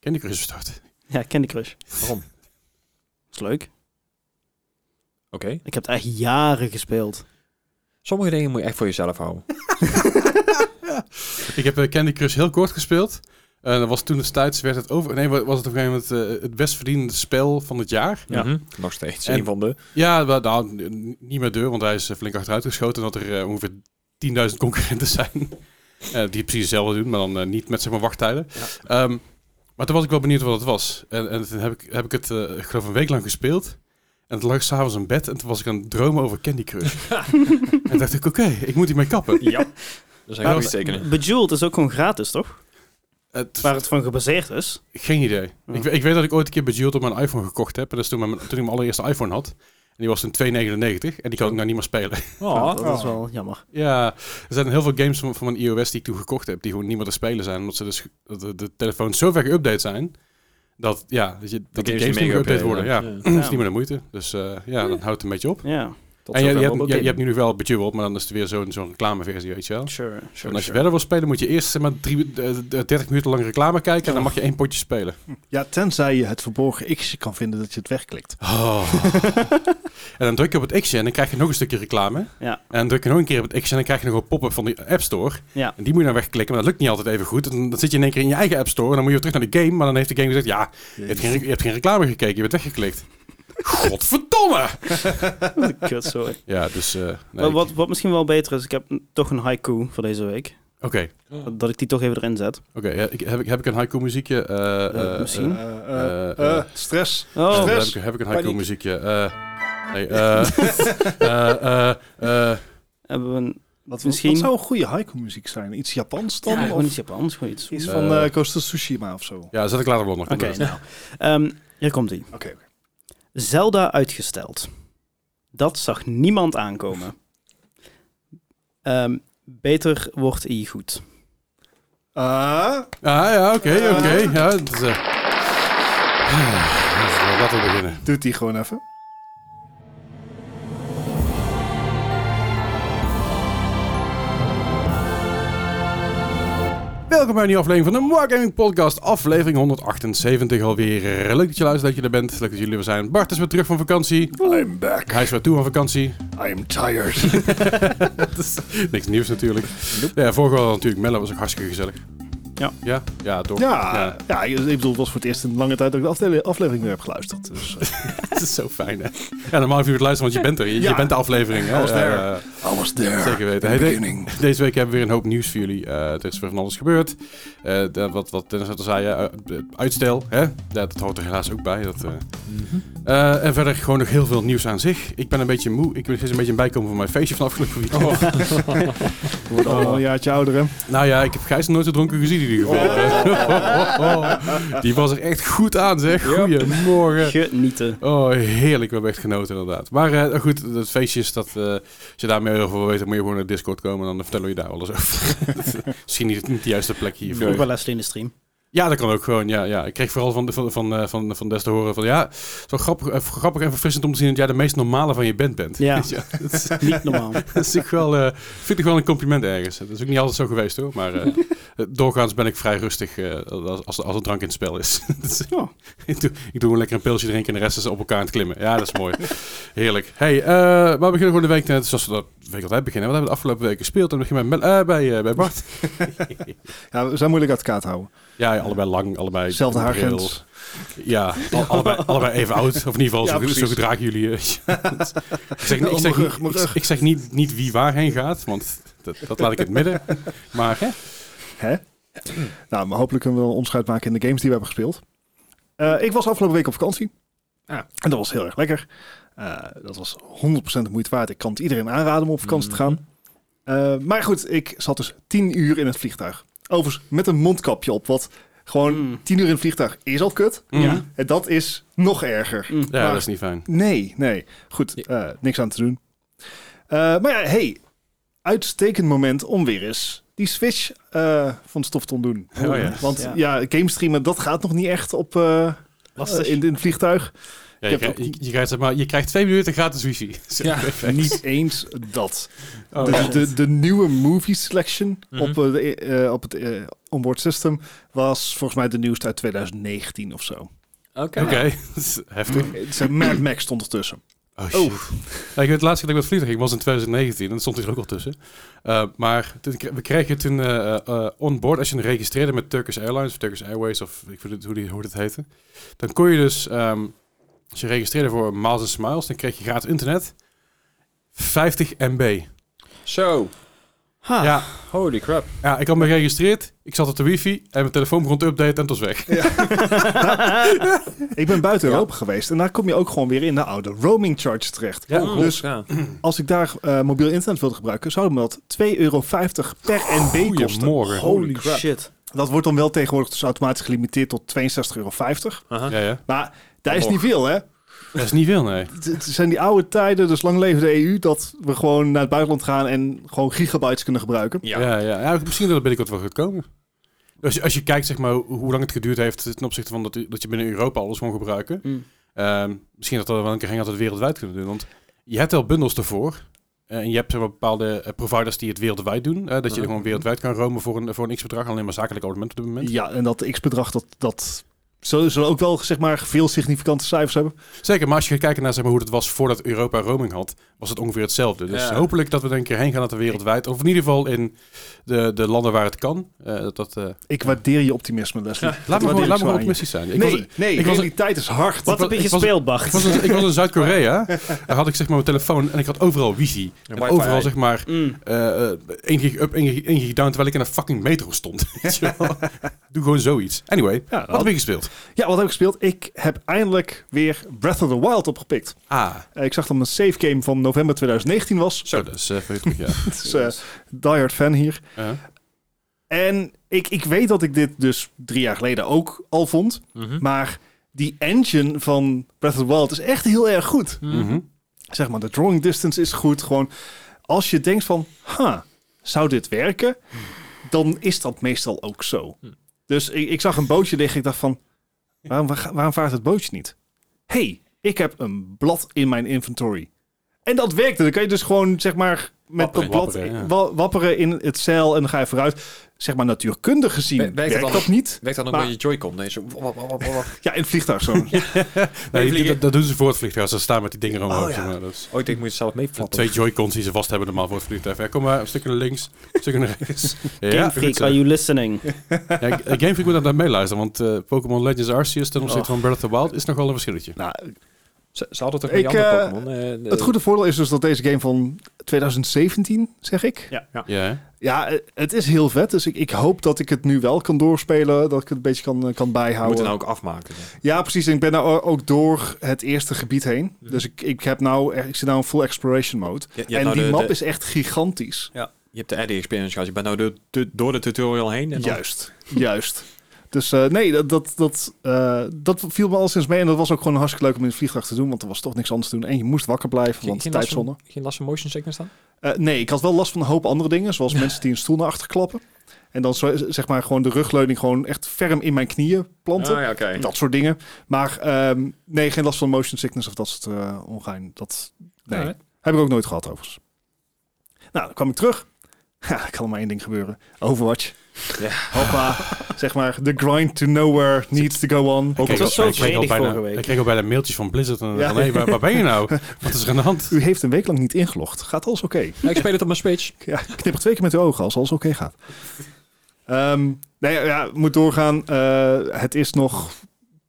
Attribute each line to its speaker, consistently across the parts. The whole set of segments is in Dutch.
Speaker 1: Candy Crush bestart.
Speaker 2: Ja, Candy Crush.
Speaker 3: Waarom?
Speaker 2: Is leuk.
Speaker 3: Oké.
Speaker 2: Ik heb het echt jaren gespeeld.
Speaker 3: Sommige dingen moet je echt voor jezelf houden.
Speaker 1: Ik heb eh, Candy Crush heel kort gespeeld. Eh dat was toen destijds, werd het over... Nee, wa- was het op een gegeven moment eh, het best verdienende spel van het jaar.
Speaker 2: Ja.
Speaker 3: Mhm. Nog steeds.
Speaker 1: En-
Speaker 3: Een van de...
Speaker 1: Ja, wel, nou, n- niet meer deur, want hij is eh, flink achteruit geschoten. Dat er eh, ongeveer 10.000 concurrenten zijn. Eh, die precies hetzelfde doen, maar dan eh, niet met zeg maar wachttijden. Ehm, maar toen was ik wel benieuwd wat het was. En, en toen heb ik, heb ik het, eh, ik geloof, een week lang gespeeld. En toen lag ik s'avonds in bed en toen was ik aan het dromen over Candy Crush. en toen dacht ik, oké, ik moet hiermee kappen.
Speaker 3: Ja. Dat zijn
Speaker 1: Maar-
Speaker 3: goede tekenen.
Speaker 2: Bejeweled is ook gewoon gratis, toch?
Speaker 1: Het-
Speaker 2: Waar het van gebaseerd is.
Speaker 1: Geen idee.
Speaker 2: Ja.
Speaker 1: Ik, we- ik weet dat ik ooit een keer bij Jewel op mijn iPhone gekocht heb. En dat is toen, mijn, toen ik mijn allereerste iPhone had. En die was toen 2,99. En die kan ik nou niet meer spelen.
Speaker 3: Ah. Oh.
Speaker 2: Ja, dat is wel jammer.
Speaker 1: ja, er zijn heel veel games van, van mijn iOS die ik toen gekocht heb. Die gewoon niet meer te spelen zijn. Omdat ze dus, dat de, de telefoons zo ver geüpdate zijn. Dat, ja, dat, je, dat de games, niet meer geüpdate worden. Ja. Dat is niet meer de moeite. Dus eh, ja, dan houdt het een beetje op.
Speaker 2: Ja,
Speaker 3: Tot
Speaker 1: En je, je,
Speaker 3: zover
Speaker 1: hebt,
Speaker 3: Mobile
Speaker 1: je, je hebt
Speaker 3: Gaming.
Speaker 1: nu nog wel Bejeweled, maar dan is het weer zo'n zo'n reclameversie, weet je wel.
Speaker 2: sure. sure,
Speaker 1: en als je
Speaker 2: sure.
Speaker 1: verder wil spelen, moet je eerst zeg maar, drie, eh, eh, 30 minuten lang reclame kijken. En dan mag je één potje spelen.
Speaker 4: Ja, tenzij je het verborgen X kan vinden dat je het wegklikt.
Speaker 1: Oh. en dan druk je op het X'je en dan krijg je nog een stukje reclame.
Speaker 2: Ja.
Speaker 1: En dan druk je nog een keer op het X'je en dan krijg je nog een pop-up van de App Store.
Speaker 2: Ja.
Speaker 1: En die moet je dan wegklikken, maar dat lukt niet altijd even goed. En Dan, dan zit je in één keer in je eigen App Store en dan moet je weer terug naar de game. Maar dan heeft de game gezegd, ja, je hebt geen, je hebt geen reclame gekeken, je bent weggeklikt. Godverdomme!
Speaker 2: Kut, sorry.
Speaker 1: Ja, dus... eh, nee,
Speaker 2: Maar wat, wat misschien wel beter is, ik heb n- toch een haiku voor deze week.
Speaker 1: Oké,
Speaker 2: Dat- Dat ik die toch even erin zet.
Speaker 1: oké. ja, ik- heb, ik, heb ik een haiku muziekje? Eh, eh,
Speaker 2: misschien.
Speaker 1: eh, eh, eh, eh,
Speaker 4: stress.
Speaker 2: Oh,
Speaker 1: heb,
Speaker 4: Stress.
Speaker 1: ik, heb ik een haiku
Speaker 4: Paniek.
Speaker 1: muziekje? Eh, nee, eh, eh, eh, eh,
Speaker 2: hebben we een...
Speaker 4: Dat,
Speaker 2: Misschien-
Speaker 4: dat zou een goede haiku muziek zijn. Iets Japans dan?
Speaker 2: Ja, gewoon
Speaker 4: of
Speaker 2: iets Japans, gewoon iets.
Speaker 4: iets
Speaker 1: Eh.
Speaker 4: van eh Coastal Tsushima of zo. Oké.
Speaker 1: ja, zet ik later wel nog.
Speaker 2: Oké, nou. Ehm, hier komt ie.
Speaker 4: oké.
Speaker 2: Zelda uitgesteld. Dat zag niemand aankomen. Ehm, beter wordt I goed.
Speaker 4: Ah,
Speaker 1: Ah ja, oké,
Speaker 4: Eh.
Speaker 1: oké. Ja, het is, eh. Ah, Laten we beginnen.
Speaker 4: doet die gewoon even.
Speaker 1: Welkom bij een nieuwe aflevering van de Mark Gaming Podcast, aflevering 178 alweer. Eh, Leuk dat je luistert, dat je er bent. Leuk dat jullie er zijn. Bart is weer terug van vakantie.
Speaker 4: I'm back.
Speaker 1: Hij is weer toe aan vakantie.
Speaker 4: I'm tired.
Speaker 1: Niks nieuws natuurlijk. Ja, vorige wel natuurlijk. Melle was ook hartstikke gezellig.
Speaker 2: Ja.
Speaker 1: Ja, ja toch.
Speaker 4: ja, ja. ik bedoel, het was voor het eerst in lange tijd dat ik de afle- aflevering weer heb geluisterd. Dus, eh,
Speaker 1: Het is zo fijn, hè? Ja, normaal hoef je het luisteren, want je bent er. Je, je
Speaker 4: Ja.
Speaker 1: bent de aflevering. Hè?
Speaker 4: Alles
Speaker 1: Eh,
Speaker 4: there. I was there.
Speaker 1: Zeker weten. Hey,
Speaker 4: In the
Speaker 1: de-
Speaker 4: beginning.
Speaker 1: Deze week hebben we weer een hoop nieuws voor jullie. Eh, er is weer van alles gebeurd. Eh, de- wat, wat Dennis net al zei, eh, eh, uitstel. Hè? Ja, dat hoort er helaas ook bij. Dat, eh. Eh, en verder gewoon nog heel veel nieuws aan zich. Ik ben een beetje moe. Ik wil gisteren een beetje bijkomen van mijn feestje van afgelopen weekend.
Speaker 4: We worden allemaal een jaartje ouder, hè?
Speaker 1: Nou ja, ik heb Gijs nog nooit zo dronken gezien in ieder geval. Die was er echt goed aan, zeg. Goedemorgen.
Speaker 2: Genieten.
Speaker 1: Oh, heerlijk. We hebben echt genoten, inderdaad. Maar eh, goed, het feestje is dat... eh, als je daar meer over wil weten, moet je gewoon naar Discord komen. En dan vertellen we je daar alles over. Misschien niet, niet de juiste plek hiervoor.
Speaker 2: Ook wel Leslie in de stream.
Speaker 1: Ja, dat kan ook gewoon. Ja, ja. Ik kreeg vooral van, van, van, eh, van, van Des te horen van... Ja, het is wel grappig, eh, grappig en verfrissend om te zien dat jij de meest normale van je band bent.
Speaker 2: Ja.
Speaker 1: dat, is,
Speaker 2: Niet normaal.
Speaker 1: dat is ook wel, eh, vind ik wel een compliment ergens. Dat is ook niet altijd zo geweest hoor. Maar eh, doorgaans ben ik vrij rustig eh, als, als, als er drank in het spel is. Dus,
Speaker 2: Oh.
Speaker 1: ik, doe, ik doe gewoon lekker een pilsje drinken en de rest is op elkaar aan het klimmen. Ja, dat is mooi. Heerlijk. Hey, eh, maar we beginnen gewoon de week net zoals we dat de week altijd beginnen. Wat hebben we de afgelopen week gespeeld? En we beginnen met, Mel- eh, bij, eh, bij Bart.
Speaker 4: Ja, we zijn moeilijk uit de kaart te houden.
Speaker 1: Ja, allebei lang, allebei...
Speaker 4: Zelfde
Speaker 1: bril.
Speaker 4: haargrens.
Speaker 1: Ja, al- allebei, allebei even oud. Of in ieder geval,
Speaker 4: Ja,
Speaker 1: zo,
Speaker 4: precies.
Speaker 1: zo gedragen jullie. eh. ik zeg, niet- ik
Speaker 4: Oh,
Speaker 1: zeg,
Speaker 4: mijn rug,
Speaker 1: niet,
Speaker 4: mijn
Speaker 1: ik,
Speaker 4: rug.
Speaker 1: ik zeg niet, niet wie waarheen gaat, want dat, dat laat ik in het midden. Maar
Speaker 4: Hè? nou, maar hopelijk kunnen we dan een onderscheid maken in de games die we hebben gespeeld. Eh, ik was afgelopen week op vakantie.
Speaker 3: Ah.
Speaker 4: En dat was heel erg lekker. Eh, dat was 100% de moeite waard. Ik kan het iedereen aanraden om op vakantie te gaan. Eh, maar goed, ik zat dus 10 uur in het vliegtuig. Overigens met een mondkapje op, wat gewoon
Speaker 2: Mm.
Speaker 4: 10 uur in het vliegtuig is al kut.
Speaker 1: mm, ja,
Speaker 4: En dat is nog erger.
Speaker 2: Mm.
Speaker 1: dat is niet fijn.
Speaker 4: Nee, nee. Goed, eh, niks aan te doen. Eh, maar ja, hey, uitstekend moment om weer eens die Switch eh, van stof te ontdoen.
Speaker 1: Oh ja.
Speaker 4: Want
Speaker 2: Ja.
Speaker 4: ja, game streamen, dat gaat nog niet echt op eh,
Speaker 3: Lastig.
Speaker 4: eh, in, in het vliegtuig.
Speaker 1: Ja, je,
Speaker 4: heb
Speaker 1: krijgt,
Speaker 4: ook-
Speaker 1: je, je krijgt, zeg maar, je krijgt twee minuten gratis wifi.
Speaker 3: Ja.
Speaker 4: Niet eens dat.
Speaker 1: Oh,
Speaker 4: de,
Speaker 1: shit.
Speaker 4: de, de nieuwe movie selection
Speaker 3: Mhm.
Speaker 4: op, eh, de, eh, op het eh, onboard system was volgens mij de nieuwste uit 2019 of zo.
Speaker 3: Oké.
Speaker 1: Oké, dat is heftig.
Speaker 4: Het zijn Mad Max stond ertussen.
Speaker 1: Oh, shit. Ja, ik weet, het laatste keer dat ik met vliegtuig ging was in 2019. En dat stond hier ook al tussen. Eh, maar toen, we kregen toen eh eh onboard, als je het registreerde met Turkish Airlines of Turkish Airways of ik weet niet hoe, die, hoe dat heette. Dan kon je dus, ehm, als je registreerde voor Miles and Smiles, dan kreeg je gratis internet. 50 MB.
Speaker 3: Zo.
Speaker 2: Ha.
Speaker 1: Ja,
Speaker 3: Holy crap.
Speaker 1: ja, ik had me geregistreerd. Ik zat op de wifi en mijn telefoon begon te updaten en het was weg.
Speaker 4: Ik ben buiten Europa geweest en daar kom je ook gewoon weer in de oude roaming charge terecht.
Speaker 1: Ja,
Speaker 3: Oh,
Speaker 4: dus
Speaker 3: ja.
Speaker 4: als ik daar eh, mobiel internet wilde gebruiken, zou me dat 2,50 euro per NB kosten.
Speaker 1: Goedemorgen.
Speaker 4: Holy
Speaker 3: Holy crap.
Speaker 2: Shit.
Speaker 4: Dat wordt dan wel tegenwoordig dus automatisch gelimiteerd tot 62,50 euro.
Speaker 3: Aha.
Speaker 1: Ja, ja.
Speaker 4: Maar daar is
Speaker 3: Och.
Speaker 4: niet veel, hè?
Speaker 1: Dat is niet veel, nee.
Speaker 4: Het- Het zijn die oude tijden, dus lang leven de EU, dat we gewoon naar het buitenland gaan en gewoon gigabytes kunnen gebruiken.
Speaker 1: Ja, ja. ja. misschien dat er binnenkort wel gaat komen. Als je, als je kijkt zeg maar, ho- hoe lang het geduurd heeft ten opzichte van dat, u- dat je binnen Europa alles kon gebruiken.
Speaker 2: Mm.
Speaker 1: ehm, misschien dat we wel een keer gaan dat we het wereldwijd kunnen doen. Want je hebt wel bundels ervoor. eh, en je hebt zeg maar, bepaalde eh, providers die het wereldwijd doen. eh, dat je
Speaker 3: Mhm.
Speaker 1: gewoon wereldwijd kan roamen voor een, voor een x-bedrag. Alleen maar zakelijk abonnement op dit moment.
Speaker 4: Ja, en dat x-bedrag, dat, dat zullen, zullen ook wel zeg maar, veel significante cijfers hebben.
Speaker 1: Zeker, maar als je gaat kijken naar zeg maar, hoe het was voordat Europa roaming had, was het ongeveer hetzelfde. Dus
Speaker 3: Ja.
Speaker 1: hopelijk dat we er een keer heen gaan dat we wereldwijd, of in ieder geval in de, de landen waar het kan. eh, dat, dat, eh,
Speaker 4: Ik waardeer je optimisme, Leslie.
Speaker 1: laat me
Speaker 4: waardeer
Speaker 1: gewoon,
Speaker 4: ik
Speaker 1: laat me
Speaker 4: zo
Speaker 1: gewoon
Speaker 4: aan je.
Speaker 1: optimistisch zijn. Ik
Speaker 4: nee,
Speaker 1: was-
Speaker 4: nee,
Speaker 1: ik was-
Speaker 4: realiteit is hard.
Speaker 2: Wat
Speaker 1: was-
Speaker 2: heb je
Speaker 1: ik was-
Speaker 2: gespeeld,
Speaker 1: Ik
Speaker 2: Bart?
Speaker 1: was, in, ik was in Zuid-Korea en had ik zeg maar mijn telefoon en ik had overal wifi. En
Speaker 3: wifi.
Speaker 1: overal zeg maar
Speaker 2: Mm.
Speaker 1: eh, eh, één gig up, één gig, één gig down, terwijl ik in een fucking metro stond. Weet je wel? Doe gewoon zoiets. Anyway,
Speaker 4: Ja,
Speaker 1: wat
Speaker 4: wat,
Speaker 1: heb je gespeeld?
Speaker 4: ja, wat heb ik gespeeld? Ik heb eindelijk weer Breath of the Wild opgepikt.
Speaker 1: Ah,
Speaker 4: Eh, ik zag dat mijn save game van november 2019 was.
Speaker 1: zo, dat is eh, even terug, ja.
Speaker 4: Dus eh die hard fan hier.
Speaker 1: Eh,
Speaker 4: En ik, ik weet dat ik dit dus drie jaar geleden ook al vond.
Speaker 3: Mhm.
Speaker 4: Maar die engine van Breath of the Wild is echt heel erg goed.
Speaker 1: mhm.
Speaker 4: Zeg maar, de drawing distance is goed. Gewoon als je denkt van, ha, zou dit werken? Dan is dat meestal ook zo.
Speaker 1: Hm.
Speaker 3: Hmm.
Speaker 4: Dus ik, ik zag een bootje liggen. Ik dacht van, waarom, waar- waarom vaart het bootje niet? Hé, hey, ik heb een blad in mijn inventory. En dat werkte. Dan kan je dus gewoon, zeg maar, met
Speaker 1: Wapperen.
Speaker 4: dat blad
Speaker 1: Wapperen, ja.
Speaker 4: wa- wapperen in het zeil en dan ga je vooruit. Zeg maar, natuurkundig gezien
Speaker 3: Wer- werkt het dan?
Speaker 4: werkt dat niet.
Speaker 3: Werkt dat ook
Speaker 4: Maar-
Speaker 3: met je Joy-Con? Nee, zo... wop, wop, wop, wop, wop.
Speaker 4: Ja, in het vliegtuig zo.
Speaker 1: Nee,
Speaker 3: vliegen.
Speaker 1: dat, dat doen ze voor het vliegtuig. Ze staan met die dingen omhoog.
Speaker 4: Oh, ja.
Speaker 1: zeg maar. dat is-
Speaker 3: Oh, ik denk, moet je het zelf meevatten.
Speaker 1: Twee Joy-Cons die ze vast hebben normaal voor het vliegtuig. Ja, kom maar, een stukje naar links, een stukje naar rechts. Ja,
Speaker 2: Game
Speaker 1: goed eh.
Speaker 2: Freak,
Speaker 1: zo.
Speaker 2: are you listening?
Speaker 1: Ja, Game Freak moet daar naar meeluisteren, want eh, Pokémon Legends Arceus ten opzichte
Speaker 4: Oh.
Speaker 1: van Breath of the Wild is nogal een verschilletje.
Speaker 4: nou,
Speaker 3: Ze, ze hadden toch
Speaker 4: Ik,
Speaker 3: een andere
Speaker 4: eh,
Speaker 3: Pokémon? eh,
Speaker 4: Het
Speaker 3: eh,
Speaker 4: goede voordeel is dus dat deze game van 2017, zeg ik.
Speaker 2: Ja.
Speaker 1: Ja, hè?
Speaker 4: Ja, eh, het is heel vet. Dus ik, ik hoop dat ik het nu wel kan doorspelen. Dat ik het een beetje kan, eh, kan
Speaker 3: Je moet
Speaker 4: bijhouden.
Speaker 3: het nou ook afmaken. zeg.
Speaker 4: Ja, precies. En ik ben nou o- ook door het eerste gebied heen.
Speaker 3: Mhm.
Speaker 4: Dus ik, ik, heb nou, echt- ik zit nou in full exploration mode.
Speaker 3: Je, je hebt
Speaker 4: en
Speaker 3: nou
Speaker 4: die
Speaker 3: de-
Speaker 4: map
Speaker 3: de-
Speaker 4: is echt gigantisch.
Speaker 3: Je hebt de Eddie Experience gehad. Je bent nou de, de- door de tutorial heen. En dan-
Speaker 4: Juist. Juist. Dus eh, nee, dat, dat, dat, eh, dat viel me al sinds mee. En dat was ook gewoon hartstikke leuk om in het vliegtuig te doen. Want er was toch niks anders te doen. En je moest wakker blijven,
Speaker 3: Geen,
Speaker 4: want
Speaker 3: geen, last
Speaker 4: tijdzone.
Speaker 3: van, geen last van motion sickness dan?
Speaker 4: Eh, nee, ik had wel last van een hoop andere dingen. Zoals mensen die een stoel naar achter klappen. En dan zo- eh, zeg maar gewoon de rugleuning gewoon echt ferm in mijn knieën planten.
Speaker 3: Ah, ja, oké.
Speaker 4: Dat soort dingen. Maar ehm, nee, geen last van motion sickness of dat soort eh ongein. Dat nee.
Speaker 3: Alright.
Speaker 4: heb ik ook nooit gehad overigens. Nou, dan kwam ik terug. Ja, er kan maar één ding gebeuren. Overwatch.
Speaker 3: Ja.
Speaker 4: Hoppa. zeg maar, the grind to nowhere needs to go on.
Speaker 1: Ik
Speaker 2: was
Speaker 1: kreeg
Speaker 2: zo
Speaker 1: al- ik kreeg al
Speaker 2: vredig
Speaker 1: bijna-
Speaker 2: vorige week.
Speaker 1: Ik kreeg al bijna mailtjes van Blizzard. En,
Speaker 4: Ja.
Speaker 1: van, hey, waar, waar ben je nou? Wat is er aan de hand?
Speaker 4: U heeft een week lang niet ingelogd. Gaat alles oké?
Speaker 3: Ja, Nou, ik speel het op mijn Switch.
Speaker 4: Ja, knipper twee keer met uw ogen als alles oké gaat. Ehm nee, ja, moet doorgaan. Eh, het is nog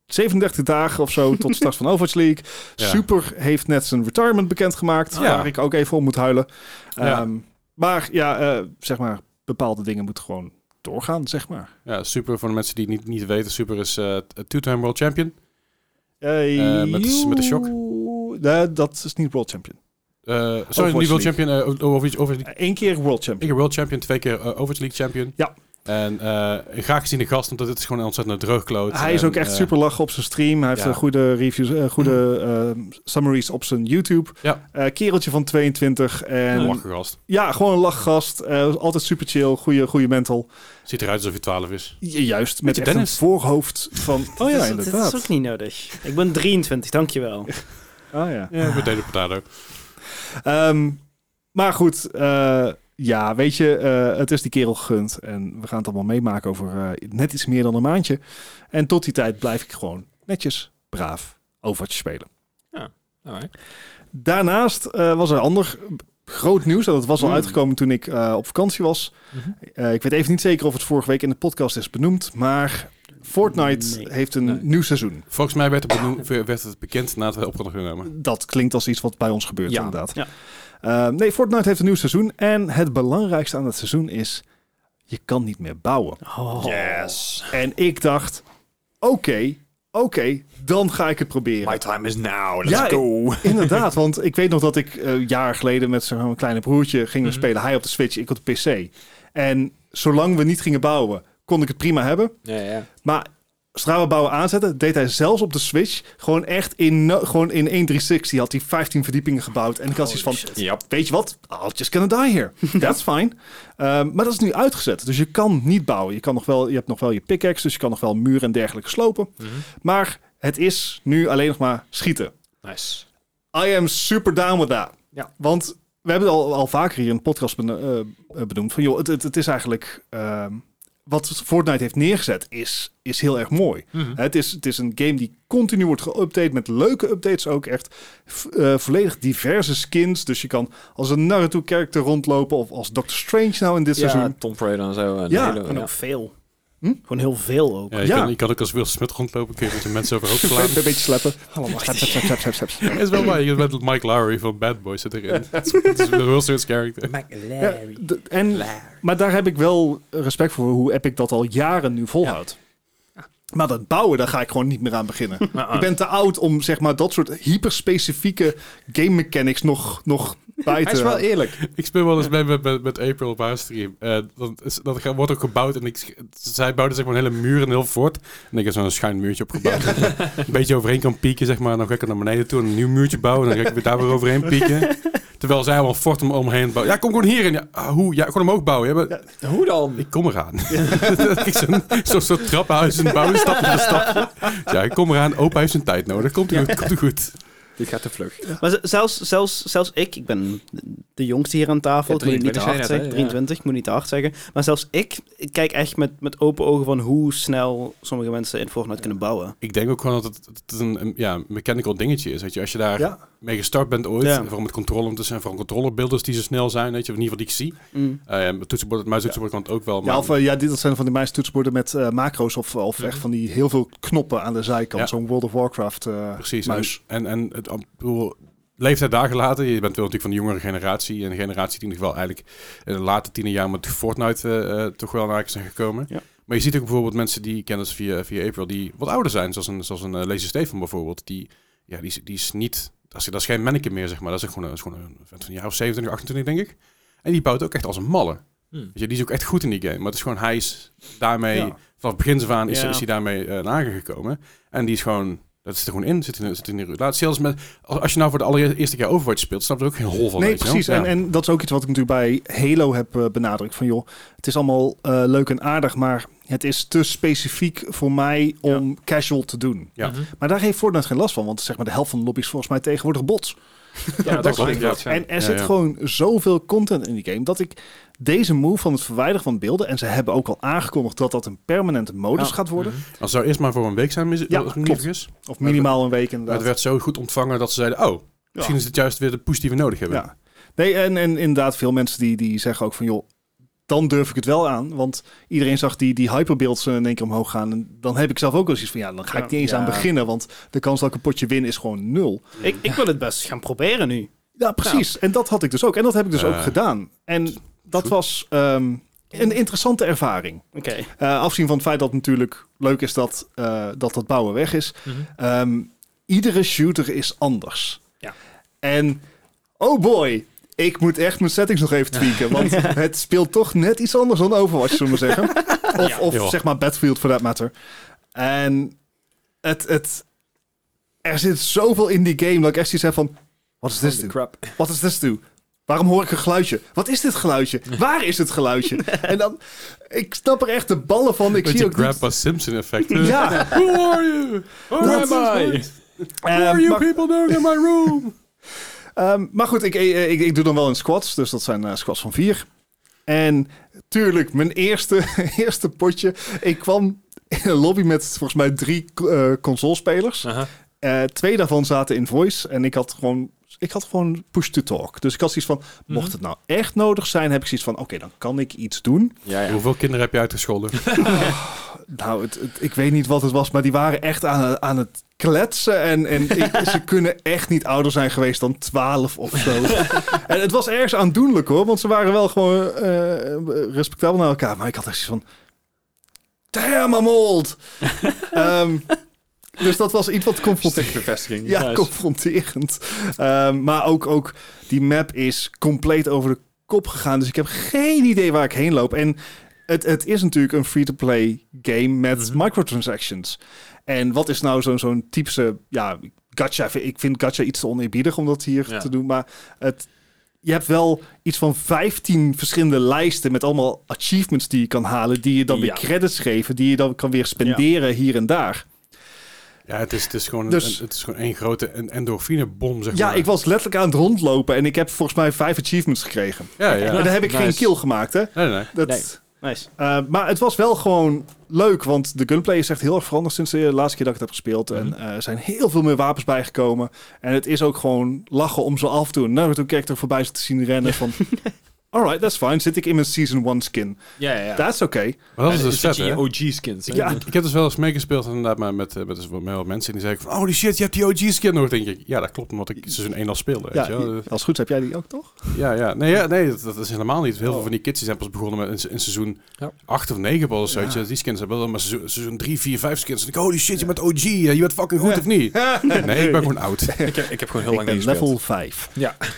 Speaker 4: 37 dagen of zo tot start van Overwatch League.
Speaker 1: Ja.
Speaker 4: Super heeft net zijn retirement bekendgemaakt.
Speaker 1: Ja.
Speaker 4: Waar ik ook even om moet huilen.
Speaker 1: Ja.
Speaker 4: Ehm, Maar ja, eh, zeg maar, bepaalde dingen moeten gewoon doorgaan, zeg maar.
Speaker 1: Ja, Super, voor de mensen die het niet, niet weten, Super is eh two-time world champion.
Speaker 4: Eh,
Speaker 1: Eh, met de- met de shock?
Speaker 4: Nee, dat is niet World Champion.
Speaker 1: Eh, sorry, niet world
Speaker 4: League.
Speaker 1: champion. eh, Overwatch, Overwatch League.
Speaker 4: Eén keer World
Speaker 1: Eén
Speaker 4: Champion.
Speaker 1: keer world champion, twee keer eh, Overwatch League champion.
Speaker 4: Ja.
Speaker 1: En eh graag gezien de gast, want het is gewoon een ontzettend droogkloot.
Speaker 4: Hij is
Speaker 1: En,
Speaker 4: ook echt
Speaker 1: eh,
Speaker 4: super lach op zijn stream. Hij heeft
Speaker 1: ja.
Speaker 4: eh, goede reviews, eh, goede eh, summaries op zijn YouTube.
Speaker 1: Ja.
Speaker 4: Eh, kereltje van 22. En
Speaker 1: Een lachige gast.
Speaker 4: ja, gewoon een lachgast. Eh, altijd super chill. Goede, goede mental.
Speaker 1: Ziet eruit alsof hij 12 is.
Speaker 4: Ju- Juist met
Speaker 1: je,
Speaker 4: echt een
Speaker 1: Dennis?
Speaker 4: voorhoofd van... Oh
Speaker 2: Dat
Speaker 4: ja,
Speaker 2: is- Dat is
Speaker 4: inderdaad.
Speaker 2: ook niet nodig. Ik ben 23, dankjewel.
Speaker 4: Ah, ja.
Speaker 1: Ja, met Daily Potato.
Speaker 4: Ehm, maar goed, eh, ja, weet je, eh, het is die kerel gegund. En we gaan het allemaal meemaken over eh, net iets meer dan een maandje. En tot die tijd blijf ik gewoon netjes, braaf Overwatch spelen.
Speaker 3: Alright.
Speaker 4: Daarnaast eh, was er ander groot nieuws. En dat was al
Speaker 3: Mm.
Speaker 4: uitgekomen toen ik eh, op vakantie was. Eh, ik weet even niet zeker of het vorige week in de podcast is benoemd. Maar Fortnite
Speaker 2: Nee.
Speaker 4: heeft een
Speaker 3: Nee.
Speaker 4: nieuw seizoen.
Speaker 1: Volgens mij werd het, benoemd- werd het bekend nadat we op hadden genomen.
Speaker 4: Dat klinkt als iets wat bij ons gebeurt,
Speaker 3: Ja.
Speaker 4: inderdaad.
Speaker 2: Ja.
Speaker 4: Eh, nee, Fortnite heeft een nieuw seizoen. En het belangrijkste aan het seizoen is... je kan niet meer bouwen.
Speaker 2: Oh.
Speaker 4: En ik dacht... oké, oké, dan ga ik het proberen.
Speaker 3: My time is now. Let's
Speaker 4: Ja,
Speaker 3: go.
Speaker 4: Inderdaad, want ik weet nog dat ik eh jaar geleden met zo'n kleine broertje gingen we
Speaker 3: Mhm.
Speaker 4: spelen. Hij op de Switch, ik op de PC. En zolang we niet gingen bouwen, kon ik het prima hebben.
Speaker 3: Ja, ja.
Speaker 4: Maar zodra we bouwen aanzetten, deed hij zelfs op de Switch gewoon echt in, no- gewoon in 1.360 had hij 15 verdiepingen gebouwd. En ik had iets van,
Speaker 3: Yep.
Speaker 4: weet je wat, I'll just gonna die here. That's fine. Ehm, maar dat is nu uitgezet, dus je kan niet bouwen. Je, kan nog wel, je hebt nog wel je pickaxe, dus je kan nog wel muren en dergelijke slopen. Maar het is nu alleen nog maar schieten.
Speaker 3: Nice.
Speaker 4: I am super down with that.
Speaker 3: Ja.
Speaker 4: Want we hebben het al, al vaker hier in de podcast ben- eh, eh, benoemd. Van joh, het, het, het is eigenlijk. ehm, wat Fortnite heeft neergezet is, is heel erg mooi.
Speaker 3: Mhm.
Speaker 4: Het, is, het is een game die continu wordt geüpdate. Met leuke updates ook echt. V- eh, volledig diverse skins. Dus je kan als een Naruto-character rondlopen. Of als Doctor Strange nou in dit
Speaker 3: Ja,
Speaker 4: seizoen.
Speaker 3: Tom Brady en zo. En
Speaker 4: Ja,
Speaker 3: hele,
Speaker 2: Gewoon
Speaker 3: ja.
Speaker 2: ook veel.
Speaker 4: Hm?
Speaker 2: Gewoon heel veel ook.
Speaker 1: Ja, je,
Speaker 4: Ja.
Speaker 1: Kan, je kan ook als Will Smith rondlopen, kun je met de mensen overhoop
Speaker 4: Een
Speaker 1: slaan.
Speaker 4: beetje sleppen. Slap, slap, slap, slap, slap, slap.
Speaker 1: is wel waar, je bent Mike Lowry van Bad Boys zit erin. Het is- Het is Will Smith's character.
Speaker 4: Ja, d- en, maar daar heb ik wel respect voor hoe Epic dat al jaren nu volhoudt. Maar dat bouwen, daar ga ik gewoon niet meer aan beginnen. ik ben te oud om zeg maar, dat soort hyperspecifieke game mechanics nog, nog bij te
Speaker 3: Hij is wel
Speaker 4: houden.
Speaker 3: eerlijk.
Speaker 1: Ik speel wel eens mee met, met, met April op haar stream. Eh, dan is- dat ga- wordt ook gebouwd en ik, sch- zij bouwde zeg maar een hele muur en heel fort. En ik heb zo'n schuin muurtje opgebouwd. Een beetje overheen kan pieken, zeg maar. En dan ga ik er naar beneden toe en een nieuw muurtje bouwen. En dan ga ik weer daar weer overheen pieken. Terwijl zij al een fort om, omheen bouwen. Ja, kom gewoon hierin. Ja, ah, hoe? Ja, gewoon omhoog bouwen. Ja, maar-
Speaker 3: Hoe dan?
Speaker 1: Ik kom eraan. Dat ik zo'n zo, zo trappenhuis in bouwen, stapje voor stapje. Ja, ik kom eraan. Opa heeft zijn tijd nodig. Komt goed, komt goed.
Speaker 3: Dit gaat te vlug. Ja.
Speaker 2: Maar z- zelfs, zelfs, zelfs ik, ik ben de jongste hier aan tafel,
Speaker 3: Ja,
Speaker 2: ik moet niet te
Speaker 3: 23
Speaker 2: hard
Speaker 3: zei
Speaker 2: zeggen,
Speaker 3: net, hè?
Speaker 2: 23, ik moet niet te hard zeggen. Maar zelfs ik, ik kijk echt met, met open ogen van hoe snel sommige mensen in Fortnite kunnen bouwen.
Speaker 1: Ik denk ook gewoon dat het, dat het een, een, ja, een mechanical dingetje is. Weet je, als je daar
Speaker 4: Ja.
Speaker 1: mee gestart bent ooit,
Speaker 2: Ja.
Speaker 1: en vooral met controller te zijn, vooral controllerbeelders die zo snel zijn, weet je, of in ieder geval die ik zie.
Speaker 2: Mm.
Speaker 1: Eh, mijn toetsenbord, het muistoetsenbord kan het ook wel, maar
Speaker 4: Ja, of, eh, ja, dit dat zijn van die meisjes toetsenborden met eh, macro's of, of echt van die heel veel knoppen aan de zijkant.
Speaker 1: Ja.
Speaker 4: Zo'n World of Warcraft eh,
Speaker 1: precies.
Speaker 4: muis.
Speaker 1: En, en, en het, ik bedoel, leeftijd daar gelaten, je bent wel natuurlijk van de jongere generatie, en de generatie die nog wel eigenlijk in de late tien jaar met Fortnite eh, eh, toch wel naar zijn gekomen.
Speaker 2: Ja.
Speaker 1: Maar je ziet ook bijvoorbeeld mensen die ik ken dus via, via April, die wat ouder zijn, zoals een, zoals een eh, Lazy Stefan bijvoorbeeld, die, ja, die, is- die is niet, dat is, dat is geen manneke meer, zeg maar, dat is ook gewoon, een- dat is gewoon een, vent van een jaar of 27, 28 denk ik. En die bouwt ook echt als een malle.
Speaker 3: Hmm.
Speaker 1: Weet je, die is ook echt goed in die game. Maar het is gewoon, hij is daarmee,
Speaker 4: Ja.
Speaker 1: vanaf het begin af aan is,
Speaker 2: Ja.
Speaker 1: is hij daarmee eh aangekomen. En die is gewoon, dat zit er gewoon in, zit in, zit in die relatie. Zelfs met, als als je nou voor de allereerste keer Overwatch speelt, snap je er ook geen hol van.
Speaker 4: Nee,
Speaker 1: weet je wel?
Speaker 4: precies.
Speaker 1: Ja.
Speaker 4: En, en dat is ook iets wat ik natuurlijk bij Halo heb eh, benadrukt. Van joh, het is allemaal eh, leuk en aardig, maar het is te specifiek voor mij om casual te doen.
Speaker 1: Ja.
Speaker 3: Mhm,
Speaker 4: Maar daar heeft Fortnite geen last van, want zeg maar de helft van de lobby is volgens mij tegenwoordig bots.
Speaker 3: Ja,
Speaker 1: dat
Speaker 3: dat
Speaker 1: klopt,
Speaker 3: klopt.
Speaker 1: ja.
Speaker 3: Ja.
Speaker 4: En er
Speaker 1: Ja,
Speaker 4: zit
Speaker 1: ja.
Speaker 4: gewoon zoveel content in die game dat ik deze move van het verwijderen van beelden, en ze hebben ook al aangekondigd dat dat een permanente modus
Speaker 2: Ja.
Speaker 4: gaat worden,
Speaker 1: Als zou eerst maar voor een week zijn, mis,
Speaker 4: Ja,
Speaker 1: als het niet
Speaker 4: klopt.
Speaker 1: is.
Speaker 4: of minimaal een week
Speaker 1: Maar het
Speaker 4: inderdaad.
Speaker 1: werd zo goed ontvangen dat ze zeiden, oh, misschien is het juist weer de push die we nodig hebben.
Speaker 4: Ja. Nee, en, en inderdaad, veel mensen die, die zeggen ook van joh, dan durf ik het wel aan. Want iedereen zag die, die hyperbeelds eh, in één keer omhoog gaan. En dan heb ik zelf ook wel zoiets van ja, dan ga ik niet eens
Speaker 2: Ja.
Speaker 4: aan beginnen. Want de kans dat ik een potje win is gewoon nul.
Speaker 2: Ik, ik wil het best gaan proberen nu.
Speaker 4: Ja, precies. En dat had ik dus ook. En dat heb ik dus ook
Speaker 1: Eh,
Speaker 4: gedaan. En dat
Speaker 1: goed.
Speaker 4: was ehm, een interessante ervaring.
Speaker 2: Oké.
Speaker 4: Eh, afzien van het feit dat het natuurlijk leuk is dat eh, dat, dat bouwen weg is.
Speaker 3: mhm.
Speaker 4: Ehm, iedere shooter is anders.
Speaker 2: Ja.
Speaker 4: En oh boy, ik moet echt mijn settings nog even tweaken. Want het speelt toch net iets anders dan Overwatch, zullen we zeggen. Of, of
Speaker 1: Joh.
Speaker 4: zeg maar Battlefield, for that matter. En het, het, er zit zoveel in die game dat ik echt zoiets heb van... Wat is dit?
Speaker 2: Holy
Speaker 4: nu?
Speaker 2: crap.
Speaker 4: Wat is dit toe? Waarom hoor ik een geluidje? Wat is dit geluidje? Waar is het geluidje? En dan, ik snap er echt de ballen van. Ik zie
Speaker 1: Beetje
Speaker 4: ook niet-
Speaker 1: Grandpa Simpson effect.
Speaker 4: Ja,
Speaker 1: Who are you? Who
Speaker 4: Dat
Speaker 1: am I? Who
Speaker 4: Eh,
Speaker 1: are you
Speaker 4: maar,
Speaker 1: people doing in my room?
Speaker 4: ehm, maar goed, ik, eh, ik, ik doe dan wel in squats. Dus dat zijn eh, squats van vier. En tuurlijk, mijn eerste, eerste potje. Ik kwam in een lobby met volgens mij drie eh consolespelers.
Speaker 3: Aha.
Speaker 4: Eh, twee daarvan zaten in voice en ik had gewoon, ik had gewoon push to talk. Dus ik had zoiets van, mocht het nou echt nodig zijn, heb ik zoiets van, oké, dan kan ik iets doen.
Speaker 3: Ja, ja.
Speaker 1: Hoeveel kinderen heb je uitgescholden?
Speaker 4: Nou, het, het- ik weet niet wat het was, maar die waren echt aan, aan het kletsen en, en ik- ze kunnen echt niet ouder zijn geweest dan 12 of zo. en het was ergens aandoenlijk hoor, want ze waren wel gewoon eh, respectabel naar elkaar. Maar ik had echt zoiets van, damn I'm old. Ehm, dus dat was iets wat confronterend.
Speaker 3: Stuk bevestiging.
Speaker 4: Ja,
Speaker 3: Nice.
Speaker 4: confronterend. Ehm, maar ook, ook die map is compleet over de kop gegaan. Dus ik heb geen idee waar ik heen loop. En het, het is natuurlijk een free-to-play game met
Speaker 3: Mhm.
Speaker 4: microtransactions. En wat is nou zo'n zo'n typische ja, gacha? Ik vind gacha iets te oneerbiedig om dat hier
Speaker 3: Ja.
Speaker 4: te doen. Maar het, je hebt wel iets van 15 verschillende lijsten met allemaal achievements die je kan halen. Die je dan weer
Speaker 3: Ja.
Speaker 4: credits geven. Die je dan kan weer spenderen hier en daar.
Speaker 1: Ja, het is, het is gewoon
Speaker 4: Dus-
Speaker 1: een, het is gewoon één grote en- endorfinebom, zeg
Speaker 4: Ja,
Speaker 1: maar.
Speaker 4: ik was letterlijk aan het rondlopen en ik heb volgens mij vijf achievements gekregen.
Speaker 1: Ja, ja.
Speaker 4: en
Speaker 1: Nee,
Speaker 4: daar heb ik
Speaker 3: nice.
Speaker 4: geen kill gemaakt, hè?
Speaker 1: nee, nee.
Speaker 4: Dat,
Speaker 3: Nee.
Speaker 2: Nice.
Speaker 4: eh, maar het was wel gewoon leuk, want de gunplay is echt heel erg veranderd sinds de laatste keer dat ik het heb gespeeld. En eh, er zijn heel veel meer wapens bijgekomen. En het is ook gewoon lachen om zo af te doen. Nou, toen keek ik er voorbij zat te zien rennen van... Alright, that's fine. Zit ik in mijn Season 1 skin.
Speaker 3: Ja, ja, Eh, ja.
Speaker 4: That's okay.
Speaker 1: Maar dat is dus
Speaker 3: Ja, dan
Speaker 1: vet,
Speaker 3: zit je
Speaker 1: hè?
Speaker 3: in je OG-skins.
Speaker 4: Ja.
Speaker 1: Ik heb dus wel eens meegespeeld inderdaad, maar met, eh, met, dus wel- met wel mensen. En die zeiden van, oh die shit, je hebt die OG-skin nog. denk ik, ja, dat klopt, omdat ik seizoen 1 al speelde.
Speaker 4: Ja,
Speaker 1: weet je wel. dus-
Speaker 4: als het goed is heb jij die ook, toch?
Speaker 1: Ja, ja. Nee, ja, nee dat, dat is helemaal niet. Heel
Speaker 4: Oh.
Speaker 1: veel van die kids die zijn pas begonnen met in, in seizoen
Speaker 3: Ja.
Speaker 1: 8 of 9 pas. Weet je. Die skins hebben wel maar seizoen, seizoen 3, 4, 5 skins. En ik, holy shit, je bent OG. hè. Je bent fucking goed
Speaker 4: Ja.
Speaker 1: of niet? Nee, ik ben gewoon oud.
Speaker 3: Ik, heb, ik heb gewoon heel
Speaker 4: ik
Speaker 3: lang
Speaker 4: ben
Speaker 3: niet gespeeld.
Speaker 4: level 5.
Speaker 3: Ja.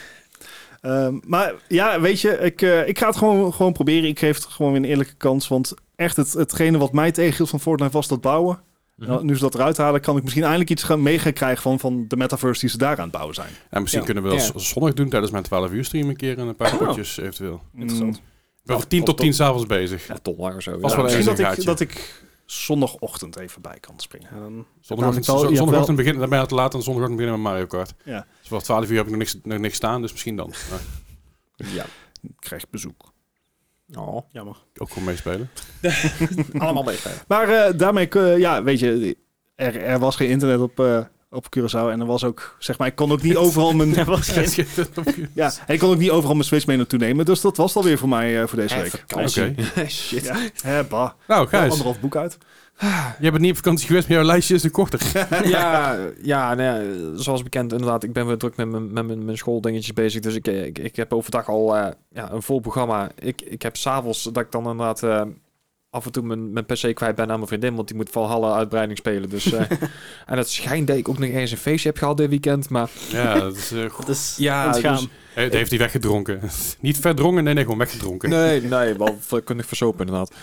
Speaker 4: Ehm, maar ja, weet je, ik, eh, ik ga het gewoon, gewoon proberen. Ik geef het gewoon weer een eerlijke kans. Want echt, het, hetgene wat mij tegenhield van Fortnite was dat bouwen.
Speaker 3: Mhm.
Speaker 4: Nou, nu ze dat eruit halen, kan ik misschien eindelijk iets gaan mee gaan krijgen van, van de metaverse die ze daar aan het bouwen zijn.
Speaker 1: En misschien
Speaker 3: Ja.
Speaker 1: kunnen we dat
Speaker 3: Ja.
Speaker 1: z- zondag doen tijdens mijn 12 uur stream een keer. En een
Speaker 4: Oh.
Speaker 1: paar potjes eventueel.
Speaker 3: Mm,
Speaker 4: Interessant.
Speaker 1: Ik ben van 10 tot 10 s'avonds bezig.
Speaker 3: Ja, dollar of zo.
Speaker 1: Was
Speaker 3: ja.
Speaker 1: wel
Speaker 4: misschien
Speaker 1: ergens
Speaker 4: dat
Speaker 1: een
Speaker 4: ik,
Speaker 1: gaatje.
Speaker 4: dat ik zondagochtend even bij kan springen.
Speaker 2: Ja, dan...
Speaker 1: Zondagochtend,
Speaker 4: namelijk wel- je hebt
Speaker 1: zondagochtend beginnen, dan ben je al te laat. En zondagochtend beginnen met Mario Kart.
Speaker 4: Ja.
Speaker 1: Dus voor 12 uur heb ik nog niks, nog niks staan, dus misschien dan. Maar
Speaker 3: Ja.
Speaker 4: Ik krijg bezoek.
Speaker 3: Oh.
Speaker 2: Jammer.
Speaker 1: ook gewoon meespelen.
Speaker 3: Allemaal meespelen.
Speaker 4: Maar eh, daarmee, kun- ja, weet je, er, er was geen internet op, eh, op Curaçao. En er was ook, zeg maar, ik kon ook niet overal mijn
Speaker 2: Ja, was geen...
Speaker 1: Oké.
Speaker 4: Ja, en ik kon ook niet overal mijn Switch mee naartoe nemen. Dus dat was het alweer voor mij eh, voor deze
Speaker 3: Eh,
Speaker 4: week.
Speaker 3: vakantie. Shit.
Speaker 4: Ja, hè, bah.
Speaker 1: Nou,
Speaker 4: Wel
Speaker 1: Gijs,
Speaker 4: Anderhalf boek uit.
Speaker 1: jij bent niet op vakantie geweest, maar jouw lijstje is een korter.
Speaker 3: ja, ja, nou ja, zoals bekend inderdaad, ik ben weer druk met mijn, met mijn, mijn schooldingetjes bezig. Dus ik, eh, ik, ik heb overdag al eh, ja, een vol programma. Ik, ik heb s'avonds dat ik dan inderdaad eh, af en toe mijn, mijn PC kwijt ben aan mijn vriendin. Want die moet Valhalla uitbreiding spelen. Dus, eh, en het schijnt dat ik ook nog eens een feestje heb gehad dit weekend. Maar
Speaker 1: Ja, dat is eh,
Speaker 2: Dat is
Speaker 3: Ja,
Speaker 2: ontgaan.
Speaker 3: dus-
Speaker 1: Hey, Het heeft hij weggedronken. niet verdronken, nee, nee, gewoon weggedronken.
Speaker 3: Nee, nee, wel kundig versopen inderdaad.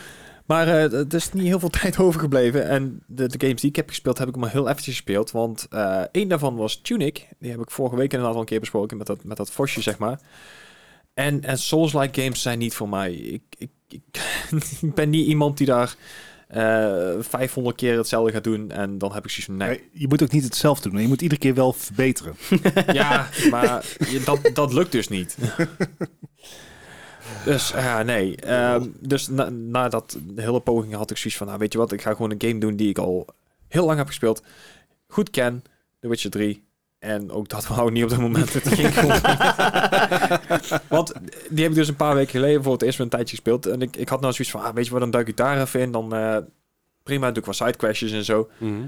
Speaker 3: Maar eh, d- er is niet heel veel tijd overgebleven. En de, de games die ik heb gespeeld, heb ik maar heel eventjes gespeeld. Want eh één daarvan was Tunic. Die heb ik vorige week inderdaad al een keer besproken met dat, met dat vosje, zeg maar. En, en Souls-like games zijn niet voor mij. Ik, ik, ik, ik ben niet iemand die daar eh 500 keer hetzelfde gaat doen. En dan heb ik zoiets van, nee,
Speaker 4: Nee, Je moet ook niet hetzelfde doen. Je moet iedere keer wel verbeteren.
Speaker 3: ja, maar je- dat, dat lukt dus niet. Dus ja, nee. Ehm, dus na, na dat hele poging had ik zoiets van, nou weet je wat, ik ga gewoon een game doen die ik al heel lang heb gespeeld. Goed ken, The Witcher 3. En ook dat wou niet op dat moment. Het ging gewoon niet. Want die heb ik dus een paar weken geleden voor het eerst weer een tijdje gespeeld. En ik, ik had nou zoiets van, ah, weet je wat, dan duik ik daar even in. Dan eh, prima, doe ik wat sidequestjes en zo.
Speaker 1: Mhm.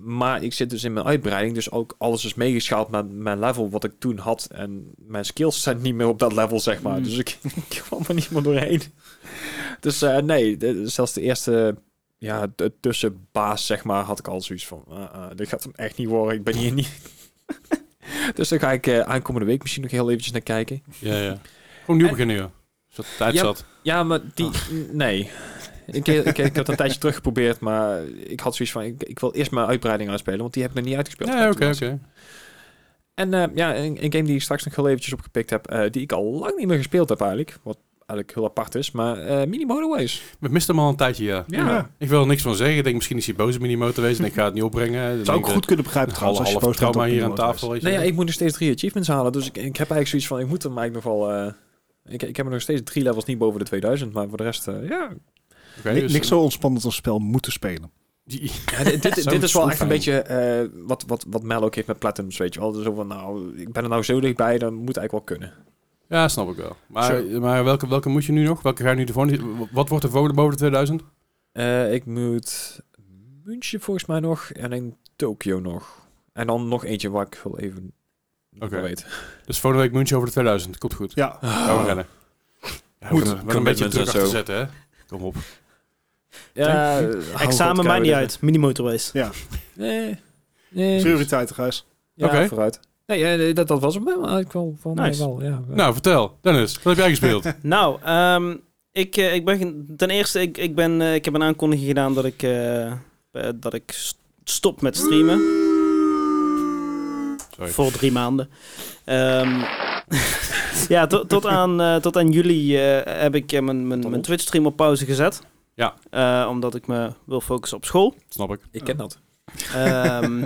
Speaker 3: Maar ik zit dus in mijn uitbreiding, dus ook alles is meegeschaald met mijn level wat ik toen had. En mijn skills zijn niet meer op dat level, zeg maar.
Speaker 1: Hmm.
Speaker 4: Mm.
Speaker 3: Dus ik, ik kwam er niet meer doorheen. Dus eh, nee, de- zelfs de eerste ja, de tussenbaas, zeg maar, had ik al zoiets van... eh, eh, dit gaat hem echt niet worden, ik ben hier niet... Dus daar ga ik eh, aankomende week misschien nog heel eventjes naar kijken.
Speaker 1: Ja, ja. Gewoon nieuw
Speaker 3: En-
Speaker 1: beginnen, joh. Zodat de tijd
Speaker 3: Ja,
Speaker 1: zat. Ah.
Speaker 3: Ja, maar die... n- Nee. Ik, ik, ik heb dat een tijdje terug geprobeerd, maar ik had zoiets van... Ik, ik wil eerst mijn uitbreiding uitspelen, want die heb ik nog niet uitgespeeld.
Speaker 1: Ja, oké, oké.
Speaker 3: En eh, ja, een, een game die ik straks nog heel eventjes opgepikt heb, eh, die ik al lang niet meer gespeeld heb eigenlijk. Wat eigenlijk heel apart is, maar eh Mini Motorways.
Speaker 1: We misten hem al een tijdje, ja.
Speaker 4: Ja.
Speaker 1: Ik wil er niks van zeggen. Ik denk, misschien is hij boos op Minimoto geweest en ik ga het niet opbrengen. Dan
Speaker 4: Zou
Speaker 1: denk
Speaker 4: ik
Speaker 1: ik,
Speaker 4: goed kunnen begrijpen
Speaker 1: eh,
Speaker 4: trouwens. Als je
Speaker 1: half
Speaker 4: boos bent
Speaker 1: trauma
Speaker 4: op
Speaker 1: hier aan
Speaker 4: iemand
Speaker 1: tafel.
Speaker 4: is.
Speaker 1: weet je
Speaker 3: Nou ja,
Speaker 1: wel.
Speaker 3: ik moet nog steeds drie achievements halen, dus ik, ik heb eigenlijk zoiets van, ik moet hem eigenlijk nog wel... eh, ik, ik heb er nog steeds drie levels niet boven de 2000, maar voor de rest, eh, ja.
Speaker 1: Oké,
Speaker 4: Ni-
Speaker 1: dus-
Speaker 4: Niks zo ontspannend als spel moeten spelen.
Speaker 1: Die-
Speaker 3: Ja, dit, dit-
Speaker 1: Zo
Speaker 3: dit is wel echt een
Speaker 1: fijn.
Speaker 3: beetje eh, wat, wat, wat Mel ook heeft met Platinums, weet je wel. Dus zo van, nou, ik ben er nou zo dichtbij, dan moet eigenlijk wel kunnen.
Speaker 1: Ja, snap ik wel. Maar, maar welke, welke moet je nu nog? Welke ga je nu de volgende? Wat wordt de volgende boven de 2000?
Speaker 3: Eh, ik moet München volgens mij nog en in Tokio nog. En dan nog eentje waar ik wel even nog
Speaker 1: Oké.
Speaker 3: wel weet.
Speaker 1: Dus volgende week München over de 2000. Komt goed.
Speaker 4: Ja,
Speaker 3: Oh.
Speaker 1: Gaan we rennen. Ja, we
Speaker 4: Moet.
Speaker 1: kunnen er wel een
Speaker 5: Commitment
Speaker 1: beetje
Speaker 5: en
Speaker 1: druk
Speaker 5: zo.
Speaker 1: achter zetten, hè? Kom op.
Speaker 3: Ja, eh, hou
Speaker 2: Examen
Speaker 3: God,
Speaker 2: maakt niet
Speaker 3: koude
Speaker 2: uit. Mini motorways.
Speaker 3: dingen. Nee, nee.
Speaker 4: prioriteiten, Gijs.
Speaker 3: Ja,
Speaker 1: Oké.
Speaker 3: vooruit. Nee, eh, nee, dat, dat was hem wel, eigenlijk wel. Van mij
Speaker 2: Nice.
Speaker 3: wel ja.
Speaker 1: Nou, vertel. Dennis, wat heb jij gespeeld?
Speaker 2: Nou, ehm, ik, eh, ik ben geen- ten eerste, ik, ik, ben, eh, ik heb een aankondiging gedaan dat ik, eh, eh, dat ik st- stop met streamen.
Speaker 1: Sorry.
Speaker 2: Voor drie maanden. Ehm, ja, tot, tot, aan, eh, tot aan juli eh, heb ik eh, mijn, mijn, mijn Twitch stream op pauze gezet.
Speaker 1: Ja.
Speaker 2: Eh, omdat ik me wil focussen op school.
Speaker 1: Snap ik.
Speaker 3: ik ken dat.
Speaker 2: Ehm,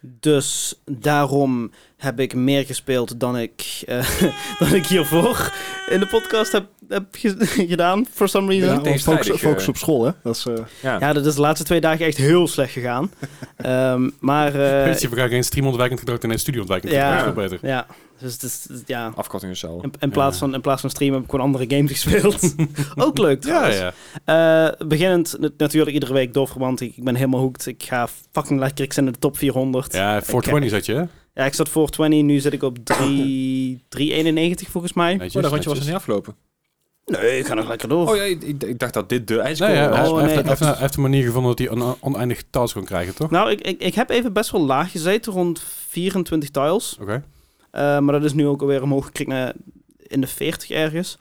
Speaker 2: dus daarom heb ik meer gespeeld dan ik, eh, dan ik hiervoor in de podcast heb, heb ge- gedaan, for some reason.
Speaker 4: Ja,
Speaker 2: Ja.
Speaker 4: want focus,
Speaker 3: tegenstrijdig, eh.
Speaker 4: focus op school, hè? Dat is, eh,
Speaker 3: Ja.
Speaker 2: dat is de laatste twee dagen echt heel slecht gegaan. Ehm, maar eh,
Speaker 1: Weet je, we gaan geen streamontwijkend gedrag en een studioontwijkend
Speaker 2: Ja.
Speaker 1: gedrag. Dat is veel beter.
Speaker 2: ja, dus het is, ja.
Speaker 3: Afkorting is zo.
Speaker 2: In, in plaats
Speaker 1: Oh, Ja.
Speaker 2: van, in plaats van streamen heb ik gewoon andere games gespeeld. Ook leuk
Speaker 1: Ja,
Speaker 2: trouwens.
Speaker 1: ja.
Speaker 2: Eh, beginnend nat- natuurlijk iedere week doorverband. Ik, ik ben helemaal hooked. Ik ga fucking lekker. Ik zit in de top 400.
Speaker 1: Ja, 420 zat je, hè?
Speaker 2: Ja, ik zat 420, nu zit ik op 3, 391 volgens mij.
Speaker 1: Netjes,
Speaker 3: Oh, dat rondje was er
Speaker 1: netjes.
Speaker 3: niet afgelopen.
Speaker 2: Nee, ik ga nog lekker door.
Speaker 3: Oh ja, ik, ik- ik dacht dat dit de ijskel
Speaker 1: Nee, ja, hij,
Speaker 3: was.
Speaker 1: heeft-
Speaker 2: Oh,
Speaker 1: hij
Speaker 2: nee,
Speaker 1: heeft,
Speaker 2: dat-
Speaker 1: hij heeft een manier gevonden dat hij een on- oneindig taals kan krijgen, toch?
Speaker 2: Nou, ik, ik, ik heb even best wel laag gezeten, rond 24 tiles.
Speaker 1: Oké.
Speaker 2: Eh, maar dat is nu ook alweer omhoog gekregen naar in de 40 ergens.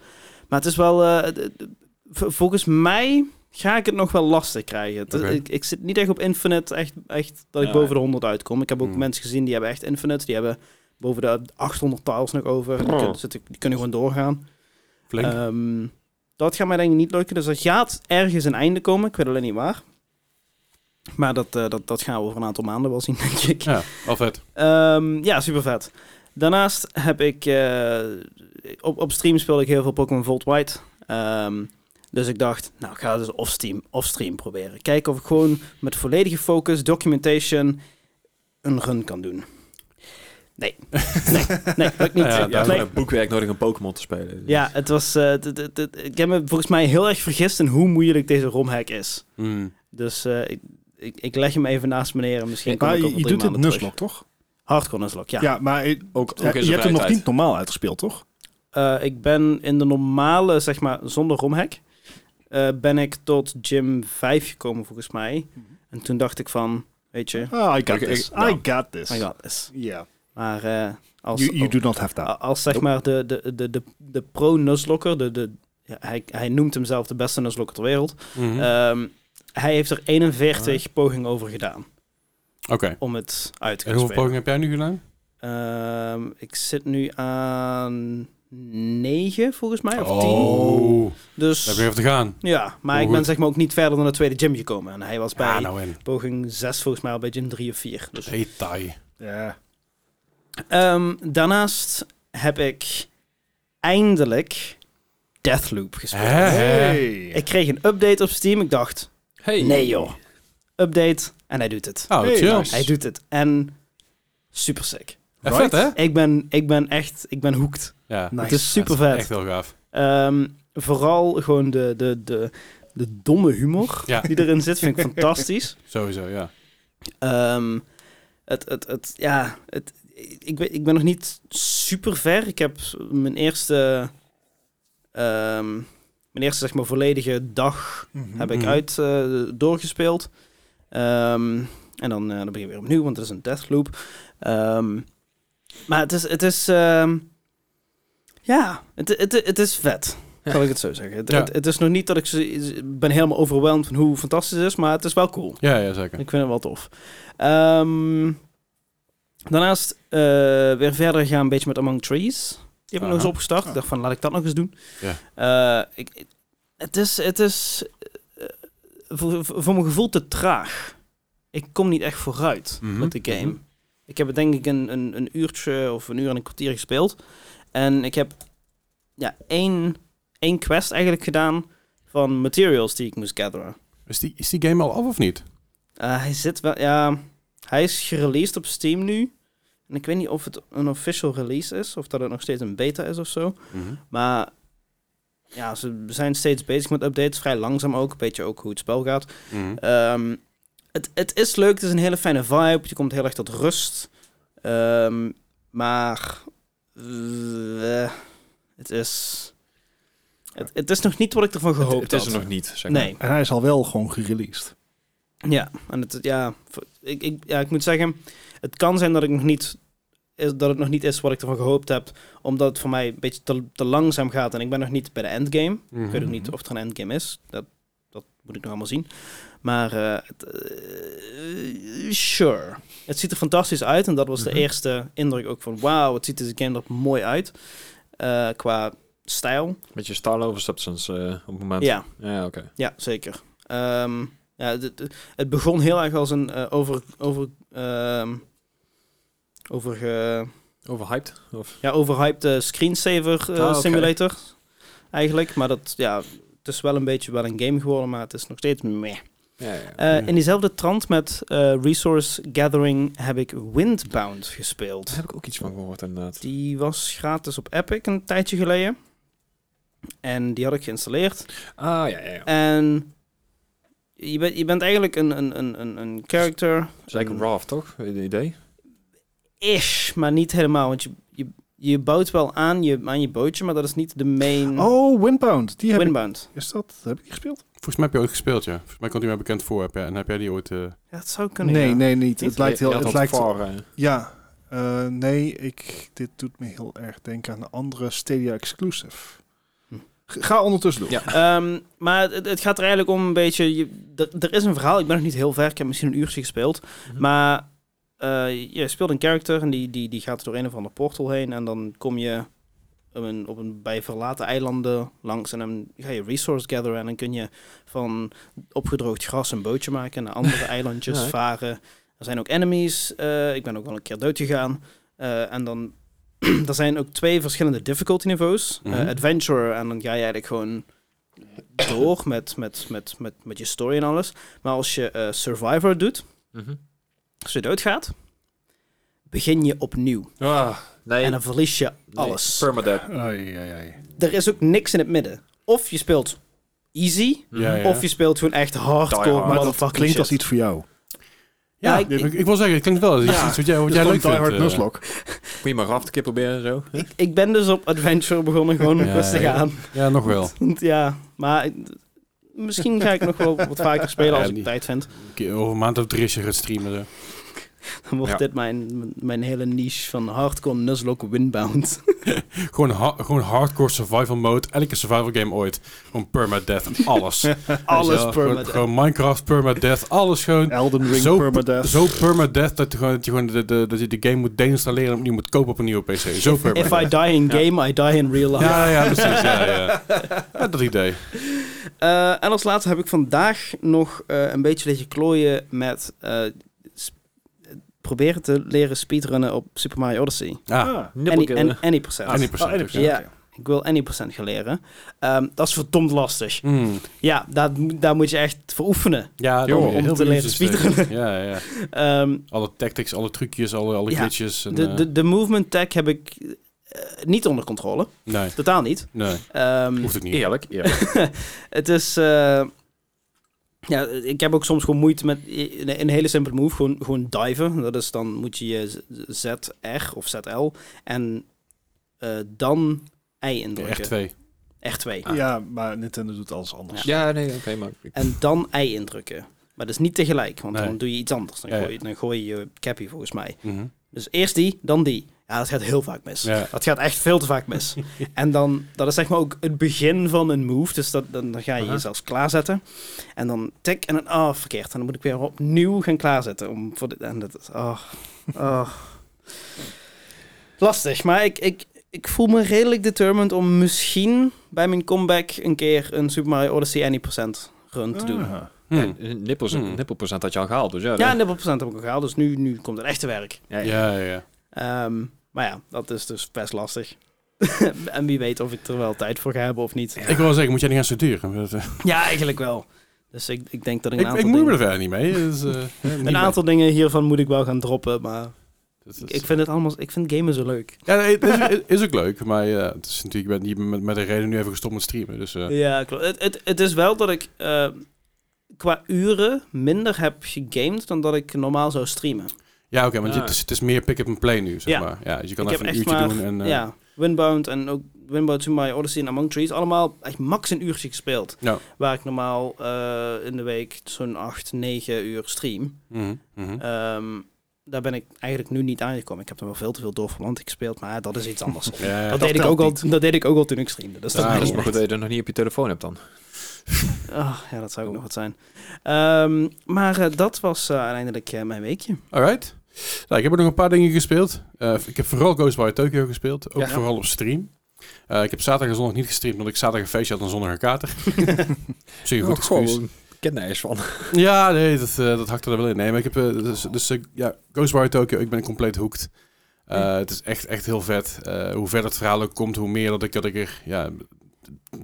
Speaker 2: Maar het is wel... eh, het- het- v- volgens mij ga ik het nog wel lastig krijgen. Het-
Speaker 1: Oké.
Speaker 2: ik, ik zit niet echt op Infinite, echt, echt dat ik
Speaker 3: Ja.
Speaker 2: boven de 100 uitkom. Ik heb ook
Speaker 1: Hmm.
Speaker 2: mensen gezien die hebben echt Infinite. Die hebben boven de 800 tiles nog over. Die, kunnen, zitten- die kunnen gewoon doorgaan.
Speaker 1: Flink.
Speaker 2: Ehm, dat gaat mij denk ik niet lukken. Dus er gaat ergens een einde komen. Ik weet alleen niet waar. Maar dat, eh, dat, dat gaan we over een aantal maanden wel zien, denk ik.
Speaker 1: ja, al vet.
Speaker 2: Ehm, ja, super vet. Daarnaast heb ik... eh, op, op stream speelde ik heel veel Pokémon Volt White. Ehm, dus ik dacht, nou, ik ga het dus off-stream, off-stream proberen. Kijken of ik gewoon met volledige focus, documentation, een run kan doen. Nee. Nee, nee, lukt niet.
Speaker 1: Ja,
Speaker 3: Ja,
Speaker 1: ja,
Speaker 3: daar
Speaker 2: nee.
Speaker 3: een boekwerk nodig om Pokémon te spelen.
Speaker 2: Ja, het was. eh, t- t- t- ik heb me volgens mij heel erg vergist in hoe moeilijk deze romhack is.
Speaker 1: Mm.
Speaker 2: Dus eh, ik, ik, ik leg hem even naast me neer en misschien kan
Speaker 4: maar
Speaker 2: ik
Speaker 4: je,
Speaker 2: over
Speaker 4: je
Speaker 2: drie
Speaker 4: doet het
Speaker 2: maanden terug.
Speaker 4: nuslock, toch?
Speaker 2: Hardcore nuzlocke, ja.
Speaker 4: Ja, maar eh,
Speaker 3: Ook, ook
Speaker 4: ja, je hebt hem nog niet normaal uitgespeeld, toch?
Speaker 2: Eh, ik ben in de normale, zeg maar, zonder romhack, eh, ben ik tot gym 5 gekomen volgens mij.
Speaker 4: Mhm.
Speaker 2: En toen dacht ik van, weet je,
Speaker 4: Ah, I got
Speaker 3: Ik- ik-
Speaker 4: this.
Speaker 3: nou.
Speaker 4: I got this.
Speaker 2: my god, is.
Speaker 4: Yeah.
Speaker 2: Maar eh, als,
Speaker 4: You, you do not have that.
Speaker 2: A- Als zeg maar de, de, de, de, de pro-nuzlokker, de, de, ja, hij, hij noemt hemzelf de beste nuzlokker ter wereld.
Speaker 1: Mhm.
Speaker 2: Ehm, hij heeft er 41 pogingen over gedaan
Speaker 1: Oké.
Speaker 2: om het uit te
Speaker 1: En hoeveel
Speaker 2: kunnen spelen.
Speaker 1: pogingen heb jij nu gedaan?
Speaker 2: Ehm, ik zit nu aan 9 volgens mij, Eh, of 10.
Speaker 1: Oh, daar heb
Speaker 2: Dus
Speaker 1: je even te gaan.
Speaker 2: ja, maar
Speaker 1: Oh,
Speaker 2: ik ben
Speaker 1: goed.
Speaker 2: zeg maar ook niet verder dan de tweede gym gekomen. En hij was bij
Speaker 1: Ja, nou in.
Speaker 2: poging 6 volgens mij al bij gym 3 of 4. Dus
Speaker 1: Detail.
Speaker 4: Ja.
Speaker 2: Ehm, daarnaast heb ik eindelijk Deathloop gespeeld.
Speaker 1: Hè, hè.
Speaker 2: Ik kreeg een update op Steam. Ik dacht,
Speaker 3: Hey.
Speaker 2: nee joh. Update en hij doet het.
Speaker 1: Oh,
Speaker 4: Hey,
Speaker 1: chill.
Speaker 4: nice.
Speaker 2: Hij doet het. En super sick.
Speaker 1: Eh, Vet, hè?
Speaker 2: Ik ben, ik ben echt, ik ben hoekt.
Speaker 1: Ja.
Speaker 4: Nice.
Speaker 2: Het is super vet.
Speaker 1: Echt heel gaaf.
Speaker 2: Ehm, vooral gewoon de, de, de, de domme humor
Speaker 1: Ja.
Speaker 2: die erin zit, vind ik fantastisch.
Speaker 1: Sowieso, ja.
Speaker 2: Ehm, het, het, het, ja, het, ik, ben, ik ben nog niet super ver. Ik heb mijn eerste, ehm, mijn eerste zeg maar, volledige dag
Speaker 4: Mhm.
Speaker 2: heb ik
Speaker 1: Mhm.
Speaker 2: uit eh, doorgespeeld. Ehm, en dan, eh, dan begin ik weer opnieuw, want het is een deathloop. Ehm Maar het is... Het is ehm, ja, het, het, het is vet.
Speaker 3: Ja.
Speaker 2: Kan ik het zo zeggen. Het,
Speaker 1: Ja.
Speaker 2: het, het is nog niet dat ik zo- ben helemaal overweldigd van hoe fantastisch het is, maar het is wel cool.
Speaker 1: Ja, ja zeker.
Speaker 2: Ik vind het wel tof. Ehm, daarnaast eh, weer verder gaan een beetje met Among Trees. Die heb ik nog eens
Speaker 1: Aha.
Speaker 2: opgestart. Ik dacht van, laat ik dat nog eens doen. Eh, ik, ik- het is, het is eh, voor, voor voor mijn gevoel te traag. Ik kom niet echt vooruit
Speaker 1: Mhm.
Speaker 2: met de game.
Speaker 1: Mhm.
Speaker 2: Ik heb het denk ik een, een, een uurtje of een uur en een kwartier gespeeld. En ik heb ja, één, één quest eigenlijk gedaan van materials die ik moest gatheren.
Speaker 1: Is die, is die game al af of niet?
Speaker 2: Eh, hij zit wel, ja. Hij is gereleased op Steam nu. En ik weet niet of het een official release is, of dat het nog steeds een beta is of zo. Maar ja, ze zijn steeds bezig met updates, vrij langzaam ook. Een beetje ook hoe het spel gaat.
Speaker 1: Mhm.
Speaker 2: Ehm, het, het is leuk, het is een hele fijne vibe. Je komt heel erg tot rust. Ehm, maar eh, het is. Het, het is nog niet wat ik ervan gehoopt
Speaker 3: Het, het is er
Speaker 2: had.
Speaker 3: nog niet, zeg maar.
Speaker 2: Nee.
Speaker 4: En hij is al wel gewoon gereleased.
Speaker 2: Ja, en het, ja, voor- ik, ik, ja, ik moet zeggen, het kan zijn dat, ik nog niet, is, dat het nog niet is wat ik ervan gehoopt heb, omdat het voor mij een beetje te, te langzaam gaat en ik ben nog niet bij de endgame. Ik weet ook niet of er een endgame is, dat, dat moet ik nog allemaal zien. Maar eh, het, eh, sure, het ziet er fantastisch uit en dat was
Speaker 3: Mhm.
Speaker 2: de eerste indruk ook van wauw, het ziet deze game er mooi uit eh, qua stijl.
Speaker 3: Beetje style over substance eh, op het moment.
Speaker 2: Ja,
Speaker 3: Ja, oké.
Speaker 2: ja, zeker. Ehm, ja, het- het- het begon heel erg als een eh, over... over ehm over, eh,
Speaker 3: Overhyped? Of?
Speaker 2: ja, overhyped eh, screensaver eh,
Speaker 3: Ah, oké.
Speaker 2: simulator. Eigenlijk. Maar dat, ja, het is wel een beetje wel een game geworden, maar het is nog steeds meh.
Speaker 3: Ja, ja.
Speaker 2: Eh, In diezelfde trant met eh, resource gathering heb ik Windbound gespeeld.
Speaker 3: Daar heb ik ook iets van gehoord, inderdaad.
Speaker 2: Die was gratis op Epic een tijdje geleden. En die had ik geïnstalleerd.
Speaker 3: Ah, ja, ja. ja.
Speaker 2: En je bent, je bent eigenlijk een, een, een, een, een character.
Speaker 3: Het is eigenlijk een Raft, toch? Het idee?
Speaker 2: Ish, maar niet helemaal. Want je, je, je bouwt wel aan je, aan je bootje, maar dat is niet de main
Speaker 4: Oh, Windbound. Die heb ik,
Speaker 2: Mm. windbound.
Speaker 4: is dat, heb ik die gespeeld?
Speaker 1: Volgens mij heb je ooit gespeeld, ja. Volgens mij komt die mij bekend voor. Heb jij, en heb jij die ooit... eh,
Speaker 2: Ja, dat zou kunnen.
Speaker 4: Nee,
Speaker 2: ja.
Speaker 4: nee, niet.
Speaker 2: Niet?
Speaker 4: Het lijkt heel...
Speaker 3: Je had
Speaker 4: Het
Speaker 3: dat
Speaker 4: lijkt,
Speaker 3: voor, eh,
Speaker 4: ja. Eh, nee, ik, dit doet me heel erg denken aan de andere Stadia Exclusive.
Speaker 2: Hm.
Speaker 4: G- Ga ondertussen doen.
Speaker 3: Ja.
Speaker 2: Ehm, maar het, het gaat er eigenlijk om een beetje. Je, er, er is een verhaal. Ik ben nog niet heel ver. Ik heb misschien een uurtje gespeeld.
Speaker 3: Mhm.
Speaker 2: Maar eh, je speelt een character en die, die, die gaat door een of ander portal heen. En dan kom je op een, op een, bij verlaten eilanden langs. En dan ga je resource gatheren. En dan kun je van opgedroogd gras een bootje maken. Naar andere eilandjes
Speaker 3: Ja, hè?
Speaker 2: varen. Er zijn ook enemies. Eh, ik ben ook wel een keer dood gegaan. Eh, en dan. er zijn ook twee verschillende difficulty niveaus. Eh,
Speaker 1: Mhm.
Speaker 2: adventure. En dan ga je eigenlijk gewoon door met, met, met, met, met je story en alles. Maar als je eh, Survivor doet,
Speaker 3: mhm.
Speaker 2: als je doodgaat, begin je opnieuw.
Speaker 3: Ah, nee.
Speaker 2: En dan verlies je
Speaker 3: nee,
Speaker 2: alles.
Speaker 3: Permadeath.
Speaker 4: Ai, ai, ai.
Speaker 2: Er is ook niks in het midden. Of je speelt easy,
Speaker 1: Ja,
Speaker 3: Mhm.
Speaker 1: ja.
Speaker 2: of je speelt gewoon echt hardcore.
Speaker 3: Die hard.
Speaker 2: hard.
Speaker 4: Maar dat klinkt als iets voor jou. Dus
Speaker 2: Ja,
Speaker 1: ja,
Speaker 2: ik-
Speaker 1: nee, maar ik, ik wil zeggen, het klinkt wel als iets
Speaker 4: Ja.
Speaker 1: iets wat jij, wat
Speaker 4: Dus
Speaker 1: jij
Speaker 4: gewoon
Speaker 1: leuk
Speaker 4: Die
Speaker 1: vindt.
Speaker 4: Hard
Speaker 1: eh.
Speaker 4: Nuzlocke.
Speaker 3: Moet je maar Raft een keer proberen en zo?
Speaker 2: Ik, ik ben dus op adventure begonnen, gewoon
Speaker 1: Ja,
Speaker 2: rustig
Speaker 1: ja.
Speaker 2: aan.
Speaker 1: ja, nog wel.
Speaker 2: Want ja, maar ik- misschien ga ik nog wel wat vaker spelen als
Speaker 1: Ja,
Speaker 2: ik
Speaker 1: die-
Speaker 2: tijd vind.
Speaker 1: Een keer Over een maand of drie is je gaat streamen. zo.
Speaker 2: Dan wordt
Speaker 3: Ja.
Speaker 2: dit mijn, mijn hele niche van hardcore Nuzlocke Windbound.
Speaker 1: Gewoon, ha- gewoon hardcore survival mode. Elke survival game ooit. Gewoon permadeath en alles. Weet je
Speaker 2: Alles
Speaker 1: wel? Gewoon-
Speaker 2: permadeath.
Speaker 1: Gewoon Minecraft permadeath. Alles gewoon
Speaker 4: Elden Ring
Speaker 1: Zo-
Speaker 4: Permadeath.
Speaker 1: zo permadeath dat, je gewoon- dat je gewoon de, de, dat je de game moet deinstalleren en opnieuw moet kopen op een nieuwe PC. Zo
Speaker 2: If I
Speaker 1: permadeath.
Speaker 2: die in game, I die in real life.
Speaker 1: Ja, ja, precies. Ja, ja. Ja, dat idee.
Speaker 2: Eh, en als laatste heb ik vandaag nog eh, een beetje liggen klooien met eh, sp- proberen te leren speedrunnen op Super Mario Odyssey.
Speaker 1: Ah,
Speaker 4: Ah,
Speaker 2: Any, an- any percent.
Speaker 1: ah, 20%.
Speaker 3: dus
Speaker 4: Ah, 20%.
Speaker 2: Ja, ik wil any percent gaan leren. Ehm, dat is verdomd lastig.
Speaker 1: Mm.
Speaker 2: Ja, daar, moet- daar moet je echt voor oefenen.
Speaker 1: Ja,
Speaker 2: Om- om te leren
Speaker 1: speedrunnen. eh, Ja, ja.
Speaker 2: Ehm,
Speaker 1: Alle tactics, alle trucjes, alle, alle
Speaker 2: Ja,
Speaker 1: glitches. En,
Speaker 2: de,
Speaker 1: eh,
Speaker 2: de, de movement tag heb ik eh, niet onder controle.
Speaker 1: nee,
Speaker 2: Totaal niet.
Speaker 1: nee,
Speaker 2: Ehm,
Speaker 1: hoeft ook niet.
Speaker 3: Eerlijk, eerlijk.
Speaker 2: Het is. eh, ja, ik heb ook soms gewoon moeite met een, een hele simpele move. Gewoon, gewoon diven. Dat is dan moet je je Z- ZR of ZL en eh, dan I indrukken.
Speaker 1: R2.
Speaker 2: R2.
Speaker 1: Ah,
Speaker 4: Ja, maar Nintendo doet alles anders.
Speaker 3: ja, nee, oké, maar... ik-
Speaker 2: En dan I indrukken. Maar dat is niet tegelijk, want
Speaker 1: Nee.
Speaker 2: dan doe je iets anders. Dan,
Speaker 1: Ja, ja.
Speaker 2: gooi, je- dan gooi je je cappy volgens mij.
Speaker 1: Mhm.
Speaker 2: Dus eerst die, dan die. Ja, dat gaat heel vaak mis.
Speaker 1: Ja.
Speaker 2: Dat gaat echt veel te vaak mis. en dan, dat is zeg maar ook het begin van een move. Dus dat, dan, dan ga je
Speaker 1: Aha.
Speaker 2: jezelf klaarzetten. En dan tik en dan, ah, verkeerd. En dan moet ik weer opnieuw gaan klaarzetten. Om voor de, en dat is, ah, ah. Lastig, maar ik, ik, ik voel me redelijk determined om misschien bij mijn comeback een keer een Super Mario Odyssey 1% run te doen.
Speaker 4: Ah.
Speaker 1: Hm.
Speaker 3: Een nippels,
Speaker 1: Hmm.
Speaker 3: nippelprocent had je al gehaald, dus ja.
Speaker 2: Ja,
Speaker 3: dat-
Speaker 2: en de procent heb ik al gehaald, dus nu, nu komt het echte werk.
Speaker 3: ja, ja.
Speaker 1: Ja, ja, ja.
Speaker 2: Ehm, maar ja, dat is dus best lastig. en wie weet of ik er wel tijd voor ga hebben of niet.
Speaker 1: Ik wil wel zeggen, moet jij niet gaan studeren? Dat, eh,
Speaker 2: Ja, eigenlijk wel. Dus ik, ik denk dat ik
Speaker 1: Ik,
Speaker 2: een
Speaker 1: ik,
Speaker 2: aantal,
Speaker 1: moei me er
Speaker 2: dingen,
Speaker 1: verder niet mee. Dus, eh, niet
Speaker 2: een
Speaker 1: mee.
Speaker 2: aantal dingen hiervan moet ik wel gaan droppen, maar
Speaker 1: Dat is-
Speaker 2: ik, ik vind het allemaal, ik vind gamen zo leuk.
Speaker 1: Ja, nee, het is, het is ook leuk, maar ja, het is natuurlijk, ik ben hier met, met de reden nu even gestopt met streamen. Dus, eh,
Speaker 2: Ja, klopt. Het, het, het is wel dat ik eh, qua uren minder heb gegamed dan dat ik normaal zou streamen.
Speaker 1: ja, oké, want je- dus
Speaker 3: Ah.
Speaker 1: het, is, het is meer pick-up en play nu, zeg
Speaker 2: Ja.
Speaker 1: maar. Ja, dus je kan
Speaker 2: Ik heb
Speaker 1: even een
Speaker 2: echt
Speaker 1: uurtje
Speaker 2: maar-
Speaker 1: doen. En, eh,
Speaker 2: Ja, Windbound en ook Windbound Super Mario Odyssey en Among Trees. Allemaal echt max een uurtje gespeeld.
Speaker 1: Ja.
Speaker 2: Waar ik normaal eh, in de week zo'n 8, 9 uur stream.
Speaker 1: mhm, mhm.
Speaker 2: Ehm, daar ben ik eigenlijk nu niet aangekomen. Ik heb er wel veel te veel doorverland gespeeld, maar dat is iets anders.
Speaker 1: Ja, ja.
Speaker 2: dat, deed ik
Speaker 4: telt
Speaker 2: ook al,
Speaker 4: niet.
Speaker 2: dat deed ik ook al toen ik streamde. Dus dat
Speaker 1: Ja,
Speaker 3: dat
Speaker 2: maakt
Speaker 3: is
Speaker 2: niet
Speaker 3: maar goed dat je dat nog niet op je telefoon hebt dan.
Speaker 2: uit. Ah, ja, dat zou ook nog wat zijn. Ehm, maar eh, dat was eh, uiteindelijk eh, mijn weekje.
Speaker 1: Alright. Nou, ik heb ook nog een paar dingen gespeeld. Eh, ik heb vooral Ghostwire Tokyo gespeeld, ook
Speaker 2: Ja.
Speaker 1: vooral op stream. Eh, ik heb zaterdag en zondag niet gestreamd, omdat ik zaterdag een feestje had en zondag een kater. Zie je
Speaker 3: Oh,
Speaker 2: Oh,
Speaker 1: goed excuus.
Speaker 3: Ik ken daar eens van.
Speaker 1: Ja, nee, dat, eh dat hakte er wel in. Nee, maar ik heb eh, dus, dus eh, ja, Ghostwire Tokyo, ik ben compleet hooked. Eh, Het is echt, echt heel vet. Eh, hoe verder het verhaal ook komt, hoe meer dat ik, dat ik er ja,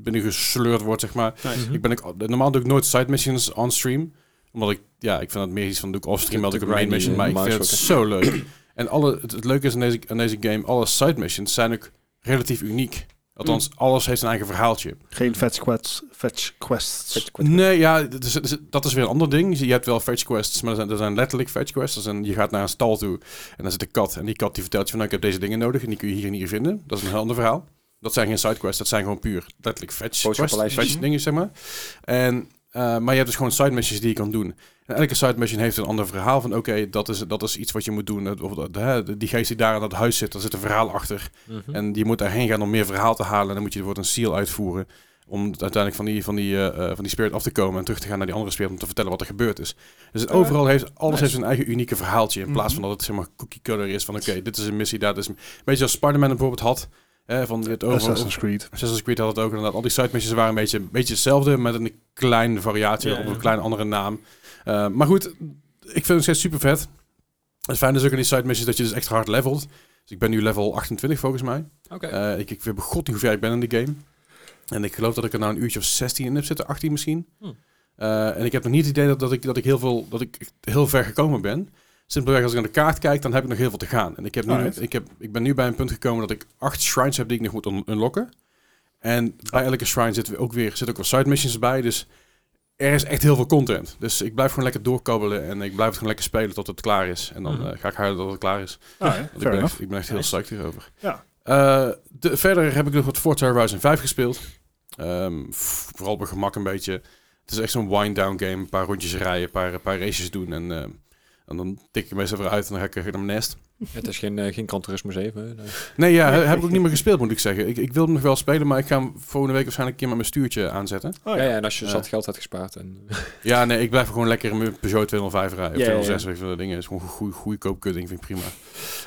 Speaker 1: binnen gesleurd word, zeg maar.
Speaker 3: Mhm.
Speaker 1: Ik ben ook, normaal doe ik nooit side missions on stream. Omdat ik, ja, ik vind dat meer iets van doe ik off stream,
Speaker 3: Te-
Speaker 1: dan doe ik
Speaker 3: te
Speaker 1: een main
Speaker 3: grindy,
Speaker 1: mission. Maar ik
Speaker 3: eh,
Speaker 1: vind het zo leuk. En alle, het, het leuke is aan deze, aan deze game, alle side missions zijn ook relatief uniek. Althans, alles heeft zijn eigen verhaaltje.
Speaker 4: Geen fetch quests. Fetch quests.
Speaker 1: Nee, ja, dat is, dat is- dat is weer een ander ding. Je hebt wel fetch quests, maar er zijn, er zijn letterlijk fetch quests. Dat zijn, je gaat naar een stal toe en daar zit een kat. En die kat die vertelt je van, nou, ik heb deze dingen nodig en die kun je hier en hier vinden. Dat is een heel ander verhaal. Dat zijn geen sidequests, dat zijn gewoon puur letterlijk fetch quests.
Speaker 3: Boodschappenlijstjes.
Speaker 1: Fetch dingen, zeg maar. En, eh, maar je hebt dus gewoon side missions die je kan doen. En elke side mission heeft een ander verhaal van, oké, dat, is, dat is iets wat je moet doen. Eh, Of, dat, hè, die geest die daar aan dat huis zit, daar zit een verhaal achter.
Speaker 3: Hm. Mhm.
Speaker 1: En je moet daarheen gaan om meer verhaal te halen. En dan moet je bijvoorbeeld een seal uitvoeren. Om uiteindelijk van die, van, die, eh, eh, van die spirit af te komen en terug te gaan naar die andere spirit om te vertellen wat er gebeurd is. Dus het
Speaker 3: Eh,
Speaker 1: overal heeft alles
Speaker 3: nice.
Speaker 1: heeft zijn eigen unieke verhaaltje. In plaats van dat het zeg maar cookie cutter is van oké, dit is een missie, dat is. Een beetje als Spider-Man bijvoorbeeld had. Hè, van het over,
Speaker 4: Assassin's Creed.
Speaker 1: Assassin's Creed had het ook inderdaad. Al die side missions waren een beetje, een beetje hetzelfde, met een kleine variatie
Speaker 2: Ja,
Speaker 1: of
Speaker 2: ja.
Speaker 1: een kleine andere naam. Eh, maar goed, ik vind het nog steeds super vet. Het fijn is ook in die side missions dat je dus extra hard levelt. Dus ik ben nu level 28 volgens mij.
Speaker 3: Oké.
Speaker 1: Eh, ik, ik weet bij god niet hoe ver ik ben in de game. En ik geloof dat ik er nou een uurtje of 16 in heb zitten, 18 misschien.
Speaker 3: Hm.
Speaker 1: Eh, en ik heb nog niet het idee dat, dat, ik, dat ik heel veel dat ik heel ver gekomen ben. Simpelweg als ik aan de kaart kijk, dan heb ik nog heel veel te gaan. En ik, heb nu,
Speaker 4: Alright.
Speaker 1: ik, heb, ik ben nu bij een punt gekomen dat ik acht shrines heb die ik nog moet un- unlocken. En bij elke shrine zit ook weer, zit ook wel side missions bij. Dus er is echt heel veel content. Dus ik blijf gewoon lekker doorkabbelen en ik blijf het gewoon lekker spelen tot het klaar is. En dan
Speaker 3: Mhm.
Speaker 1: eh, ga ik huilen tot het klaar is.
Speaker 4: Ah, ja,
Speaker 1: Want
Speaker 4: fair
Speaker 1: ik, ben
Speaker 4: enough.
Speaker 1: echt, ik ben echt heel psyched hierover.
Speaker 4: Ja.
Speaker 1: Eh, de, verder heb ik nog wat Forza Horizon 5 gespeeld. Ehm, f- vooral op gemak een beetje. Het is echt zo'n wind-down game. Een paar rondjes rijden, een paar, een paar races doen. En, ehm, en dan tik ik meestal weer uit en dan ga ik weer naar mijn nest.
Speaker 3: Het is geen, eh, geen Gran museum. Nee.
Speaker 1: Nee, ja, he- heb ik ook niet meer gespeeld, moet ik zeggen. Ik, ik wil hem nog wel spelen, maar ik ga hem volgende week waarschijnlijk een keer met mijn stuurtje aanzetten.
Speaker 4: Oh,
Speaker 3: ja.
Speaker 4: ja.
Speaker 3: ja, en als je
Speaker 1: Ja.
Speaker 3: zat geld had gespaard. En,
Speaker 1: Ja, nee, ik blijf gewoon lekker in mijn Peugeot 205 rijden. Of
Speaker 3: Ja, ja, ja.
Speaker 1: 206, weet je wel, dat dingen. is gewoon goede goedkoop kudding, vind ik prima.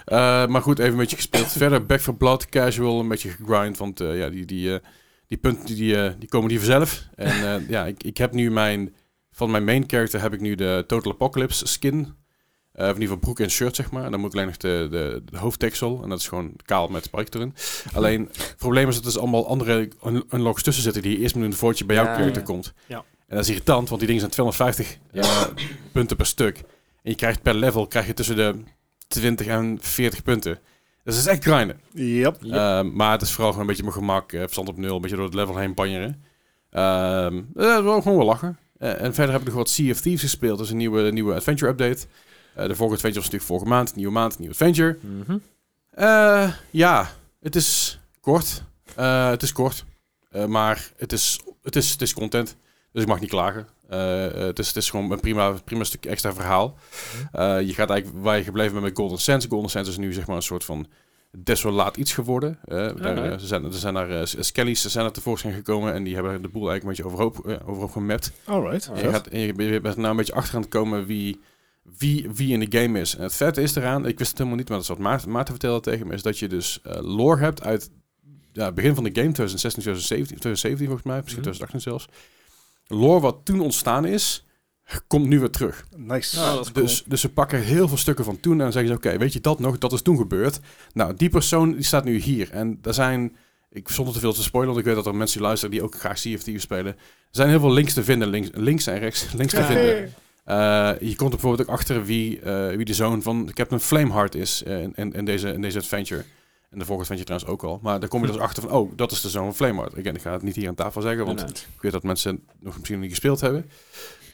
Speaker 1: Eh, maar goed, even een beetje gespeeld. Verder Back for Blood, casual, een beetje gegrind. Want eh, ja, die, die, eh, die punten die, eh, die komen die vanzelf. En eh, ja, ik, ik heb nu mijn... Van mijn main character heb ik nu de Total Apocalypse skin. Eh, of in ieder geval broek en shirt, zeg maar. En dan moet ik alleen nog de, de, de hoofddeksel. En dat is gewoon kaal met spike erin. Alleen, het probleem is dat er dus allemaal andere un- unlocks tussen zitten... die je eerst met een voortje bij jouw
Speaker 3: Ja,
Speaker 1: character
Speaker 4: ja.
Speaker 1: komt.
Speaker 2: Ja.
Speaker 1: En dat is irritant, want die dingen zijn 250
Speaker 3: Ja.
Speaker 1: eh, punten per stuk. En je krijgt per level krijg je tussen de 20 en 40 punten. Dus het is echt grinden.
Speaker 4: Yep.
Speaker 3: Yep.
Speaker 1: Eh, maar het is vooral gewoon een beetje mijn gemak. eh, verstand op nul, een beetje door het level heen banjeren. Ehm eh, wel gewoon wel lachen. Eh, en verder heb ik nog wat Sea of Thieves gespeeld. Dat is een nieuwe, nieuwe adventure update. Eh, de vorige adventure was natuurlijk vorige maand. Nieuwe maand, nieuwe adventure.
Speaker 3: Mhm.
Speaker 1: Eh, ja, het is kort. Eh, het is kort. Eh, maar het is, het, is, het is content. Dus ik mag niet klagen. Eh, eh, het, is, het is gewoon een prima, prima stuk extra verhaal. Eh, je gaat eigenlijk waar je gebleven bent met Golden Sense. Golden Sense is nu zeg maar een soort van desolaat iets geworden. Eh, daar,
Speaker 3: nee.
Speaker 1: eh, ze zijn, er zijn daar eh, s- skellies ze zijn er tevoorschijn gekomen en die hebben de boel eigenlijk een beetje overhoop, eh, overhoop gemapt.
Speaker 4: Alright.
Speaker 1: En je, gaat, en je je bent nou een beetje achter aan het komen wie, wie, wie in de game is. En het vette is eraan, ik wist het helemaal niet, maar dat is wat Maarten, Maarten vertelde tegen me, is dat je dus eh, lore hebt uit ja, het begin van de game, 2016, 2017, 2017 volgens mij, misschien
Speaker 3: Mhm.
Speaker 1: 2018 zelfs. Lore wat toen ontstaan is, komt nu weer terug.
Speaker 4: Nice.
Speaker 3: Ja, Ah, dat is
Speaker 1: Dus, dus ze pakken heel veel stukken van toen en zeggen ze, oké, weet je dat nog? Dat is toen gebeurd. Nou, die persoon die staat nu hier. En er zijn, ik, zonder te veel te spoilen, want ik weet dat er mensen die luisteren die ook graag CFT spelen. Er zijn heel veel links te vinden, links, links en rechts, links te
Speaker 4: Ja.
Speaker 1: vinden. Eh, je komt er bijvoorbeeld ook achter wie, eh, wie de zoon van Captain Flameheart is eh, in, in, in deze, in deze adventure. En de vorige adventure trouwens ook al. Maar dan kom je dus achter van, oh, dat is de zoon van Flameheart. Again, ik ga het niet hier aan tafel zeggen, want ik weet dat mensen nog misschien niet gespeeld hebben.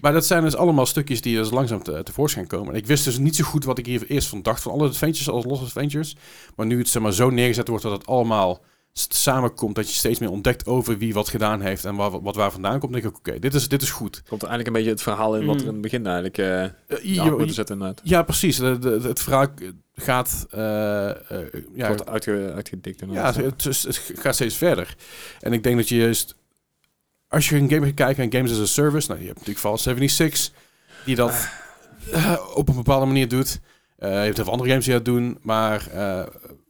Speaker 1: Maar dat zijn dus allemaal stukjes die dus langzaam te, tevoorschijn komen. En ik wist dus niet zo goed wat ik hier eerst van dacht van alle adventures als losse adventures. Maar nu het zeg maar, zo neergezet wordt dat het allemaal s- samenkomt, dat je steeds meer ontdekt over wie wat gedaan heeft en waar, wat waar vandaan komt, denk ik, oké, dit, is, dit is goed.
Speaker 3: Komt er eigenlijk een beetje het verhaal in wat er
Speaker 2: Mm.
Speaker 3: in het begin eigenlijk eh
Speaker 1: Eh, je-
Speaker 3: Mhm. ja, wordt
Speaker 1: je-
Speaker 3: gezet inderdaad.
Speaker 1: ja, precies. De- de- het verhaal gaat... eh, eh, ja,
Speaker 3: wordt uitge, uitgedikt
Speaker 1: Ja,
Speaker 3: inderdaad.
Speaker 1: het, is- het gaat steeds verder. En ik denk dat je juist... Als je een game gaat kijken en games as a service... Nou, je hebt natuurlijk Fallout 76... Die dat eh, op een bepaalde manier doet. Eh, je hebt heel veel andere games die dat doen. Maar eh,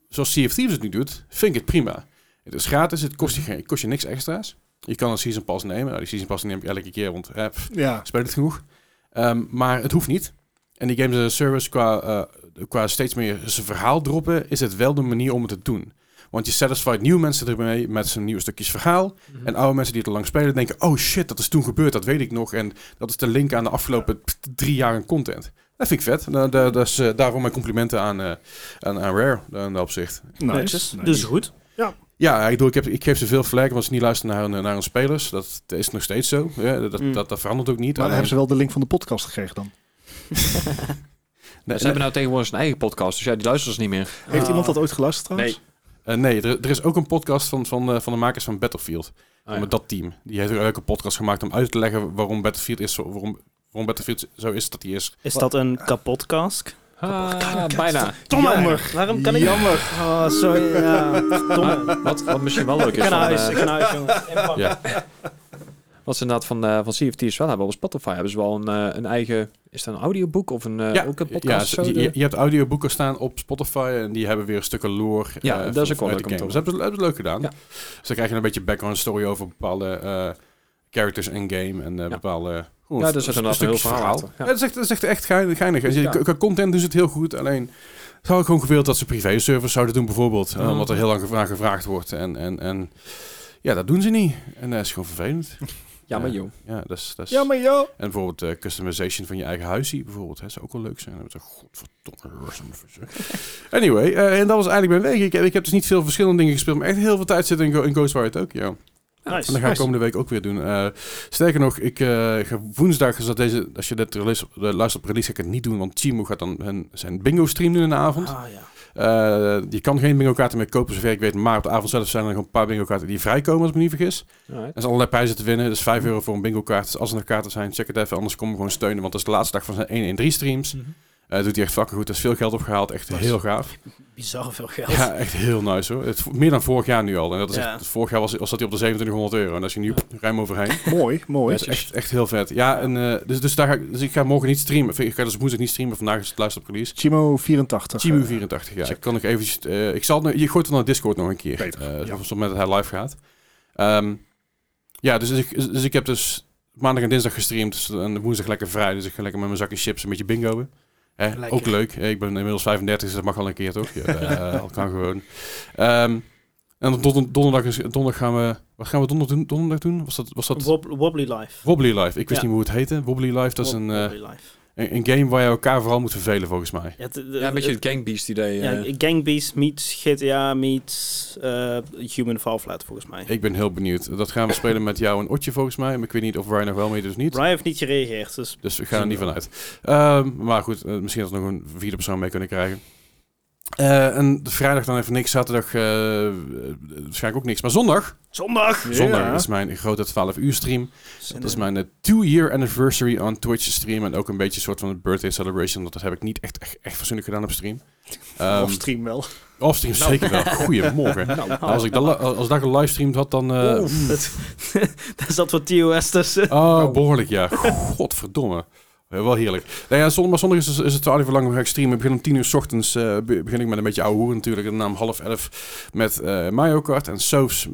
Speaker 1: zoals Sea of Thieves het nu doet, vind ik het prima. Het is gratis, het kost je, geen- het kost je niks extra's. Je kan een Season Pass nemen. Nou, die Season Pass neem ik elke keer, want... eh, pff,
Speaker 4: Ja.
Speaker 1: speel het genoeg. Ehm, maar het hoeft niet. En die games as a service, qua, eh, qua steeds meer zijn verhaal droppen, is het wel de manier om het te doen. Want je satisfied nieuwe mensen ermee met zijn nieuwe stukjes verhaal.
Speaker 3: Mhm.
Speaker 1: En oude mensen die het al lang spelen denken, oh shit, dat is toen gebeurd, dat weet ik nog. En dat is de link aan de afgelopen pff, drie jaar aan content. Dat vind ik vet. Nou, da- dat is, eh, daarom mijn complimenten aan, eh, aan, aan Rare eh, in dat opzicht.
Speaker 4: Nice.
Speaker 2: Netjes.
Speaker 4: Nice.
Speaker 2: Dus goed.
Speaker 1: Ja, ik, bedoel, ik, heb, ik geef ze veel flag, want ze niet luisteren naar hun, eh, naar hun spelers. Dat is nog steeds zo. Ja, dat,
Speaker 2: Mm.
Speaker 1: dat, dat verandert ook niet.
Speaker 4: maar dan
Speaker 1: Alleen-
Speaker 4: hebben ze wel de link van de podcast gekregen dan.
Speaker 1: Nee,
Speaker 3: Ze hebben nou tegenwoordig zijn eigen podcast, dus ja, die luisteren ze niet
Speaker 1: Oh
Speaker 3: meer.
Speaker 4: Heeft
Speaker 2: Ah.
Speaker 4: iemand dat ooit geluisterd trouwens?
Speaker 1: Eh, nee, er, er is ook een podcast van, van, eh, van de makers van Battlefield.
Speaker 3: Ah, ja.
Speaker 1: Met dat team. Die heeft ook een leuke podcast gemaakt om uit te leggen waarom Battlefield is zo, waarom, waarom Battlefield zo is dat hij is.
Speaker 2: Is dat een kapotkask?
Speaker 3: Ah, bijna.
Speaker 4: Jammer.
Speaker 2: Waarom kan ik...
Speaker 4: Jammer.
Speaker 2: Oh, sorry. Ja. Domme.
Speaker 3: Wat, wat misschien wel leuk
Speaker 2: Ik
Speaker 3: is,
Speaker 2: ga
Speaker 3: van,
Speaker 2: naar huis,
Speaker 3: eh,
Speaker 2: ik ga naar huis, jongens. Inpakken.
Speaker 1: Ja.
Speaker 3: wat ze inderdaad van, eh van CFT's wel hebben. Op Spotify hebben ze wel een, eh, een eigen, is dat een audioboek of een, eh, ook een
Speaker 1: ja,
Speaker 3: podcast?
Speaker 1: ze-
Speaker 3: zo?
Speaker 1: je, je- je hebt audioboeken staan op Spotify en die hebben weer stukken lore.
Speaker 3: Ja,
Speaker 1: eh,
Speaker 3: dat
Speaker 1: van-
Speaker 3: is ook wel
Speaker 1: uit
Speaker 3: leuk
Speaker 1: de
Speaker 3: om te
Speaker 1: game. Dus hebben ze hebben ze leuk gedaan.
Speaker 3: Ja.
Speaker 1: Dus dan krijg je een beetje background story over bepaalde eh, characters in game en eh, bepaalde... gewoon
Speaker 3: Ja,
Speaker 1: een
Speaker 3: dus dat is
Speaker 1: st-
Speaker 3: inderdaad een heel
Speaker 1: stukjes
Speaker 3: verhaal. achter.
Speaker 1: Ja.
Speaker 3: Ja.
Speaker 1: dat, is echt, dat is echt, echt gein- geinig. Als je,
Speaker 3: Ja.
Speaker 1: Qua content doen ze het heel goed. Alleen zou ik gewoon gewild dat ze privé-servers zouden doen, bijvoorbeeld. eh,
Speaker 3: Mhm.
Speaker 1: Omdat er heel lang gevra- gevraagd wordt. En, en, en ja, dat doen ze niet. En dat is gewoon vervelend.
Speaker 3: Ja, maar joh.
Speaker 1: Eh, Ja, dat is, dat is...
Speaker 4: Jammer joh.
Speaker 1: En bijvoorbeeld eh, customization van je eigen huisie, bijvoorbeeld. Hè, zou ook wel leuk zijn. Dan heb je toch, godverdomme. dat is een verzoek. anyway, eh, en dat was eigenlijk mijn week. Ik, ik heb dus niet veel verschillende dingen gespeeld, maar echt heel veel tijd zit in, Go in Ghostwire Tokyo. En
Speaker 2: Nice.
Speaker 1: dat ga ik komende week ook weer doen. Eh, sterker nog, ik eh, ga woensdag, dus dat deze, als je dit release, de luistert op release, ga ik het niet doen. Want Timo gaat dan hun, zijn bingo stream doen in de avond.
Speaker 2: Ah, ja.
Speaker 1: Eh, je kan geen bingo kaarten meer kopen, zover ik weet. Maar op de avond zelf zijn er nog een paar bingo kaarten die vrijkomen, als ik me niet vergis.
Speaker 3: Alright.
Speaker 1: Er zijn allerlei prijzen te winnen. Dus 5 euro voor een bingo kaart. Dus als er nog kaarten zijn, check het even. Anders kom je gewoon steunen. Want dat is de laatste dag van zijn 1 in 3 streams. Eh, doet hij echt vakken goed. Er is veel geld opgehaald. Echt
Speaker 2: Nice.
Speaker 1: heel gaaf.
Speaker 2: Bizar veel geld.
Speaker 1: Ja, echt heel nice hoor. Het, vo- meer dan vorig jaar nu al. En dat is
Speaker 2: Ja.
Speaker 1: echt- vorig jaar was, was dat hij op de 2700 euro. En daar is hij nu ruim overheen.
Speaker 4: Mooi, mooi.
Speaker 1: Dat is echt, echt heel vet. Ja, en, eh, dus, dus, daar ga ik, dus ik ga morgen niet streamen. Of Ik ga dus woensdag niet streamen. Vandaag is het luister op release.
Speaker 4: Chimo 84.
Speaker 2: eh,
Speaker 1: Chimu 84 ja.
Speaker 4: Check.
Speaker 1: Ik kan nog eventjes... eh, ik zal het, nog- je gooit het naar Discord nog een keer.
Speaker 4: Beter,
Speaker 1: Eh,
Speaker 4: ja.
Speaker 1: Op het moment dat hij live gaat. Ehm, ja, dus, ik, dus ik heb dus maandag en dinsdag gestreamd. Dus, en woensdag lekker vrij. Dus ik ga lekker met mijn zakje chips een beetje bingoen. Hè,
Speaker 2: Lekker.
Speaker 1: ook leuk. Eh, Ik ben inmiddels 35, dus dat mag al een keer toch? Ja, eh, dat kan gewoon. Ehm, en op don- donderdag, is, donderdag gaan we... Wat gaan we donderdag doen? Donderdag doen? Was dat, was dat
Speaker 2: Wob- wobbly Life.
Speaker 1: Wobbly Life? Ik wist
Speaker 2: Ja.
Speaker 1: niet hoe het heette. Wobbly Life, dat is een, eh,
Speaker 2: Wobbly Life.
Speaker 1: een, een game waar je elkaar vooral moet vervelen volgens mij.
Speaker 2: Ja, het- het-
Speaker 3: Ja, een beetje
Speaker 2: het-
Speaker 3: het gangbeast idee. eh.
Speaker 2: ja, Gangbeast meets GTA meets eh, Human Fall Flat, volgens mij.
Speaker 1: Ik ben heel benieuwd. Dat gaan we spelen met jou en Otje volgens mij. Maar ik weet niet of Ryan nog wel mee doet of niet.
Speaker 2: Brian heeft niet gereageerd, dus
Speaker 1: Dus we gaan er niet vanuit. Ehm, maar goed, eh, misschien dat we nog een vierde persoon mee kunnen krijgen. Eh, en de vrijdag dan even niks, zaterdag eh, eh, waarschijnlijk ook niks. Maar zondag,
Speaker 2: Zondag!
Speaker 1: zondag is mijn grote 12 uur stream. Dat is mijn 2-year anniversary on Twitch stream. En ook een beetje een soort van een birthday celebration. want Dat heb ik niet echt, echt, echt fatsoenlijk gedaan op stream. Ehm,
Speaker 4: Of stream eh, wel.
Speaker 1: offstream zeker wel. Goedemorgen.
Speaker 3: Nou, Oh.
Speaker 1: als, ik dat, li- als dat gelivestreamd had, dan... eh, hmm.
Speaker 2: Oef, dat, daar zat wat TOS tussen.
Speaker 1: Oh, behoorlijk, ja. Godverdomme. Eh, Wel heerlijk. Nou ja, zondag, maar zondag is, het- is het 12 uur lang gaan streamen. Ik begin om 10 uur s ochtends. eh, be- begin ik met een beetje ouwe hoeren natuurlijk. En dan om half elf met eh, Mario Kart en Soaps. eh,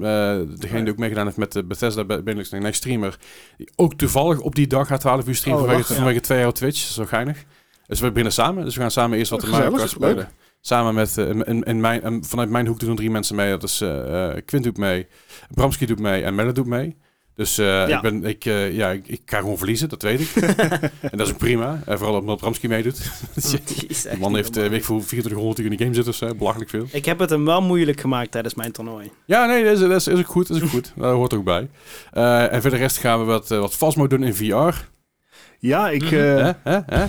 Speaker 1: degene die ook meegedaan heeft met de Bethesda Be- Benelux Next Streamer. Die ook toevallig op die dag gaat 12 uur streamen
Speaker 4: Oh,
Speaker 1: vanwege,
Speaker 4: lachen.
Speaker 1: vanwege twee jaar op Twitch. Zo geinig. Dus we beginnen samen. Dus we gaan samen eerst wat
Speaker 4: Oh,
Speaker 1: Mario Kart
Speaker 4: gezellig.
Speaker 1: spelen.
Speaker 4: Leuk.
Speaker 1: Samen met, eh, in, in- in mijn, en vanuit mijn hoek doen er drie mensen mee. Dat is eh, eh, Quint doet mee, Bramski doet mee en Melle doet mee. Dus eh, ik, ben, ik, eh, ja, ik, ik ga gewoon verliezen, dat weet ik. en dat is ook prima. En vooral omdat Bramski meedoet.
Speaker 2: Jezus,
Speaker 1: De man heeft eh, weet ik veel, 2400 uur in de game zitten of zo. Belachelijk veel.
Speaker 2: Ik heb het hem wel moeilijk gemaakt tijdens mijn toernooi.
Speaker 1: Ja, nee, dat is, dat is, is ook goed. Dat is ook goed. Dat hoort ook bij. Eh, en voor de rest gaan we wat, eh, wat Fasmo doen in VR.
Speaker 4: Ja,
Speaker 2: Mhm.
Speaker 4: ik, eh,
Speaker 1: Hè? Hè? Hè?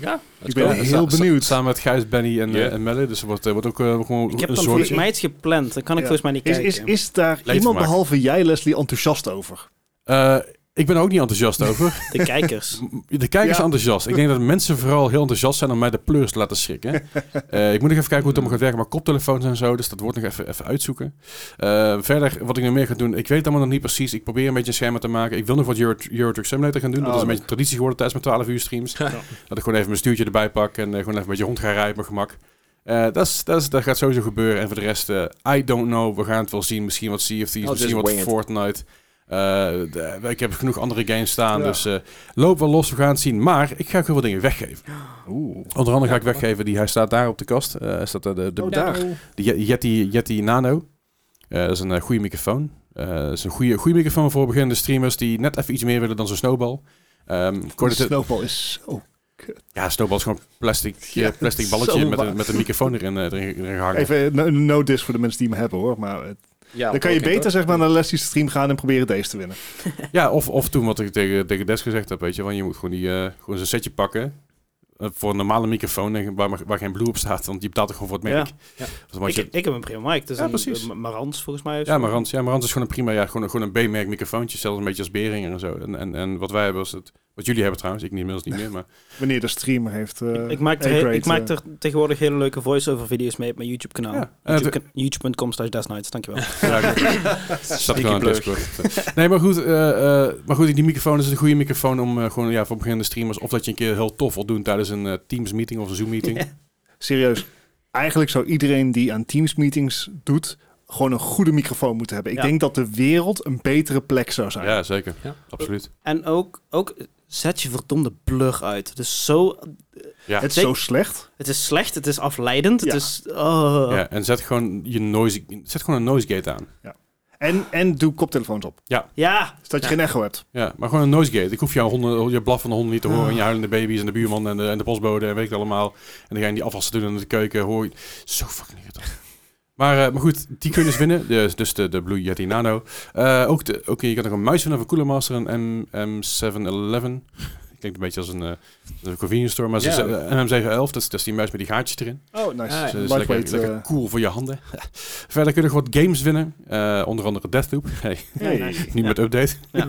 Speaker 3: Ja,
Speaker 4: ik ben
Speaker 1: Ja,
Speaker 4: heel
Speaker 1: sa- sa-
Speaker 4: benieuwd.
Speaker 1: Samen met Gijs, Benny en, eh,
Speaker 3: Ja.
Speaker 1: en Melle. Dus dat wordt, eh, wordt ook eh, gewoon
Speaker 2: Ik heb
Speaker 1: een
Speaker 2: dan
Speaker 1: soort...
Speaker 2: volgens mij iets gepland. Dan kan ik
Speaker 4: Ja.
Speaker 2: volgens mij niet
Speaker 4: Is,
Speaker 2: kijken.
Speaker 4: is, is daar iemand
Speaker 1: Leedvermaak.
Speaker 4: behalve jij, Leslie, enthousiast over?
Speaker 1: Eh, ik ben er ook niet enthousiast over.
Speaker 2: De kijkers.
Speaker 1: De kijkers
Speaker 4: Ja.
Speaker 1: enthousiast. Ik denk dat mensen vooral heel enthousiast zijn om mij de pleurs te laten schrikken. Eh, ik moet nog even kijken hoe het allemaal gaat werken met koptelefoons en zo. Dus dat wordt nog even, even uitzoeken. Eh, verder, wat ik nog meer ga doen, ik weet het allemaal nog niet precies. Ik probeer een beetje een schema te maken. Ik wil nog wat Euro, Euro Truck Simulator gaan doen. dat
Speaker 4: Oh,
Speaker 1: is een
Speaker 4: leuk.
Speaker 1: beetje traditie geworden tijdens mijn 12 uur streams. Dat ik gewoon even mijn stuurtje erbij pak en eh, gewoon even een beetje rond ga rijden op mijn gemak. Eh, dat, is, dat, is, dat gaat sowieso gebeuren. En voor de rest, eh, I don't know. We gaan het wel zien. Misschien wat Sea of Thieves,
Speaker 3: I'll
Speaker 4: Oh,
Speaker 1: misschien
Speaker 3: just
Speaker 1: wat
Speaker 3: wing it.
Speaker 1: Fortnite. Eh, de- ik heb genoeg andere games staan,
Speaker 4: Ja.
Speaker 1: dus eh, loop wel los, we gaan het zien. Maar ik ga ook heel veel dingen weggeven.
Speaker 4: Oeh.
Speaker 1: Onder andere ga ik weggeven, die, hij staat daar op de kast. Eh, hij staat, eh, de, de,
Speaker 4: Oh, daar.
Speaker 2: nou.
Speaker 1: de Ye- Yeti, Yeti Nano. Eh, dat is een eh, goede microfoon. Eh, dat is een goede, goede microfoon voor beginnende streamers die net even iets meer willen dan zo'n snowball. Ehm, ik hoorde
Speaker 4: de
Speaker 1: het-
Speaker 4: snowball is oh. zo...
Speaker 1: ja, snowball is gewoon een plastic, eh,
Speaker 4: Ja,
Speaker 1: plastic
Speaker 4: zo
Speaker 1: balletje met,
Speaker 4: waar.
Speaker 1: een, met een microfoon erin, eh, erin, erin gehangen.
Speaker 4: Even no, no dis voor de mensen die hem hebben, hoor. Maar eh, dan kan je beter zeg maar, naar Leslie's stream gaan en proberen deze te winnen.
Speaker 1: Ja, of, of toen wat ik tegen, tegen Des gezegd heb, weet je, want je moet gewoon, die, eh, gewoon zo'n setje pakken. eh, voor een normale microfoon en waar, maar- waar geen blue op staat, want je betaalt toch gewoon voor het merk.
Speaker 2: Ja.
Speaker 3: Ja.
Speaker 1: Dus dan had
Speaker 2: Ik,
Speaker 1: je-
Speaker 2: ik heb een prima mic. Het is
Speaker 1: Ja,
Speaker 2: een
Speaker 1: precies.
Speaker 2: een Marans volgens mij. of
Speaker 1: ja,
Speaker 2: zo.
Speaker 1: maar Rans, ja, maar Rans is gewoon een prima, ja, gewoon, een- gewoon een B-merk microfoontje, zelfs een beetje als Beringer en zo. En, en, en wat wij hebben is het, wat jullie hebben trouwens, ik niet, inmiddels niet meer, maar
Speaker 4: Wanneer de streamer heeft... eh,
Speaker 2: Ik- ik maak, er, he-
Speaker 4: A-grade,
Speaker 2: ik maak
Speaker 4: eh,
Speaker 2: er tegenwoordig hele leuke voice-over video's mee op mijn YouTube kanaal.
Speaker 1: Ja. Eh,
Speaker 2: YouTube- YouTube.com slash Desnights, dankjewel.
Speaker 1: ja, dat staat gewoon in
Speaker 3: blur.
Speaker 1: Discord. Nee, maar goed, eh, eh, maar goed, die microfoon is een goede microfoon om eh, gewoon, ja, voor beginnende streamers, of dat je een keer heel tof wil doen tijdens een eh, Teams meeting of een Zoom meeting.
Speaker 4: Serieus, eigenlijk zou iedereen die aan Teams meetings doet... gewoon een goede microfoon moeten hebben. Ik
Speaker 2: Ja.
Speaker 4: denk dat de wereld een betere plek zou zijn.
Speaker 1: Ja, zeker.
Speaker 3: Ja.
Speaker 1: Absoluut.
Speaker 2: En ook, ook zet je verdomde blur uit. Het is zo...
Speaker 4: Het is
Speaker 2: Zeker.
Speaker 4: zo slecht.
Speaker 2: Het is slecht, het is afleidend,
Speaker 4: Ja.
Speaker 2: het is... oh.
Speaker 1: Ja, en zet gewoon je noise, zet gewoon een noise gate aan.
Speaker 4: En, en doe koptelefoons op,
Speaker 2: ja.
Speaker 4: zodat je
Speaker 2: Ja.
Speaker 4: geen echo hebt.
Speaker 1: Ja, maar gewoon een noise gate. Ik hoef jouw honden, je blaf van de honden niet te horen. En je huilende baby's en de buurman en de, en de postbode en weet ik het allemaal. En degene die afwas te doen in de keuken, hoor je... Zo fucking irritant. Maar, eh, maar goed, die kun je dus winnen. Dus, dus de, de Blue Yeti Nano. Eh, ook de, oké, je kan nog een muis winnen van Cooler Master, een M711. Klinkt een beetje als een, eh, een convenience store, maar ze eh,
Speaker 3: Ja.
Speaker 1: ze- een M711, dat is, dat is die muis met die gaatjes erin.
Speaker 4: Oh, nice.
Speaker 3: Ah, ja.
Speaker 1: Dus dat is lekker,
Speaker 4: Lightweight.
Speaker 1: lekker
Speaker 4: eh,
Speaker 1: cool voor je handen. Verder kun je nog wat games winnen. Eh, onder andere Deathloop. Hey,
Speaker 4: hey.
Speaker 1: niet met update. Eh,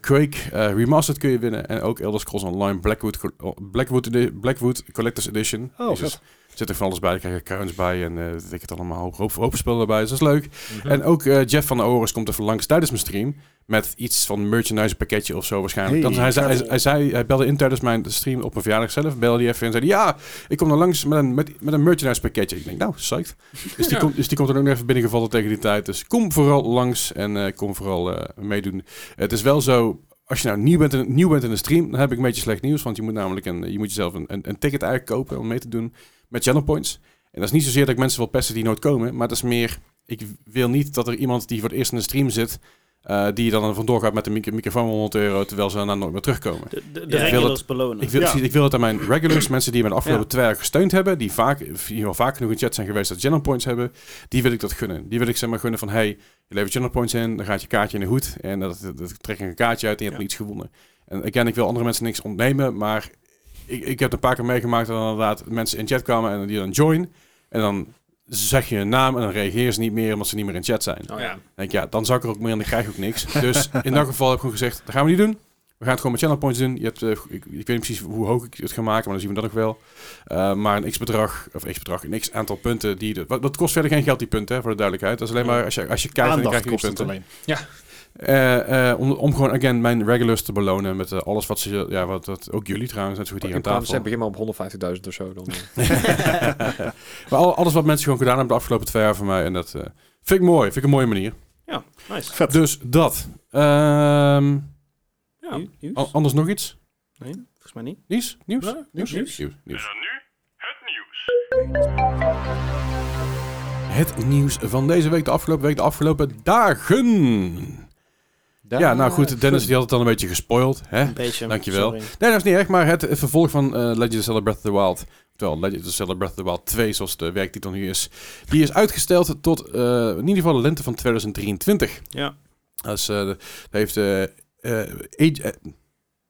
Speaker 1: Quake eh, Remastered kun je winnen. En ook Elder Scrolls Online Blackwood, Co- oh, Blackwood, Edi- Blackwood Collector's Edition.
Speaker 4: Oh,
Speaker 1: Jezus.
Speaker 4: vet.
Speaker 1: Zit er van alles bij. Daar krijg je crowns bij. En eh weet ik het allemaal. Hoop, hoop, hoop spullen erbij. Dus dat is leuk. En ook eh, Jeff van de Oris komt even langs tijdens mijn stream. Met iets van merchandise pakketje of zo waarschijnlijk.
Speaker 4: Hey,
Speaker 1: Dan, hij, zei, hij,
Speaker 4: cool.
Speaker 1: hij zei, hij belde in tijdens mijn stream op mijn verjaardag zelf. Belde hij even en zei hij, ja, ik kom dan langs met een, met, met een merchandise pakketje. Ik denk, nou, psyched. Dus die,
Speaker 3: Ja.
Speaker 1: komt, dus die komt dan ook nog even binnengevallen tegen die tijd. Dus kom vooral langs en eh, kom vooral eh, meedoen. Het is wel zo, als je nou nieuw bent, in, nieuw bent in de stream, dan heb ik een beetje slecht nieuws. Want je moet namelijk een, je moet jezelf een, een, een ticket eigenlijk kopen om mee te doen met channel points. En dat is niet zozeer dat ik mensen wil pesten die nooit komen, maar dat is meer ik wil niet dat er iemand die voor het eerst in de stream zit, eh, die dan er vandoor gaat met een micro- microfoon van 100 euro, terwijl ze daarna nooit meer terugkomen.
Speaker 2: De, de,
Speaker 3: Ja.
Speaker 2: de regulars belonen.
Speaker 1: Ik wil,
Speaker 4: Ja.
Speaker 1: precies, ik wil dat aan mijn regulars, mensen die me de afgelopen twee jaar gesteund hebben, die vaak, hier al vaak genoeg in chat zijn geweest dat channel points hebben, die wil ik dat gunnen. Die wil ik zeg maar gunnen van, hey, je levert channel points in, dan gaat je kaartje in de hoed en dat, dat, dat trek je een kaartje uit en je hebt
Speaker 4: Ja.
Speaker 1: niets gewonnen. En again, ik wil andere mensen niks ontnemen, maar ik, ik heb een paar keer meegemaakt dat inderdaad mensen in chat kwamen en die dan join. En dan zeg je een naam en dan reageren ze niet meer omdat ze niet meer in chat zijn.
Speaker 3: Oh ja.
Speaker 1: Dan denk ik, ja, dan zak ik er ook meer en dan krijg ik ook niks. Dus in dat geval heb ik gewoon gezegd, dat gaan we niet doen. We gaan het gewoon met channel points doen. Je hebt, eh, ik, ik weet niet precies hoe hoog ik het ga maken, maar dan zien we dat nog wel. Eh, maar een x-bedrag, of x-bedrag, een x-aantal punten. Die de, wat, dat kost verder geen geld, die punten, hè, voor de duidelijkheid. Dat is alleen maar als je, als je kijkt, dan krijg
Speaker 4: Aandacht
Speaker 1: je die
Speaker 4: kost het
Speaker 1: punten.
Speaker 4: alleen.
Speaker 1: Eh, eh, om, om gewoon, again, mijn regulars te belonen met eh, alles wat ze... Ja, wat, wat, ook jullie trouwens, net zo
Speaker 4: Oh,
Speaker 1: goed hier aan
Speaker 3: Ik kwam,
Speaker 1: tafel.
Speaker 3: ze begin maar op 150.000 of zo. Dan, eh.
Speaker 1: Maar al- alles wat mensen gewoon gedaan hebben de afgelopen twee jaar voor mij. En dat eh, vind ik mooi. Vind ik een mooie manier.
Speaker 2: Ja, nice.
Speaker 4: Vet.
Speaker 1: Dus dat. Ehm,
Speaker 2: Ja. Nieuws?
Speaker 1: a- anders nog iets?
Speaker 2: Nee, volgens mij niet.
Speaker 1: Nieuws? Nieuws?
Speaker 2: Ja, nieuws.
Speaker 1: Nieuws. En dan nu het nieuws. Het nieuws van deze week, de afgelopen week, de afgelopen dagen. Ja, nou goed, Dennis die had het al een beetje gespoild. Hè?
Speaker 2: Een beetje.
Speaker 1: Dankjewel.
Speaker 2: sorry.
Speaker 1: Nee, dat is niet echt, maar het, het vervolg van eh, Legend of Zelda Breath of the Wild, oftewel Legend of Zelda Breath of the Wild 2, zoals de werktitel nu is, die is uitgesteld tot eh, in ieder geval de lente van 2023.
Speaker 2: Ja.
Speaker 1: Dat, is, eh, de- dat heeft eh eh, AG eh,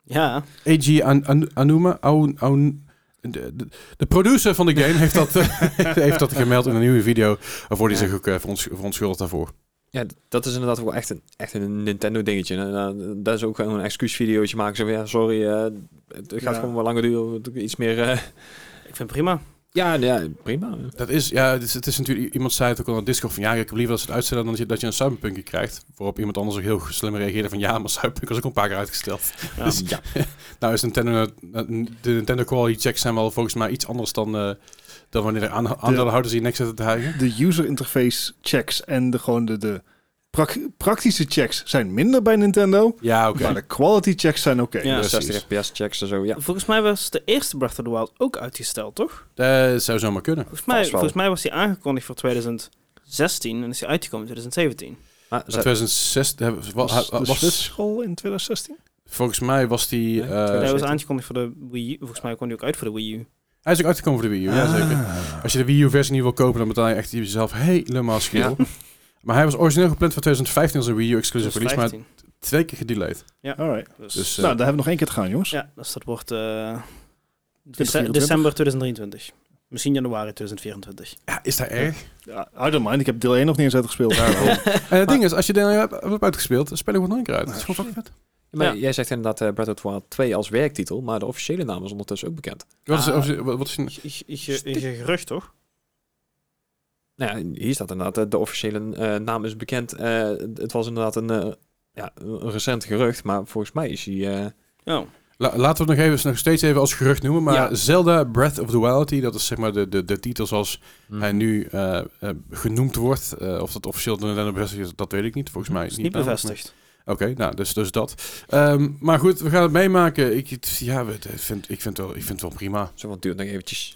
Speaker 2: Ja.
Speaker 1: AG An- An- Anuma, Aun- Aun- de, de- de producer van de game, heeft dat, eh, heeft dat gemeld in een nieuwe video, waarvoor hij
Speaker 3: Ja.
Speaker 1: zich ook eh, verontsch- verontschuldigt daarvoor.
Speaker 3: Ja, d- dat is inderdaad wel echt een, echt een Nintendo dingetje. En, eh, dat is ook gewoon een excuusvideootje maken. Zo van, ja, sorry, eh, het gaat
Speaker 4: Ja.
Speaker 3: gewoon wel langer duren. we moeten Iets meer... eh,
Speaker 2: Ik vind het prima.
Speaker 3: ja, ja, prima.
Speaker 1: Dat is, ja, het is, het is natuurlijk, iemand zei het ook al in Discord van ja, ik heb liever dat ze het uitstellen dan dat je, dat je een cyberpunkje krijgt. Waarop iemand anders ook heel slim reageerde van ja, maar cyberpunk was ook een paar keer uitgesteld.
Speaker 2: Ja.
Speaker 1: Dus-
Speaker 3: ja.
Speaker 1: Nou is Nintendo, de Nintendo quality checks zijn wel volgens mij iets anders dan, eh, dan wanneer er aan, aandeelhouders hier niks zitten te hijgen.
Speaker 4: De user interface checks en de, gewoon de, de prak- praktische checks zijn minder bij Nintendo.
Speaker 1: Ja, oké.
Speaker 4: Maar de quality checks zijn oké.
Speaker 2: Ja.
Speaker 3: Ja,
Speaker 1: precies.
Speaker 3: 60 fps checks en zo, ja.
Speaker 2: Volgens mij was de eerste Breath of the Wild ook uitgesteld, toch?
Speaker 1: Dat Eh, zou zomaar kunnen.
Speaker 2: Volgens mij,
Speaker 3: Vast wel.
Speaker 2: volgens mij was die aangekondigd voor 2016 en is die uitgekomen in 2017.
Speaker 3: Maar
Speaker 1: In 2006 hebben- wa-
Speaker 4: Was,
Speaker 1: was,
Speaker 4: Dus de
Speaker 1: was-
Speaker 4: school in 2016?
Speaker 1: volgens mij was die... eh,
Speaker 2: Nee,
Speaker 3: Nee,
Speaker 2: hij was
Speaker 3: 2017.
Speaker 2: aangekondigd voor de Wii U. Volgens mij kwam die ook uit voor de Wii U.
Speaker 1: hij is ook uitgekomen voor de Wii U, ja, zeker. Als je de Wii U-versie niet wil kopen, dan betaal je echt jezelf helemaal schil. Maar hij was origineel gepland voor 2015 als een Wii U-exclusive release, maar
Speaker 2: 2015.
Speaker 1: twee keer gedelayed.
Speaker 4: Alright.
Speaker 2: Dus,
Speaker 1: Dus, eh,
Speaker 4: nou, daar hebben we nog één keer te gaan, jongens.
Speaker 2: ja, dus dat wordt eh, dece-
Speaker 4: 2024.
Speaker 2: december 2023. Misschien januari 2024.
Speaker 1: ja, is dat erg?
Speaker 4: Ja, I don't mind. Ik heb deel 1 nog niet eens uitgespeeld.
Speaker 1: En het ding is, als je Daniel hebt, hebt uitgespeeld, dan speel ik wat nog een keer uit. Dat is gewoon fucking vet.
Speaker 3: Maar
Speaker 2: Ja.
Speaker 3: jij zegt inderdaad eh, Breath of the Wild 2 als werktitel, maar de officiële naam is ondertussen ook bekend.
Speaker 1: Wat is,
Speaker 2: Ah.
Speaker 1: of- wat- wat is een-
Speaker 2: Is je gerucht, toch?
Speaker 3: Nou ja, hier staat inderdaad, eh, de officiële eh, naam is bekend. Eh, het was inderdaad een, eh, ja, een recent gerucht, maar volgens mij is hij... eh,
Speaker 2: Ja.
Speaker 1: La- laten we het nog, even, nog steeds even als gerucht noemen, maar
Speaker 3: Ja.
Speaker 1: Zelda Breath of the Wild, dat is zeg maar de, de, de titel zoals
Speaker 3: Mhm.
Speaker 1: hij nu eh, eh, genoemd wordt. Eh, of dat officieel door Nintendo bevestigd is, dat weet ik niet. Volgens mij
Speaker 2: Mhm. Is niet
Speaker 1: namelijk,
Speaker 2: bevestigd.
Speaker 1: maar- Oké, nou, dus, dus dat. Ehm, maar goed, we gaan het meemaken. Ik, het- ja, we- het- ik, vind, ik, vind wel, ik vind het wel prima.
Speaker 3: Zo, wat duurt nog eventjes.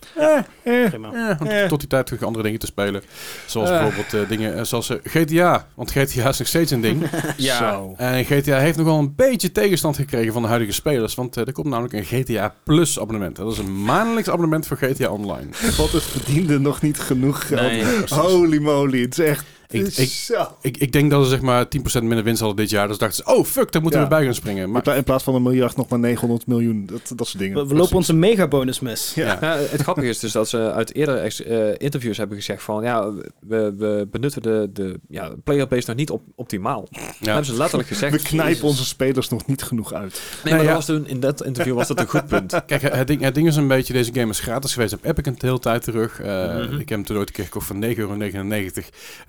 Speaker 2: Prima.
Speaker 1: Ja, want
Speaker 4: Eh.
Speaker 1: Tot die tijd terug andere dingen te spelen. Zoals
Speaker 3: Eh.
Speaker 1: bijvoorbeeld eh, dingen eh, zoals eh, GTA. Want GTA is nog steeds een ding.
Speaker 4: Zo.
Speaker 1: En GTA heeft nogal een beetje tegenstand gekregen van de huidige spelers. Want eh, er komt namelijk een GTA Plus abonnement. Dat is een maandelijks abonnement voor GTA Online.
Speaker 4: God, het verdiende nog niet genoeg geld.
Speaker 3: Nee.
Speaker 4: Holy moly, het is echt...
Speaker 1: Ik- ik-
Speaker 4: zo.
Speaker 1: Ik, ik denk dat ze zeg maar 10% minder winst hadden dit jaar. Dus dachten ze, oh fuck, daar moeten
Speaker 4: Ja.
Speaker 1: we bij gaan springen. Maar
Speaker 4: In pla- In plaats van een miljard nog maar 900 miljoen. Dat, dat soort dingen.
Speaker 2: We, we lopen onze megabonus mis.
Speaker 4: Ja.
Speaker 1: ja.
Speaker 3: Ja, het grappige is dus dat ze uit eerder ex- eh, interviews hebben gezegd van ja, we, we benutten de, de ja, playerbase nog niet op, optimaal. Dat
Speaker 1: Ja.
Speaker 3: hebben ze letterlijk gezegd.
Speaker 4: We knijpen
Speaker 3: Jezus.
Speaker 4: onze spelers nog niet genoeg uit.
Speaker 3: Nee, maar
Speaker 1: Nee, ja.
Speaker 3: dat was toen, in dat interview was dat een goed punt.
Speaker 1: Kijk, het ding, het ding is een beetje, deze game is gratis geweest op Epic een hele tijd terug. Eh,
Speaker 2: Mhm.
Speaker 1: Ik heb hem toen ooit een keer gekocht voor 9,99 euro. En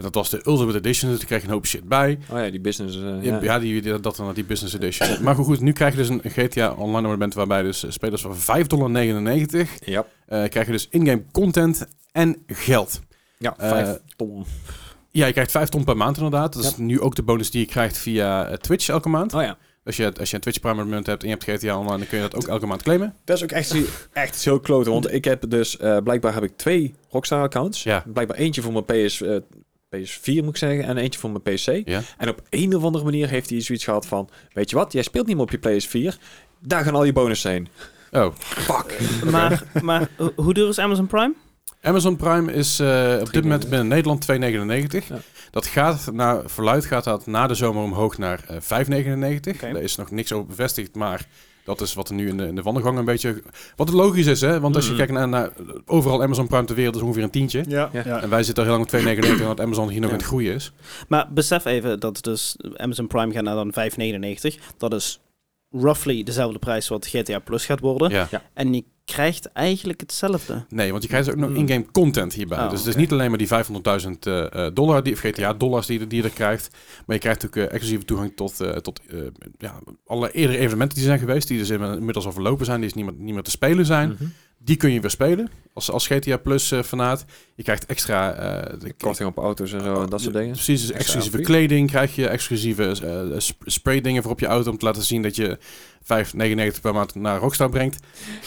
Speaker 1: dat was de Ultimate Edition, dus daar kreeg je een hoop shit bij.
Speaker 3: Oh ja, die business. eh,
Speaker 1: Ja,
Speaker 3: ja.
Speaker 1: ja die, die- dat dan die Business Edition. Maar goed, goed, nu krijg je dus een GTA Online abonnement waarbij dus eh, spelers van 5,99 dollar
Speaker 3: Ja,
Speaker 1: eh krijg je dus in-game content en geld.
Speaker 3: ja
Speaker 1: Eh,
Speaker 3: vijf ton.
Speaker 1: Ja, je krijgt 5 ton per maand inderdaad. Dat is nu ook de bonus die je krijgt via eh, Twitch elke maand.
Speaker 3: Oh ja.
Speaker 1: Als je, als je een Twitch Prime abonnement hebt en je hebt GTA Online, dan kun je dat ook elke maand claimen.
Speaker 3: Dat is ook echt, echt iets heel kloten. Want ik heb dus, eh, blijkbaar heb ik twee Rockstar-accounts.
Speaker 1: Ja.
Speaker 3: Blijkbaar eentje voor mijn PS, eh, PS4 moet ik zeggen en eentje voor mijn PC.
Speaker 1: Ja.
Speaker 3: En op een of andere manier heeft hij zoiets gehad van... Weet je wat, jij speelt niet meer op je PS4. Daar gaan al je bonussen heen.
Speaker 1: Oh,
Speaker 2: Maar, maar ho- hoe duur is Amazon Prime?
Speaker 1: Amazon Prime is eh, op dit moment
Speaker 3: 3,99.
Speaker 1: binnen Nederland 2,99.
Speaker 3: Ja.
Speaker 1: Dat gaat, naar, verluid gaat dat na de zomer omhoog naar eh, 5,99.
Speaker 2: Oké.
Speaker 1: Daar is nog niks over bevestigd, maar Dat is wat er nu in de, in de wandelgang een beetje... Wat het logisch is, hè? Want als je
Speaker 3: Mhm.
Speaker 1: kijkt naar, naar overal Amazon Prime ter wereld is ongeveer een tientje.
Speaker 4: Ja, ja.
Speaker 1: En wij zitten al heel lang op 2,99 en dat Amazon hier nog
Speaker 3: Ja.
Speaker 1: aan het groeien is.
Speaker 2: Maar besef even dat dus Amazon Prime gaat naar dan 5,99. Dat is roughly dezelfde prijs wat GTA Plus gaat worden.
Speaker 1: Ja.
Speaker 2: En je krijgt eigenlijk hetzelfde.
Speaker 1: Nee, want je krijgt dus ook nog
Speaker 3: Mm.
Speaker 1: in-game content hierbij.
Speaker 2: Oh,
Speaker 1: dus het is
Speaker 2: oké.
Speaker 1: niet alleen maar die 500.000 eh, eh, dollar, die, of GTA-dollars die, je- die je er krijgt. Maar je krijgt ook eh, exclusieve toegang tot, eh, tot eh, ja, alle eerdere evenementen die zijn geweest. Die dus inmiddels al verlopen zijn, die dus niet meer, niet meer te spelen zijn.
Speaker 3: Mhm.
Speaker 1: Die kun je weer spelen als, als GTA Plus-fanaat. eh, je krijgt extra... eh, de-
Speaker 3: Korting op auto's en zo en dat soort dingen.
Speaker 1: Precies, dus
Speaker 3: Extra
Speaker 1: exclusieve
Speaker 3: outfit.
Speaker 1: kleding krijg je, exclusieve eh, sp- spraydingen voor op je auto... om te laten zien dat je 5,99 per maand naar Rockstar brengt.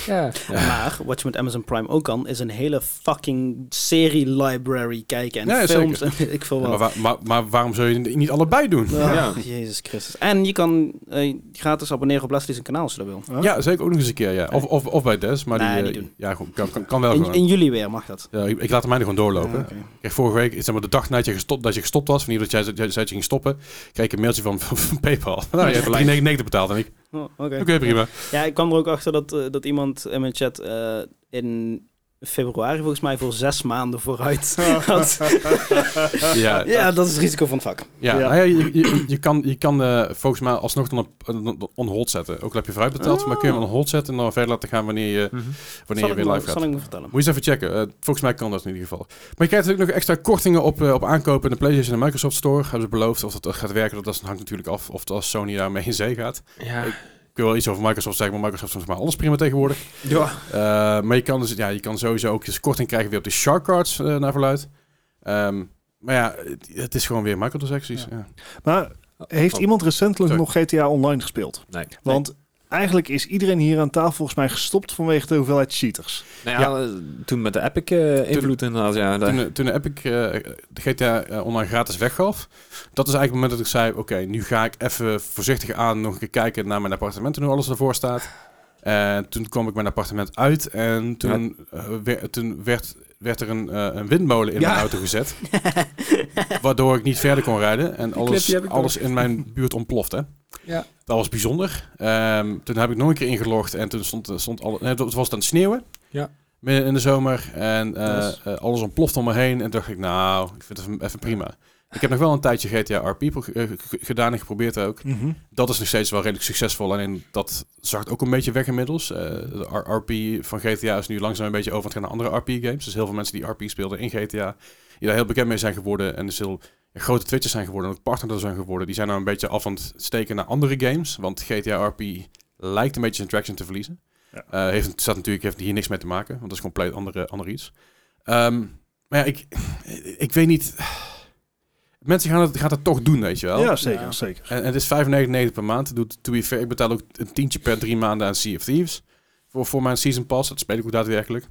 Speaker 3: Ja.
Speaker 2: Maar wat je met Amazon Prime ook kan, is een hele fucking serie library kijken. En
Speaker 1: Ja,
Speaker 2: films en ik veel
Speaker 1: Maar,
Speaker 2: wat.
Speaker 1: wa- maar, maar waarom zou je het niet allebei doen?
Speaker 2: Ah,
Speaker 3: Oh, Ja.
Speaker 2: Jezus Christus. En je kan eh, gratis abonneren op Leslie's kanaal als je dat wil.
Speaker 4: Huh?
Speaker 1: Ja, zeker ook nog eens een keer. Ja. Of, of, of bij Des, maar
Speaker 2: Nee,
Speaker 1: die
Speaker 2: niet
Speaker 1: eh,
Speaker 2: doen.
Speaker 1: ja, goed, kan, kan, kan wel
Speaker 2: In,
Speaker 1: gewoon.
Speaker 2: in juli weer mag dat.
Speaker 1: Ja, ik, ik laat hem mij gewoon doorlopen.
Speaker 2: Ja, Ah, oké.
Speaker 1: Ik kreeg vorige week, zeg maar, de dag nadat je gestopt, dat je gestopt was, van hier dat jij zei zei dat je ging stoppen, kreeg ik een mailtje van, van, van PayPal. Nou, je hebt 3,99 betaald. En ik, oké,
Speaker 2: Oh, oké.
Speaker 1: prima.
Speaker 2: Ja, ik kwam er ook achter dat, eh, dat iemand in mijn chat eh, in februari volgens mij voor zes maanden vooruit had.
Speaker 1: Ja, ja.
Speaker 2: ja, dat is het risico van het vak.
Speaker 4: Ja.
Speaker 1: Nou ja, je, je, je kan, je kan eh, volgens mij alsnog dan op, on- on hold zetten. Ook al heb je vooruit betaald, maar kun je hem on hold zetten en dan verder laten gaan wanneer je,
Speaker 3: Mhm.
Speaker 1: wanneer
Speaker 2: Ah. Zal
Speaker 1: je
Speaker 2: ik,
Speaker 1: weer
Speaker 2: me,
Speaker 1: live gaat.
Speaker 2: zal ik me vertellen.
Speaker 1: Moet je eens even checken. Eh, volgens mij kan dat in ieder geval. Maar je krijgt natuurlijk nog extra kortingen op, eh, op aankopen in de PlayStation en Microsoft Store. Hebben ze beloofd of dat eh, gaat werken. Dat dat hangt natuurlijk af of als Sony daarmee in zee gaat.
Speaker 3: Ja.
Speaker 1: Ik wil wel iets over Microsoft zeggen, maar Microsoft is volgens mij alles prima tegenwoordig.
Speaker 3: Ja.
Speaker 1: Eh, maar je kan, dus, ja, je kan sowieso ook eens korting krijgen weer op de Shark Cards eh, naar verluid. Ehm, maar ja, het, het is gewoon weer microtransacties. Ja.
Speaker 4: Maar heeft
Speaker 3: Oh.
Speaker 4: iemand recentelijk
Speaker 1: Sorry.
Speaker 4: nog GTA Online gespeeld?
Speaker 3: Nee.
Speaker 4: Want eigenlijk is iedereen hier aan tafel volgens mij gestopt vanwege de hoeveelheid cheaters.
Speaker 3: Nou ja, eh, toen met de Epic eh, invloed inderdaad. Ja, daar-
Speaker 1: Toen, eh, toen Epic eh, de GTA eh, online gratis weggaf, dat is eigenlijk het moment dat ik zei: Oké, nu ga ik even voorzichtig aan nog een keer kijken naar mijn appartement en hoe alles ervoor staat. En toen kwam ik mijn appartement uit en toen, eh, wer- toen werd, werd er een, eh, een windmolen in
Speaker 3: Ja.
Speaker 1: mijn auto gezet, waardoor ik niet verder kon rijden en
Speaker 3: clip
Speaker 1: alles,
Speaker 3: die heb ik
Speaker 1: alles in mijn buurt ontplofte.
Speaker 3: Ja.
Speaker 1: Dat was bijzonder. Ehm, toen heb ik nog een keer ingelogd en toen stond, eh, stond alle, nee, het was het aan het sneeuwen.
Speaker 3: Ja.
Speaker 1: Midden in de zomer. En eh,
Speaker 3: Nice.
Speaker 1: eh, alles ontplofte om me heen. En toen dacht ik, nou, ik vind het even, even prima. Ik heb nog wel een tijdje GTA RP pro- eh, g- gedaan en geprobeerd ook.
Speaker 4: Mhm.
Speaker 1: Dat is nog steeds wel redelijk succesvol. Alleen dat zakt ook een beetje weg inmiddels. Eh, de R- RP van GTA is nu langzaam een beetje over aan het gaan naar andere RP-games. Dus heel veel mensen die RP speelden in GTA, die daar heel bekend mee zijn geworden. En dus heel grote twitchers zijn geworden en ook partners zijn geworden. Die zijn nou een beetje af aan het steken naar andere games. Want GTA RP lijkt een beetje zijn traction te verliezen.
Speaker 4: Ja.
Speaker 1: Eh, heeft, staat natuurlijk, heeft hier niks mee te maken, want dat is compleet andere, ander iets. Ehm, maar ja, ik, ik weet niet... Mensen gaan het, gaan het toch doen, weet je wel.
Speaker 4: Ja, zeker,
Speaker 2: Ja.
Speaker 4: zeker.
Speaker 1: En, en het is 5,99 per maand. Doet, to be fair, ik betaal ook een tientje per drie maanden aan Sea of Thieves. Voor, voor mijn season pass. Dat speel ik ook daadwerkelijk.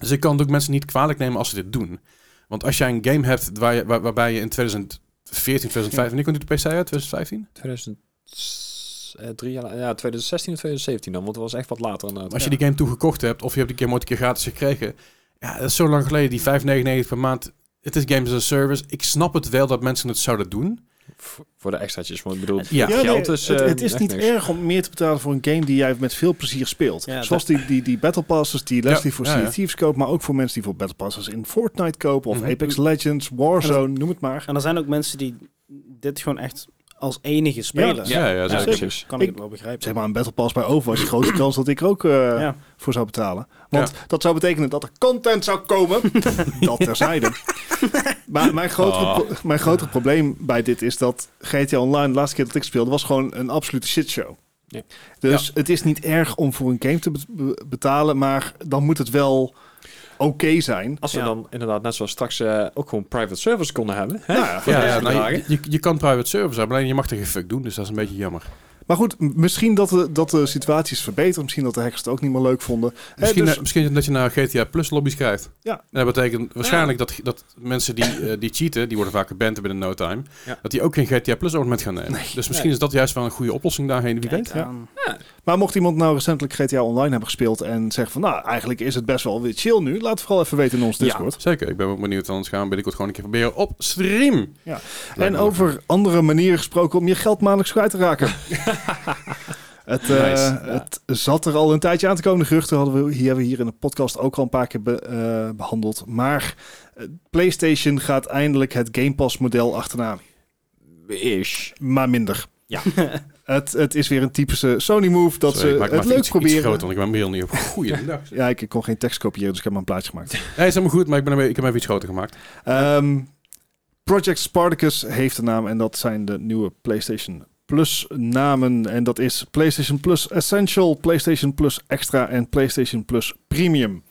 Speaker 1: Dus ik kan het ook mensen niet kwalijk nemen als ze dit doen. Want als jij een game hebt waar je, waar- waarbij je in 2014, 2015... Wanneer komt die de PC uit? 2015?
Speaker 3: 2003, ja, ja, 2016 of 2017 dan, want het was echt wat later inderdaad.
Speaker 1: Als je die game toegekocht hebt of je hebt die game ooit een keer gratis gekregen... Ja, dat is zo lang geleden. Die 5,99 per maand... Het is Games as a Service. Ik snap het wel dat mensen het zouden doen.
Speaker 3: V- voor de extraatjes, want ik bedoel,
Speaker 1: Ja.
Speaker 4: Ja, nee,
Speaker 3: geld is,
Speaker 4: het,
Speaker 3: eh,
Speaker 4: het is
Speaker 3: echt
Speaker 4: niet
Speaker 3: niks.
Speaker 4: erg om meer te betalen voor een game die jij met veel plezier speelt.
Speaker 2: Ja,
Speaker 4: Zoals die, die, die Battle Passes die Leslie voor
Speaker 1: ja,
Speaker 4: Sea
Speaker 1: ja.
Speaker 4: of Thieves koopt, maar ook voor mensen die voor Battle Passes in Fortnite kopen of
Speaker 1: Mhm.
Speaker 4: Apex Legends, Warzone, noem het maar.
Speaker 2: En er zijn ook mensen die dit gewoon echt als enige spelen.
Speaker 1: Ja, ja,
Speaker 3: Ja,
Speaker 1: zeker.
Speaker 3: precies.
Speaker 2: Kan ik,
Speaker 4: Ik-
Speaker 2: het wel begrijpen.
Speaker 4: Zeg maar een Battle Pass bij Overwatch, grote kans dat ik er ook eh,
Speaker 2: Ja.
Speaker 4: voor zou betalen. Want dat zou betekenen dat er content zou komen. dat terzijde. maar mijn grotere,
Speaker 3: Ah.
Speaker 1: Oh.
Speaker 4: pro- mijn grotere probleem bij dit is dat GTA Online, de laatste keer dat ik speelde, was gewoon een absolute shitshow.
Speaker 3: Ja.
Speaker 4: Dus het is niet erg om voor een game te be- be- betalen, maar dan moet het wel oké zijn.
Speaker 3: Als we
Speaker 2: Ja.
Speaker 3: dan inderdaad net zoals straks eh, ook gewoon private servers konden hebben. Hè?
Speaker 4: Ja,
Speaker 3: Voor
Speaker 1: Ja,
Speaker 3: deze
Speaker 1: ja, nou,
Speaker 3: bedragen.
Speaker 1: je, je, je kan private service hebben, alleen je mag er geen fuck doen, dus dat is een beetje jammer.
Speaker 4: Maar goed, m- misschien dat de, dat de situatie is verbeterd. Misschien dat de hackers het ook niet meer leuk vonden. Hè,
Speaker 1: Misschien,
Speaker 4: dus-
Speaker 1: eh, misschien dat je naar GTA Plus lobby's krijgt.
Speaker 4: Ja.
Speaker 1: En dat betekent waarschijnlijk dat, dat mensen die, eh, die cheaten, die worden vaak geband binnen no time,
Speaker 3: Ja.
Speaker 1: dat die ook geen GTA Plus abonnement gaan nemen. Dus misschien
Speaker 3: Nee.
Speaker 1: is dat juist wel een goede oplossing daarheen, wie weet.
Speaker 2: Kijk
Speaker 4: ja.
Speaker 2: aan.
Speaker 4: Maar mocht iemand nou recentelijk GTA Online hebben gespeeld en zegt van, nou, eigenlijk is het best wel weer chill nu. Laat het vooral even weten in ons
Speaker 3: Ja.
Speaker 4: Discord.
Speaker 1: Zeker, ik ben wel benieuwd, anders gaan we binnenkort gewoon een keer proberen op stream.
Speaker 4: Ja.
Speaker 1: Lijkt
Speaker 4: En
Speaker 1: me
Speaker 4: over andere manieren gesproken om je geld maandelijks kwijt te raken. Het, eh,
Speaker 1: Nice.
Speaker 4: het zat er al een tijdje aan te komen. De geruchten hadden we, hier, hebben we hier in de podcast ook al een paar keer be- eh, behandeld. Maar eh, PlayStation gaat eindelijk het Game Pass model achterna.
Speaker 3: Ish.
Speaker 4: Maar minder.
Speaker 3: Ja.
Speaker 4: het, het is weer een typische Sony move dat
Speaker 1: Sorry, ik
Speaker 4: ze
Speaker 1: maak hem
Speaker 4: het
Speaker 1: even
Speaker 4: leuk
Speaker 1: iets,
Speaker 4: proberen.
Speaker 1: Iets groter, want ik ben mijn bril niet op. Goeiedag.
Speaker 4: ja, ik, ik kon geen tekst kopiëren, dus ik heb maar een plaatje gemaakt.
Speaker 1: Nee, is helemaal goed, maar ik, ben hem, ik heb hem even iets groter gemaakt.
Speaker 4: Ehm, Project Spartacus heeft de naam en dat zijn de nieuwe PlayStation Plus namen. En dat is PlayStation Plus Essential, PlayStation Plus Extra en PlayStation Plus Premium.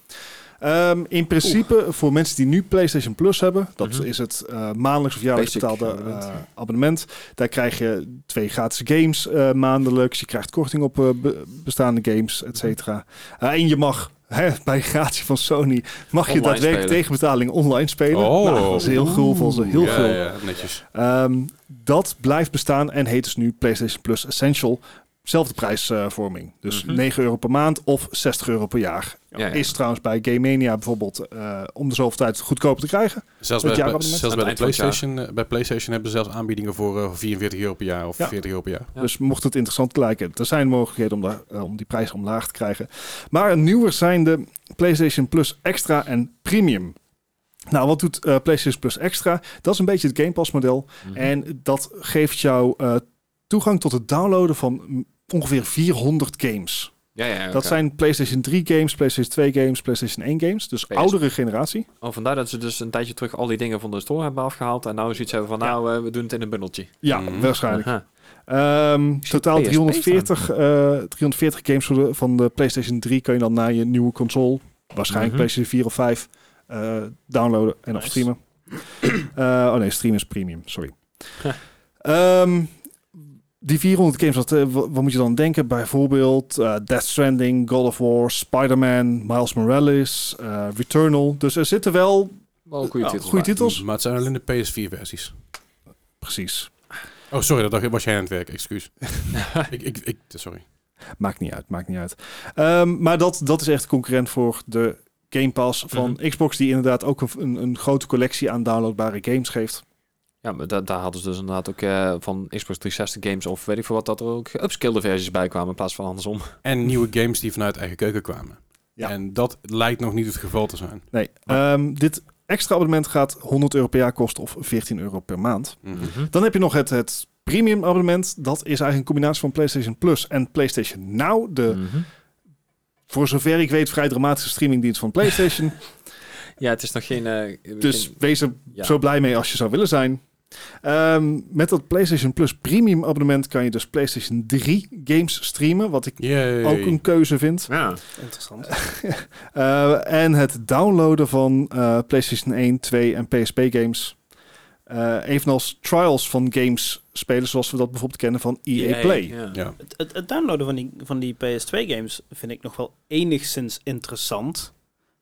Speaker 4: Ehm, in principe, voor mensen die nu PlayStation Plus hebben, dat
Speaker 3: Mhm.
Speaker 4: is het eh, maandelijks of jaarlijks
Speaker 3: Basic
Speaker 4: betaalde eh,
Speaker 3: abonnement.
Speaker 4: abonnement. Daar krijg je twee gratis games eh, maandelijks. Je krijgt korting op eh, be- bestaande games,
Speaker 3: Mhm.
Speaker 4: et cetera. Eh, en je mag, hè, bij gratie van Sony, mag je
Speaker 5: Online
Speaker 4: daadwerkelijk
Speaker 5: spelen.
Speaker 4: tegen betaling online spelen.
Speaker 1: Oh.
Speaker 4: Nou, dat is heel gul van ze, heel
Speaker 1: ja,
Speaker 4: gul.
Speaker 1: ja, netjes.
Speaker 4: Ehm, dat blijft bestaan en heet dus nu PlayStation Plus Essential. Zelfde prijsvorming. dus
Speaker 3: Mhm.
Speaker 4: 9 euro per maand of 60 euro per jaar.
Speaker 5: Ja, ja.
Speaker 4: Is trouwens bij Game Mania bijvoorbeeld eh, om de zoveel tijd goedkoper te krijgen.
Speaker 1: Zelfs bij,
Speaker 4: Het
Speaker 1: bij,
Speaker 4: jaarabonnement?
Speaker 1: zelfs bij,
Speaker 5: Aan het
Speaker 1: de
Speaker 5: eind van het
Speaker 1: PlayStation, eh, bij PlayStation hebben ze zelfs aanbiedingen voor eh, 44 euro per jaar of
Speaker 4: Ja.
Speaker 1: 40 euro per jaar.
Speaker 5: Ja.
Speaker 4: Dus mocht het interessant lijken, er zijn mogelijkheden om, daar, eh, om die prijs omlaag te krijgen. Maar nieuwer zijn de PlayStation Plus Extra en Premium. Nou, wat doet eh, PlayStation Plus Extra? Dat is een beetje het Game Pass model.
Speaker 5: Mhm.
Speaker 4: En dat geeft jou eh, toegang tot het downloaden van mm, ongeveer 400 games.
Speaker 5: Ja, ja,
Speaker 4: Dat zijn PlayStation 3 games, PlayStation 2 games, PlayStation 1 games. Dus
Speaker 5: PS.
Speaker 4: oudere generatie.
Speaker 3: Oh, vandaar dat ze dus een tijdje terug al die dingen van de store hebben afgehaald. En nou zoiets hebben van, nou, eh, we doen het in een bundeltje.
Speaker 4: Ja,
Speaker 1: Mhm.
Speaker 4: waarschijnlijk.
Speaker 3: Aha.
Speaker 4: Ehm, totaal
Speaker 3: PSP
Speaker 4: 340, eh, 340 games van de, van de PlayStation 3 kan je dan naar je nieuwe console, waarschijnlijk
Speaker 3: Mhm.
Speaker 4: PlayStation 4 of 5, eh, downloaden en of
Speaker 2: Nice.
Speaker 4: streamen. Eh, oh nee, streamen is premium, sorry. Ehm, die 400 games, wat, eh, wa- wat, moet je dan denken? Bijvoorbeeld eh, Death Stranding, God of War, Spider-Man, Miles Morales, eh, Returnal. Dus er zitten wel
Speaker 5: wel een goede
Speaker 4: eh,
Speaker 5: titel.
Speaker 4: goede titels.
Speaker 1: Maar het zijn alleen de PS4-versies.
Speaker 4: Precies,
Speaker 1: Oh, sorry, dat dacht ik, was jij aan het werk, excuus. ik, ik, ik, sorry.
Speaker 4: Maakt niet uit, maakt niet uit. Ehm, maar dat, dat is echt concurrent voor de Game Pass van Xbox, die inderdaad ook een, een, een grote collectie aan downloadbare games geeft.
Speaker 3: Ja, maar da- daar hadden ze dus inderdaad ook eh, van Xbox 360 games of weet ik veel wat, dat er ook upskilled versies bij kwamen in plaats van andersom.
Speaker 1: En nieuwe games die vanuit eigen keuken kwamen.
Speaker 4: Ja.
Speaker 1: En dat lijkt nog niet het geval te zijn.
Speaker 4: Nee, ehm, dit extra abonnement gaat 100 euro per jaar kosten of 14 euro per maand.
Speaker 3: Mhm.
Speaker 1: Mhm.
Speaker 4: Dan heb je nog het, het premium abonnement. Dat is eigenlijk een combinatie van PlayStation Plus en PlayStation Now. De,
Speaker 3: Mhm.
Speaker 4: voor zover ik weet, vrij dramatische streamingdienst van PlayStation.
Speaker 3: Ja, het is nog geen... eh,
Speaker 4: dus
Speaker 3: geen-
Speaker 4: wees er
Speaker 3: ja.
Speaker 4: zo blij mee als je zou willen zijn. Ehm, met dat PlayStation Plus Premium abonnement kan je dus PlayStation 3 games streamen, wat ik
Speaker 1: Yay.
Speaker 4: ook een keuze vind.
Speaker 5: Ja.
Speaker 2: Interessant.
Speaker 4: Eh, en het downloaden van eh, PlayStation 1, 2 en PSP games. Eh, evenals trials van games spelen, zoals we dat bijvoorbeeld kennen van EA, E
Speaker 3: E
Speaker 4: Play.
Speaker 3: Ja.
Speaker 1: Ja.
Speaker 2: Het, het, het downloaden van die, van die PS2-games vind ik nog wel enigszins interessant.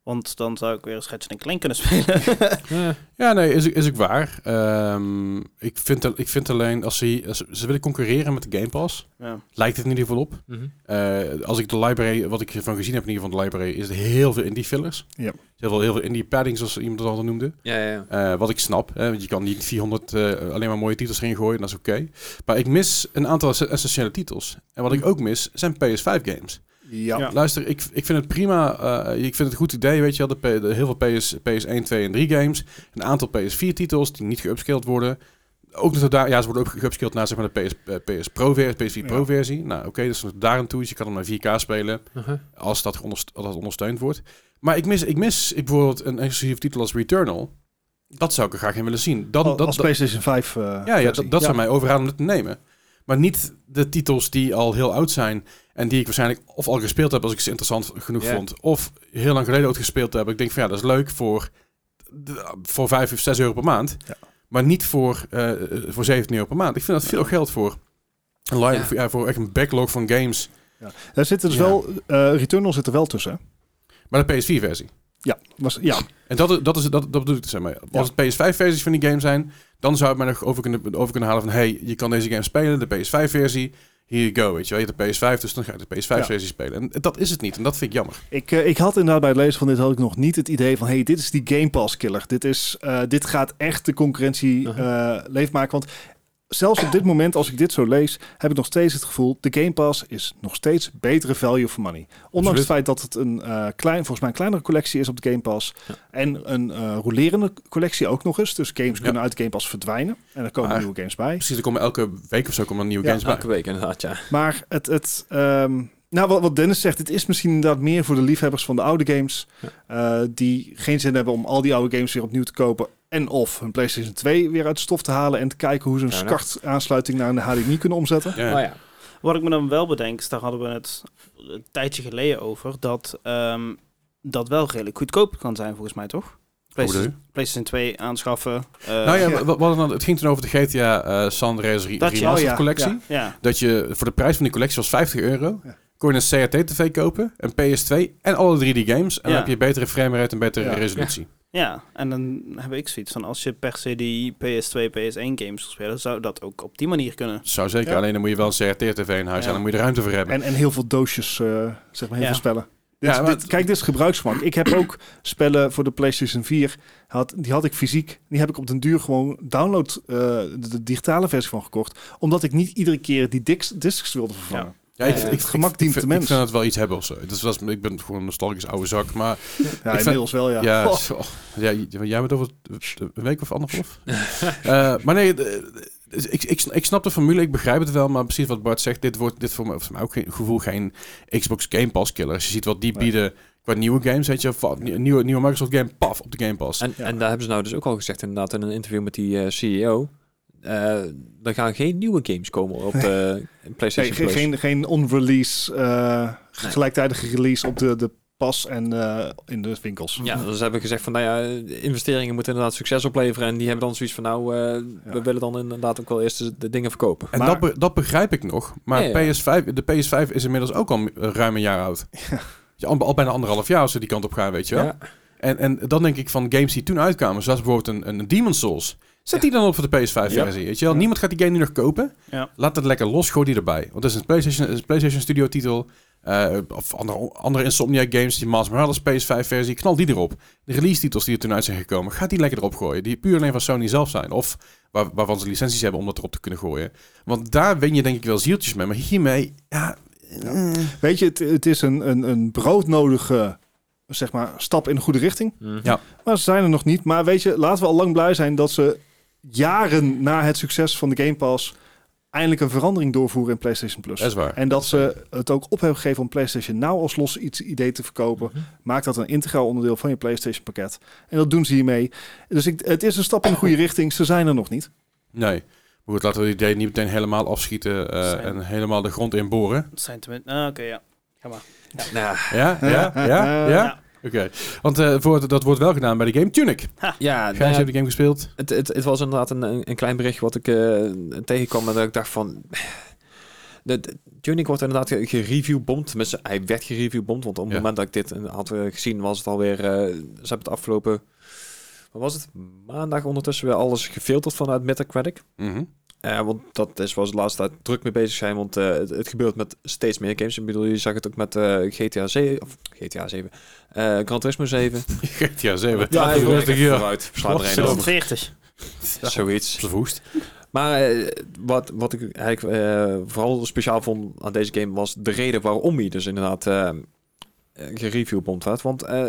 Speaker 2: Want dan zou ik weer eens Ratchet en Clank kunnen spelen.
Speaker 3: Ja.
Speaker 1: Ja, nee, is, is ook waar. Ehm, ik, vind, al- ik vind alleen, als ze, als ze- ze willen concurreren met de Game Pass,
Speaker 2: ja.
Speaker 1: lijkt het in ieder geval op.
Speaker 3: Mhm.
Speaker 1: Eh, als ik de library, wat ik van gezien heb in ieder geval van de library, is er heel veel indie fillers.
Speaker 4: Ja.
Speaker 1: Er is Heel veel, heel veel indie padding, zoals iemand het al noemde.
Speaker 3: ja, ja, ja.
Speaker 1: Eh, wat ik snap, hè, want je kan niet 400 eh, alleen maar mooie titels erin gooien, dat is oké. Maar ik mis een aantal ess- essentiële titels. En wat ik ook mis, zijn PS5 games.
Speaker 4: Ja.
Speaker 2: Ja.
Speaker 1: Luister, ik, ik vind het prima. eh, ik vind het een goed idee. Weet je, wel, de, P- de heel veel PS, PS1, 2 en 3 games. Een aantal PS4-titels die niet geupscaled worden. Ook nog daar, ja, ze worden ook geupscaled naar zeg maar, de PS, eh, PS Pro versie, PS4 Pro
Speaker 4: Ja.
Speaker 1: versie. Nou, oké, dus nog daar aan toe. Dus je kan hem naar 4K spelen
Speaker 4: Uh-huh.
Speaker 3: Mhm.
Speaker 1: als dat, onderst- als dat ondersteund wordt. Maar ik mis, ik mis ik bijvoorbeeld een exclusief titel als Returnal. Dat zou ik er graag in willen zien. Dat,
Speaker 4: Al-
Speaker 1: dat,
Speaker 4: Oh, als
Speaker 1: dat-
Speaker 4: PlayStation 5. eh,
Speaker 1: ja, ja
Speaker 4: versie.
Speaker 1: dat, dat zou mij overhalen om het te nemen. Maar niet de titels die al heel oud zijn en die ik waarschijnlijk of al gespeeld heb als ik ze interessant genoeg
Speaker 3: Ja.
Speaker 1: vond. Of heel lang geleden ook gespeeld heb. Ik denk van ja, dat is leuk voor, de- voor 5 of 6 euro per maand.
Speaker 4: Ja.
Speaker 1: Maar niet voor, eh voor 17 euro per maand. Ik vind dat veel geld voor, een li-
Speaker 3: Ja.
Speaker 1: voor, ja, voor echt een backlog van games.
Speaker 4: Daar zitten dus
Speaker 1: Ja.
Speaker 4: wel. eh, Returnal zit er wel tussen. hè?
Speaker 1: Maar de PS4-versie.
Speaker 4: Ja, was, ja,
Speaker 1: En dat, dat, is, dat, dat bedoel ik dus mee. Als het PS5-versies van die game zijn, dan zou ik mij nog over kunnen, over kunnen halen van... hey, je kan deze game spelen, de PS5-versie, here you go, weet je wel. Je hebt de PS5, dus dan ga je de PS5-versie spelen. En dat is het niet, en dat vind ik jammer.
Speaker 4: Ik, eh, ik had inderdaad bij het lezen van dit had ik nog niet het idee van... hey, dit is die Game Pass killer. Dit, is, eh, dit gaat echt de concurrentie
Speaker 1: Uh-huh.
Speaker 3: Mhm.
Speaker 4: eh, leefmaken. Want zelfs op dit moment, als ik dit zo lees, heb ik nog steeds het gevoel... de Game Pass is nog steeds betere value for money. Ondanks
Speaker 1: Absoluut.
Speaker 4: het feit dat het een eh, klein, volgens mij een kleinere collectie is op de Game Pass...
Speaker 3: Ja.
Speaker 4: en een eh rolerende collectie ook nog eens. Dus games
Speaker 1: Ja.
Speaker 4: kunnen uit de Game Pass verdwijnen. En er komen
Speaker 1: Maar-
Speaker 4: nieuwe games bij.
Speaker 1: Precies, er komen elke week of zo komen er nieuwe
Speaker 4: Ja,
Speaker 1: games bij.
Speaker 3: Elke week inderdaad, ja.
Speaker 4: Maar het, het ehm, nou, wat, wat Dennis zegt, het is misschien inderdaad meer voor de liefhebbers van de oude games. eh, die geen zin hebben om al die oude games weer opnieuw te kopen. En of hun PlayStation 2 weer uit de stof te halen en te kijken hoe ze een
Speaker 3: Ja, nou.
Speaker 4: skart aansluiting naar een HDMI kunnen omzetten.
Speaker 1: Ja.
Speaker 3: Maar Oh ja.
Speaker 2: Wat ik me dan wel bedenk, is daar hadden we het een tijdje geleden over, dat ehm, dat wel redelijk goedkoop kan zijn volgens mij, toch?
Speaker 1: bedoel je?
Speaker 2: PlayStation, PlayStation 2 aanschaffen. eh,
Speaker 1: nou ja,
Speaker 4: ja.
Speaker 1: wa- wa- wat dan- het ging toen over de GTA eh San Andreas re-
Speaker 2: Dat je-
Speaker 1: Remastered
Speaker 4: oh ja,
Speaker 1: collectie.
Speaker 4: ja.
Speaker 2: ja.
Speaker 1: Dat je voor de prijs van die collectie was 50 euro.
Speaker 4: Ja.
Speaker 1: Kon je een CRT-tv kopen, een PS2 en alle drie die games. En dan
Speaker 2: Ja.
Speaker 1: heb je betere framerate en betere
Speaker 4: Ja.
Speaker 1: resolutie.
Speaker 2: Ja, en dan heb ik zoiets van als je per se die PS2, PS1 games wil spelen, zou dat ook op die manier kunnen.
Speaker 1: Zou zeker.
Speaker 4: Ja.
Speaker 1: Alleen dan moet je wel een CRT-tv in huis
Speaker 2: Ja.
Speaker 1: en dan moet je er ruimte voor hebben.
Speaker 4: En, en heel veel doosjes, eh, zeg maar, heel
Speaker 2: Ja.
Speaker 4: veel spellen.
Speaker 1: Ja,
Speaker 4: Dit-
Speaker 1: maar-
Speaker 4: dit- kijk, dit is gebruiksgemak. Ik heb ook spellen voor de PlayStation 4. Had, die had ik fysiek. Die heb ik op den duur gewoon download, eh, de, de digitale versie van gekocht. Omdat ik niet iedere keer die discs, discs wilde vervangen.
Speaker 1: Ja, ik,
Speaker 2: Ja,
Speaker 1: ik,
Speaker 2: het
Speaker 1: ik,
Speaker 4: gemak
Speaker 1: ik
Speaker 4: dient
Speaker 1: vind-
Speaker 4: de mens.
Speaker 1: Ik vind dat wel iets hebben of zo. Dus dat is, ik ben gewoon een nostalgisch oude zak. Maar
Speaker 4: Ja,
Speaker 1: Ik vind-
Speaker 4: inmiddels wel, ja.
Speaker 1: ja,
Speaker 4: Oh.
Speaker 1: zo- ja, j- jij bent over t- een week of anderhalf. Eh, maar nee, de- dus ik, ik, ik snap de formule, ik begrijp het wel. Maar precies wat Bart zegt, dit wordt dit voor mij, voor mij ook geen gevoel geen Xbox Game Pass killer. Als je ziet wat die
Speaker 4: Nee.
Speaker 1: bieden qua nieuwe games, weet je, van, nie- nieuwe, nieuwe Microsoft game, paf, op de Game Pass.
Speaker 3: En,
Speaker 4: Ja.
Speaker 3: en daar hebben ze nou dus ook al gezegd inderdaad in een interview met die eh, CEO. eh, er gaan geen nieuwe games komen op eh,
Speaker 4: Nee,
Speaker 3: PlayStation
Speaker 4: geen,
Speaker 3: Plus.
Speaker 4: geen, geen on-release, eh, gelijktijdige release op de, de pas en eh, in de winkels.
Speaker 3: Ja, dus ze hebben gezegd van, nou ja, investeringen moeten inderdaad succes opleveren. En die hebben dan zoiets van, nou, eh,
Speaker 4: Ja.
Speaker 3: we willen dan inderdaad ook wel eerst de, de dingen verkopen.
Speaker 1: En
Speaker 4: maar-
Speaker 1: dat, be- dat begrijp ik nog. Maar
Speaker 3: Ja, ja.
Speaker 1: PS5, de PS5 is inmiddels ook al eh, ruim een jaar oud. Ja. Al, al bijna anderhalf jaar als ze die kant op gaan, weet je wel.
Speaker 3: Ja.
Speaker 1: En, en dan denk ik van games die toen uitkwamen, zoals bijvoorbeeld een, een Demon's Souls. Zet die dan op voor de PS5-versie, weet je wel.
Speaker 4: Ja.
Speaker 1: Niemand gaat die game nu nog kopen.
Speaker 2: Ja.
Speaker 1: Laat het lekker los, gooi die erbij. Want het is een PlayStation, het is een PlayStation Studio titel. eh, of andere, andere Insomniac games, die Miles Morales PS5-versie, knal die erop. De release-titels die er toen uit zijn gekomen, gaat die lekker erop gooien. Die puur alleen van Sony zelf zijn. Of waar, waarvan ze licenties hebben om dat erop te kunnen gooien. Want daar win je denk ik wel zieltjes mee. Maar hiermee, ja... eh.
Speaker 4: Weet je, het, het is een, een, een broodnodige zeg maar, stap in de goede richting.
Speaker 3: Mhm.
Speaker 1: Ja.
Speaker 4: Maar ze zijn er nog niet. Maar weet je, laten we al lang blij zijn dat ze jaren na het succes van de Game Pass eindelijk een verandering doorvoeren in PlayStation Plus.
Speaker 1: Dat is waar.
Speaker 4: En dat ze het ook op hebben gegeven om PlayStation Now als los iets idee te verkopen.
Speaker 3: Mhm.
Speaker 4: Maakt dat een integraal onderdeel van je PlayStation pakket. En dat doen ze hiermee. Dus ik, het is een stap in de goede richting. Ze zijn er nog niet.
Speaker 1: Nee. Maar goed, laten we die idee niet meteen helemaal afschieten eh,
Speaker 2: Zijn-
Speaker 1: en helemaal de grond inboren.
Speaker 2: Dat zijn tenminste. ah, Oké, ja. Ga maar.
Speaker 3: Nou,
Speaker 1: Ja, ja, ja, ja.
Speaker 2: Ja.
Speaker 1: Oké, want eh, voor, dat wordt wel gedaan bij de game Tunic.
Speaker 3: ja,
Speaker 1: Gijs,
Speaker 3: nou ja,
Speaker 1: heb je de game gespeeld?
Speaker 3: het, het, het was inderdaad een, een een klein bericht wat ik eh, tegenkwam. En dat ik dacht van... eh, De, de Tunic wordt inderdaad ge- gereviewbomd. Tenminste, hij werd gereviewbomd. Want op het
Speaker 1: Ja.
Speaker 3: moment dat ik dit eh, had eh, gezien, was het alweer... eh, ze hebben het afgelopen... Wat was het? Maandag ondertussen weer alles gefilterd vanuit Metacritic.
Speaker 1: Mhm.
Speaker 3: Eh, want dat is waar ze de laatste tijd druk mee bezig zijn. Want eh, het, het gebeurt met steeds meer games. Ik bedoel, je zag het ook met eh, GTA 7. Of GTA 7. eh Gran Turismo 7.
Speaker 1: GTA 7.
Speaker 3: Ja,
Speaker 1: Even rustig hier.
Speaker 3: vooruit. Verslaan er
Speaker 1: Wat
Speaker 3: een
Speaker 1: zo.
Speaker 3: dan.
Speaker 2: 40.
Speaker 3: Zoiets.
Speaker 1: Verwoest.
Speaker 3: Maar eh, wat, wat ik eigenlijk eh, vooral speciaal vond aan deze game... was de reden waarom hij dus inderdaad eh gereviewbomd werd. Want eh,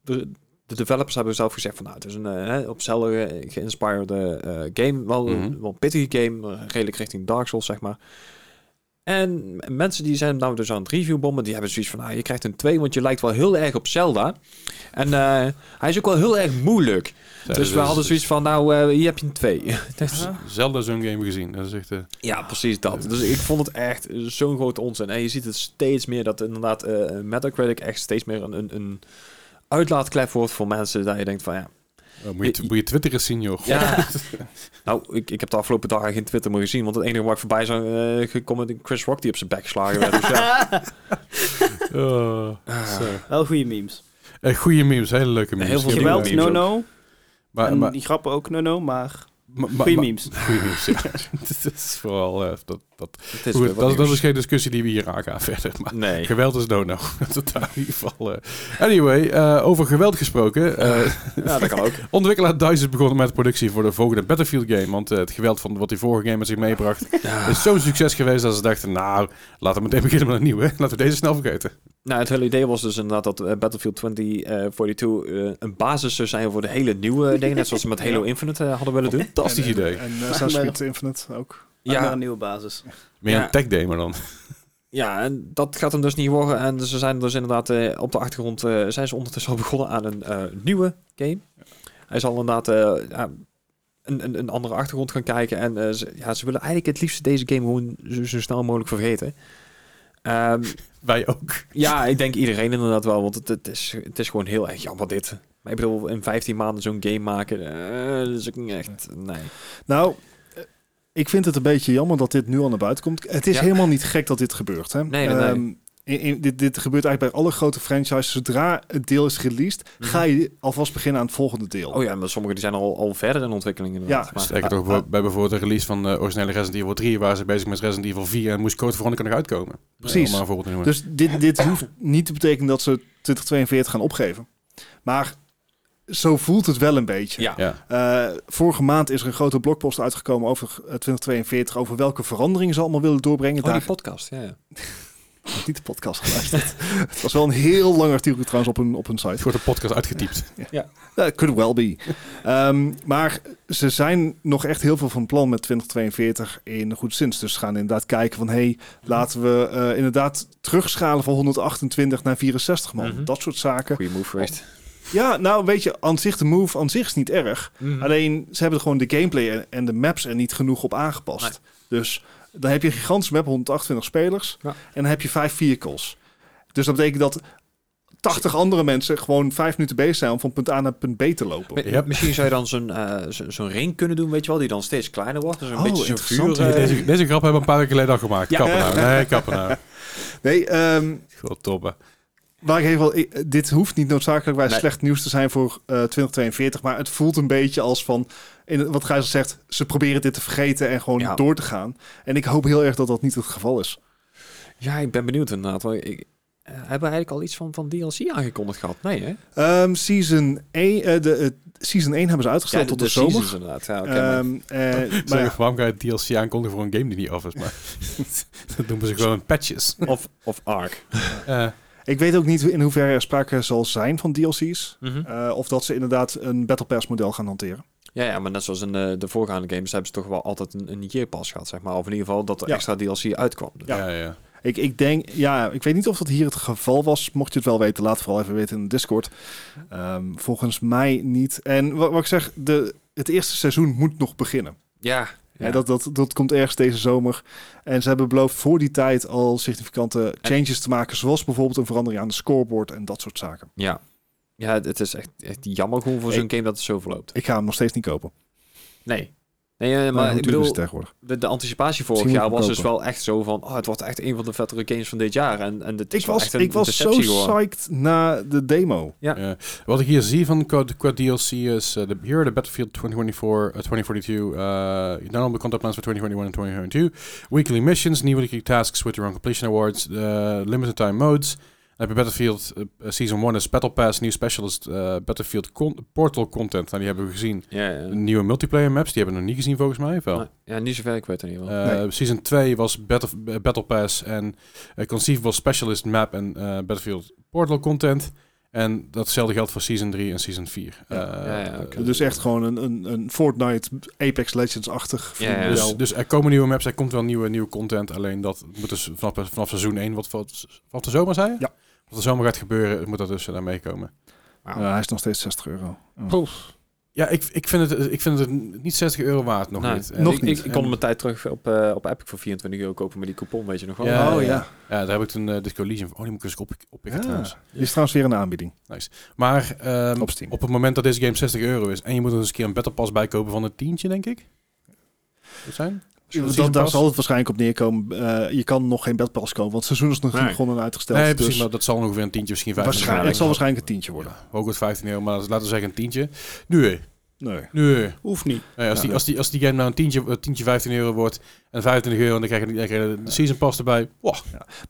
Speaker 3: de, de developers hebben zelf gezegd van... Nou, het is een eh, hè, op Zelda ge- geïnspireerde eh, game. Wel,
Speaker 1: Mhm.
Speaker 3: wel een pittige game. eh, Redelijk richting Dark Souls, zeg maar. En m- mensen die zijn nou dus aan het reviewbommen... die hebben zoiets van... Nou, je krijgt een 2, want je lijkt wel heel erg op Zelda. En eh, hij is ook wel heel erg moeilijk. dus we hadden zoiets van... Nou, eh, hier heb je een 2.
Speaker 1: Zelden zo'n game gezien. Dat is echt... eh,
Speaker 3: Ja, precies dat. Dus ik vond het echt zo'n grote onzin. En je ziet het steeds meer dat inderdaad eh, Metacritic echt steeds meer een, een, een uitlaatklep wordt voor mensen. Dat je denkt van ja,
Speaker 1: oh, moet, je, moet je Twitter eens zien, joh.
Speaker 3: ja. nou, ik, ik heb de afgelopen dagen geen Twitter meer gezien. Want het enige waar ik voorbij zou eh, gekomen, die Chris Rock die op zijn bek geslagen werd. Dus ja,
Speaker 1: Oh, zo.
Speaker 2: Wel goede memes.
Speaker 1: Eh, goede memes, hele leuke memes.
Speaker 3: Ah. Heel veel
Speaker 1: Ik heb
Speaker 3: nieuwe
Speaker 1: die
Speaker 2: Geweld,
Speaker 1: wel.
Speaker 3: memes
Speaker 2: no no.
Speaker 3: ook.
Speaker 1: Maar,
Speaker 2: en
Speaker 1: maar,
Speaker 2: die grappen ook no no, maar
Speaker 1: ma- ma-
Speaker 2: Goeie
Speaker 1: ma-
Speaker 2: memes.
Speaker 1: Goeie memes, ja. dat is vooral... eh, dat, dat.
Speaker 3: Het is dus- weer
Speaker 1: Goed,
Speaker 3: wat
Speaker 1: dat, dat
Speaker 3: nieuws.
Speaker 1: is geen discussie die we hier aangaan verder. Maar
Speaker 3: Nee.
Speaker 1: geweld is no-no. Dat is daar in ieder geval... eh. Anyway, eh, over geweld gesproken. eh,
Speaker 3: Ja, dat kan ook.
Speaker 1: Ontwikkelaar DICE is begonnen met de productie voor de volgende Battlefield game. Want eh, het geweld van wat die vorige game met zich meebracht is zo'n succes geweest dat ze dachten, nou, laten we meteen beginnen met een nieuwe. Laten we deze snel vergeten.
Speaker 3: Nou, het hele idee was dus inderdaad dat eh, Battlefield 2042 eh, een basis zou zijn voor de hele nieuwe dingen. Net zoals ze met Halo Infinite eh, hadden willen doen.
Speaker 1: Fantastisch
Speaker 4: en,
Speaker 1: idee.
Speaker 4: En, en eh, Assassin's Creed Infinite ook.
Speaker 2: Ja. Naar
Speaker 3: Ja,
Speaker 2: een nieuwe basis.
Speaker 1: Meer
Speaker 3: Ja.
Speaker 1: een tech demo dan.
Speaker 3: ja, en dat gaat hem dus niet worden. En ze zijn dus inderdaad eh, op de achtergrond eh, zijn ze ondertussen al begonnen aan een eh, nieuwe game. Hij zal inderdaad eh, ja, een, een, een andere achtergrond gaan kijken. En eh, ze, ja, ze willen eigenlijk het liefst deze game gewoon zo, zo snel mogelijk vergeten. Ehm,
Speaker 1: Wij ook.
Speaker 3: Ja, ik denk iedereen inderdaad wel, want het, het, is, het is gewoon heel erg jammer dit. Maar ik bedoel, in 15 maanden zo'n game maken, eh, dat is ook niet echt, nee.
Speaker 4: Nou, eh, ik vind het een beetje jammer dat dit nu al naar buiten komt. Het is
Speaker 3: Ja.
Speaker 4: helemaal niet gek dat dit gebeurt. Hè?
Speaker 3: Nee, nee, nee.
Speaker 4: Ehm, in- in- dit, dit gebeurt eigenlijk bij alle grote franchises. Zodra het deel is released,
Speaker 3: Mhm.
Speaker 4: ga je alvast beginnen aan het volgende deel.
Speaker 3: Oh ja, maar sommige die zijn al, al verder in ontwikkeling inderdaad.
Speaker 4: Ja,
Speaker 3: maar,
Speaker 1: Sterker Dus toch
Speaker 4: Ah.
Speaker 1: bij- bij bijvoorbeeld de release van de originele Resident Evil 3 waren ze bezig met Resident Evil 4 en moest Code Veronica nog uitkomen.
Speaker 4: Precies.
Speaker 1: Om maar een voorbeeld te noemen.
Speaker 4: Dus dit, dit hoeft niet te betekenen dat ze 2042 gaan opgeven. Maar zo voelt het wel een beetje.
Speaker 3: ja.
Speaker 1: ja.
Speaker 4: Eh, vorige maand is er een grote blogpost uitgekomen over eh, 2042, over welke veranderingen ze allemaal willen doorbrengen.
Speaker 3: Oh,
Speaker 4: Daar
Speaker 3: die podcast, ja. ja.
Speaker 4: niet de podcast geluisterd. het was wel een heel lang artikel trouwens op hun, op hun site.
Speaker 1: Het wordt een podcast uitgetypt.
Speaker 4: Dat could well be. Ehm, maar ze zijn nog echt heel veel van plan met 2042 in goed zins. Dus ze gaan inderdaad kijken van... hey, laten we eh, inderdaad terugschalen van 128 naar 64 man.
Speaker 3: Mhm.
Speaker 4: Dat soort zaken.
Speaker 3: Goeie move geweest.
Speaker 4: Ja, nou weet je, aan zich de move aan zich is niet erg.
Speaker 3: Mhm.
Speaker 4: Alleen ze hebben er gewoon de gameplay en, en de maps er niet genoeg op aangepast. Dus dan heb je een gigantische map, 128 spelers.
Speaker 3: Ja.
Speaker 4: En dan heb je vijf vehicles. Dus dat betekent dat 80 andere mensen gewoon vijf minuten bezig zijn om van punt A naar punt B te lopen.
Speaker 3: Mi-
Speaker 1: Ja.
Speaker 3: Misschien zou je dan zo'n eh, zo- zo'n ring kunnen doen, weet je wel, die dan steeds kleiner wordt. Dus een
Speaker 4: Oh,
Speaker 3: beetje zo'n
Speaker 4: interessant.
Speaker 3: vuur. eh,
Speaker 1: Deze, deze grap hebben we een paar weken geleden al gemaakt.
Speaker 3: Ja.
Speaker 1: Kappen nou. Nee, kappen nou.
Speaker 4: Nee, ehm,
Speaker 1: God, toppen.
Speaker 4: waar ik even wel, ik- dit hoeft niet noodzakelijk bij
Speaker 3: Nee.
Speaker 4: slecht nieuws te zijn voor eh, 2042, maar het voelt een beetje als van, in, wat Gijs al zegt, ze proberen dit te vergeten en gewoon
Speaker 3: Ja.
Speaker 4: door te gaan. En ik hoop heel erg dat dat niet het geval is.
Speaker 3: Ja, ik ben benieuwd inderdaad. Want ik, eh, hebben we eigenlijk al iets van, van DLC aangekondigd gehad? Nee, hè?
Speaker 4: Ehm, season, 1, eh, de, eh, season 1 hebben ze
Speaker 3: Ja,
Speaker 4: uitgesteld tot de,
Speaker 3: seasons
Speaker 4: zomer.
Speaker 3: inderdaad. Ja, oké, maar-
Speaker 4: Ehm, eh, maar ja,
Speaker 1: Zeg, waarom ga je DLC aankondigen voor een game die niet af is? Maar dat noemen ze gewoon patches.
Speaker 3: of, of Ark.
Speaker 1: Eh,
Speaker 4: ik weet ook niet in hoeverre er sprake zal zijn van DLC's.
Speaker 3: Hm?
Speaker 4: Eh, of dat ze inderdaad een Battle Pass model gaan hanteren.
Speaker 3: Mhm. Ja, ja, maar net zoals in de, de voorgaande games hebben ze toch wel altijd een, een year pass gehad, zeg maar. Of in ieder geval dat er
Speaker 4: Ja.
Speaker 3: extra DLC uitkwam. Dus-
Speaker 4: Ja.
Speaker 1: ja, ja.
Speaker 4: Ik, ik denk, ja, ik weet niet of dat hier het geval was. Mocht je het wel weten, laat het vooral even weten in de Discord. Ehm, volgens mij niet. En wat, wat ik zeg, de, het eerste seizoen moet nog beginnen.
Speaker 3: Ja,
Speaker 4: Ja. dat, dat, dat komt ergens deze zomer. En ze hebben beloofd voor die tijd al significante changes te maken. Zoals bijvoorbeeld een verandering aan de scoreboard en dat soort zaken.
Speaker 3: ja. Ja, het- het is echt, echt jammer gewoon voor
Speaker 4: Ik-
Speaker 3: zo'n game dat het zo verloopt.
Speaker 4: Ik ga hem nog steeds niet kopen.
Speaker 3: Nee. Nee, eh,
Speaker 4: Maar
Speaker 3: maar
Speaker 4: hoe
Speaker 3: ik
Speaker 4: duur is
Speaker 3: bedoel,
Speaker 4: het tegenwoordig?
Speaker 3: de, de anticipatie vorig
Speaker 4: Misschien
Speaker 3: jaar
Speaker 4: moet ik
Speaker 3: was
Speaker 4: hem
Speaker 3: dus wel echt zo van... Oh, het wordt echt een van de vettere games van dit jaar. En, en het is
Speaker 4: Ik
Speaker 3: wel
Speaker 4: was,
Speaker 3: echt een
Speaker 4: ik was zo
Speaker 3: deceptie geworden.
Speaker 4: psyched na de demo.
Speaker 1: Ja. Wat ik hier zie van qua, qua DLC is eh, de hier de Battlefield 2024, eh, 2042, eh dan al de content plans voor 2021 en 2022, weekly missions, nieuwe weekly tasks with your own completion awards, eh, limited time modes. Dan heb je Battlefield eh, Season 1 is Battle Pass, nieuw specialist eh, Battlefield con- Portal content. Nou, die hebben we gezien.
Speaker 3: Ja, ja.
Speaker 1: Nieuwe multiplayer maps, die hebben we nog niet gezien volgens mij, of wel?
Speaker 3: Maar- ja, niet zover ik weet in ieder geval.
Speaker 1: Eh, Season 2 was Battle, eh, Battle Pass en eh, Conceivable Specialist Map en eh, Battlefield Portal content. En datzelfde geldt voor Season 3 en Season 4.
Speaker 4: Ja.
Speaker 1: Eh,
Speaker 3: Ja, ja, oké.
Speaker 1: eh,
Speaker 4: Dus echt gewoon een, een, een Fortnite Apex Legends-achtig
Speaker 3: Ja, ja.
Speaker 1: Dus,
Speaker 4: model.
Speaker 1: dus er komen nieuwe maps, er komt wel nieuwe, nieuwe content. Alleen dat moet dus vanaf, vanaf seizoen 1, wat van vanaf de zomer zei je?
Speaker 4: Ja.
Speaker 1: Wat de zomer gaat gebeuren, moet dat dus naar meekomen.
Speaker 4: Ja, hij is nog steeds 60 euro. Oh.
Speaker 1: Ja, ik, ik, vind het, ik vind het niet 60 euro waard, nog
Speaker 3: Nee.
Speaker 1: niet. En
Speaker 4: Nog
Speaker 3: nou, ik,
Speaker 1: ik-
Speaker 4: niet.
Speaker 3: Ik, ik kon mijn tijd terug op, eh, op Epic voor 24 euro kopen met die coupon, weet je nog wel.
Speaker 1: Ja,
Speaker 4: oh
Speaker 1: ja.
Speaker 4: ja.
Speaker 1: Ja, daar heb ik toen eh Disco Elysium voor. Oh, die moet ik eens op, oppikken
Speaker 4: Ja.
Speaker 1: trouwens.
Speaker 4: Die is trouwens weer een aanbieding
Speaker 1: Maar ehm,
Speaker 4: Ah. op Steam.
Speaker 1: op het moment dat deze game 60 euro is en je moet er eens een keer een battle pass bij kopen van een tientje, denk ik. Dat zijn?
Speaker 4: Dus Dat,
Speaker 1: Season
Speaker 4: daar
Speaker 1: Pass?
Speaker 4: zal het waarschijnlijk op neerkomen. Eh, je kan nog geen Battle Pass kopen, want het seizoen is nog niet
Speaker 3: Nee.
Speaker 4: begonnen en uitgesteld.
Speaker 1: Nee, precies,
Speaker 4: dus
Speaker 1: maar dat zal ongeveer een tientje, misschien 15
Speaker 4: waarschijnlijk,
Speaker 1: euro.
Speaker 4: het zal waarschijnlijk een tientje worden.
Speaker 1: worden. Ook het 15 euro, maar laten we zeggen een tientje. Nu,
Speaker 4: Nee.
Speaker 1: Nee.
Speaker 2: Hoeft niet.
Speaker 1: Nee, als, die,
Speaker 4: Ja.
Speaker 1: als, die, als die game nou een tientje, eh, tientje 15 euro wordt en 25 euro, dan krijg je, dan krijg je de season pass erbij. Wow.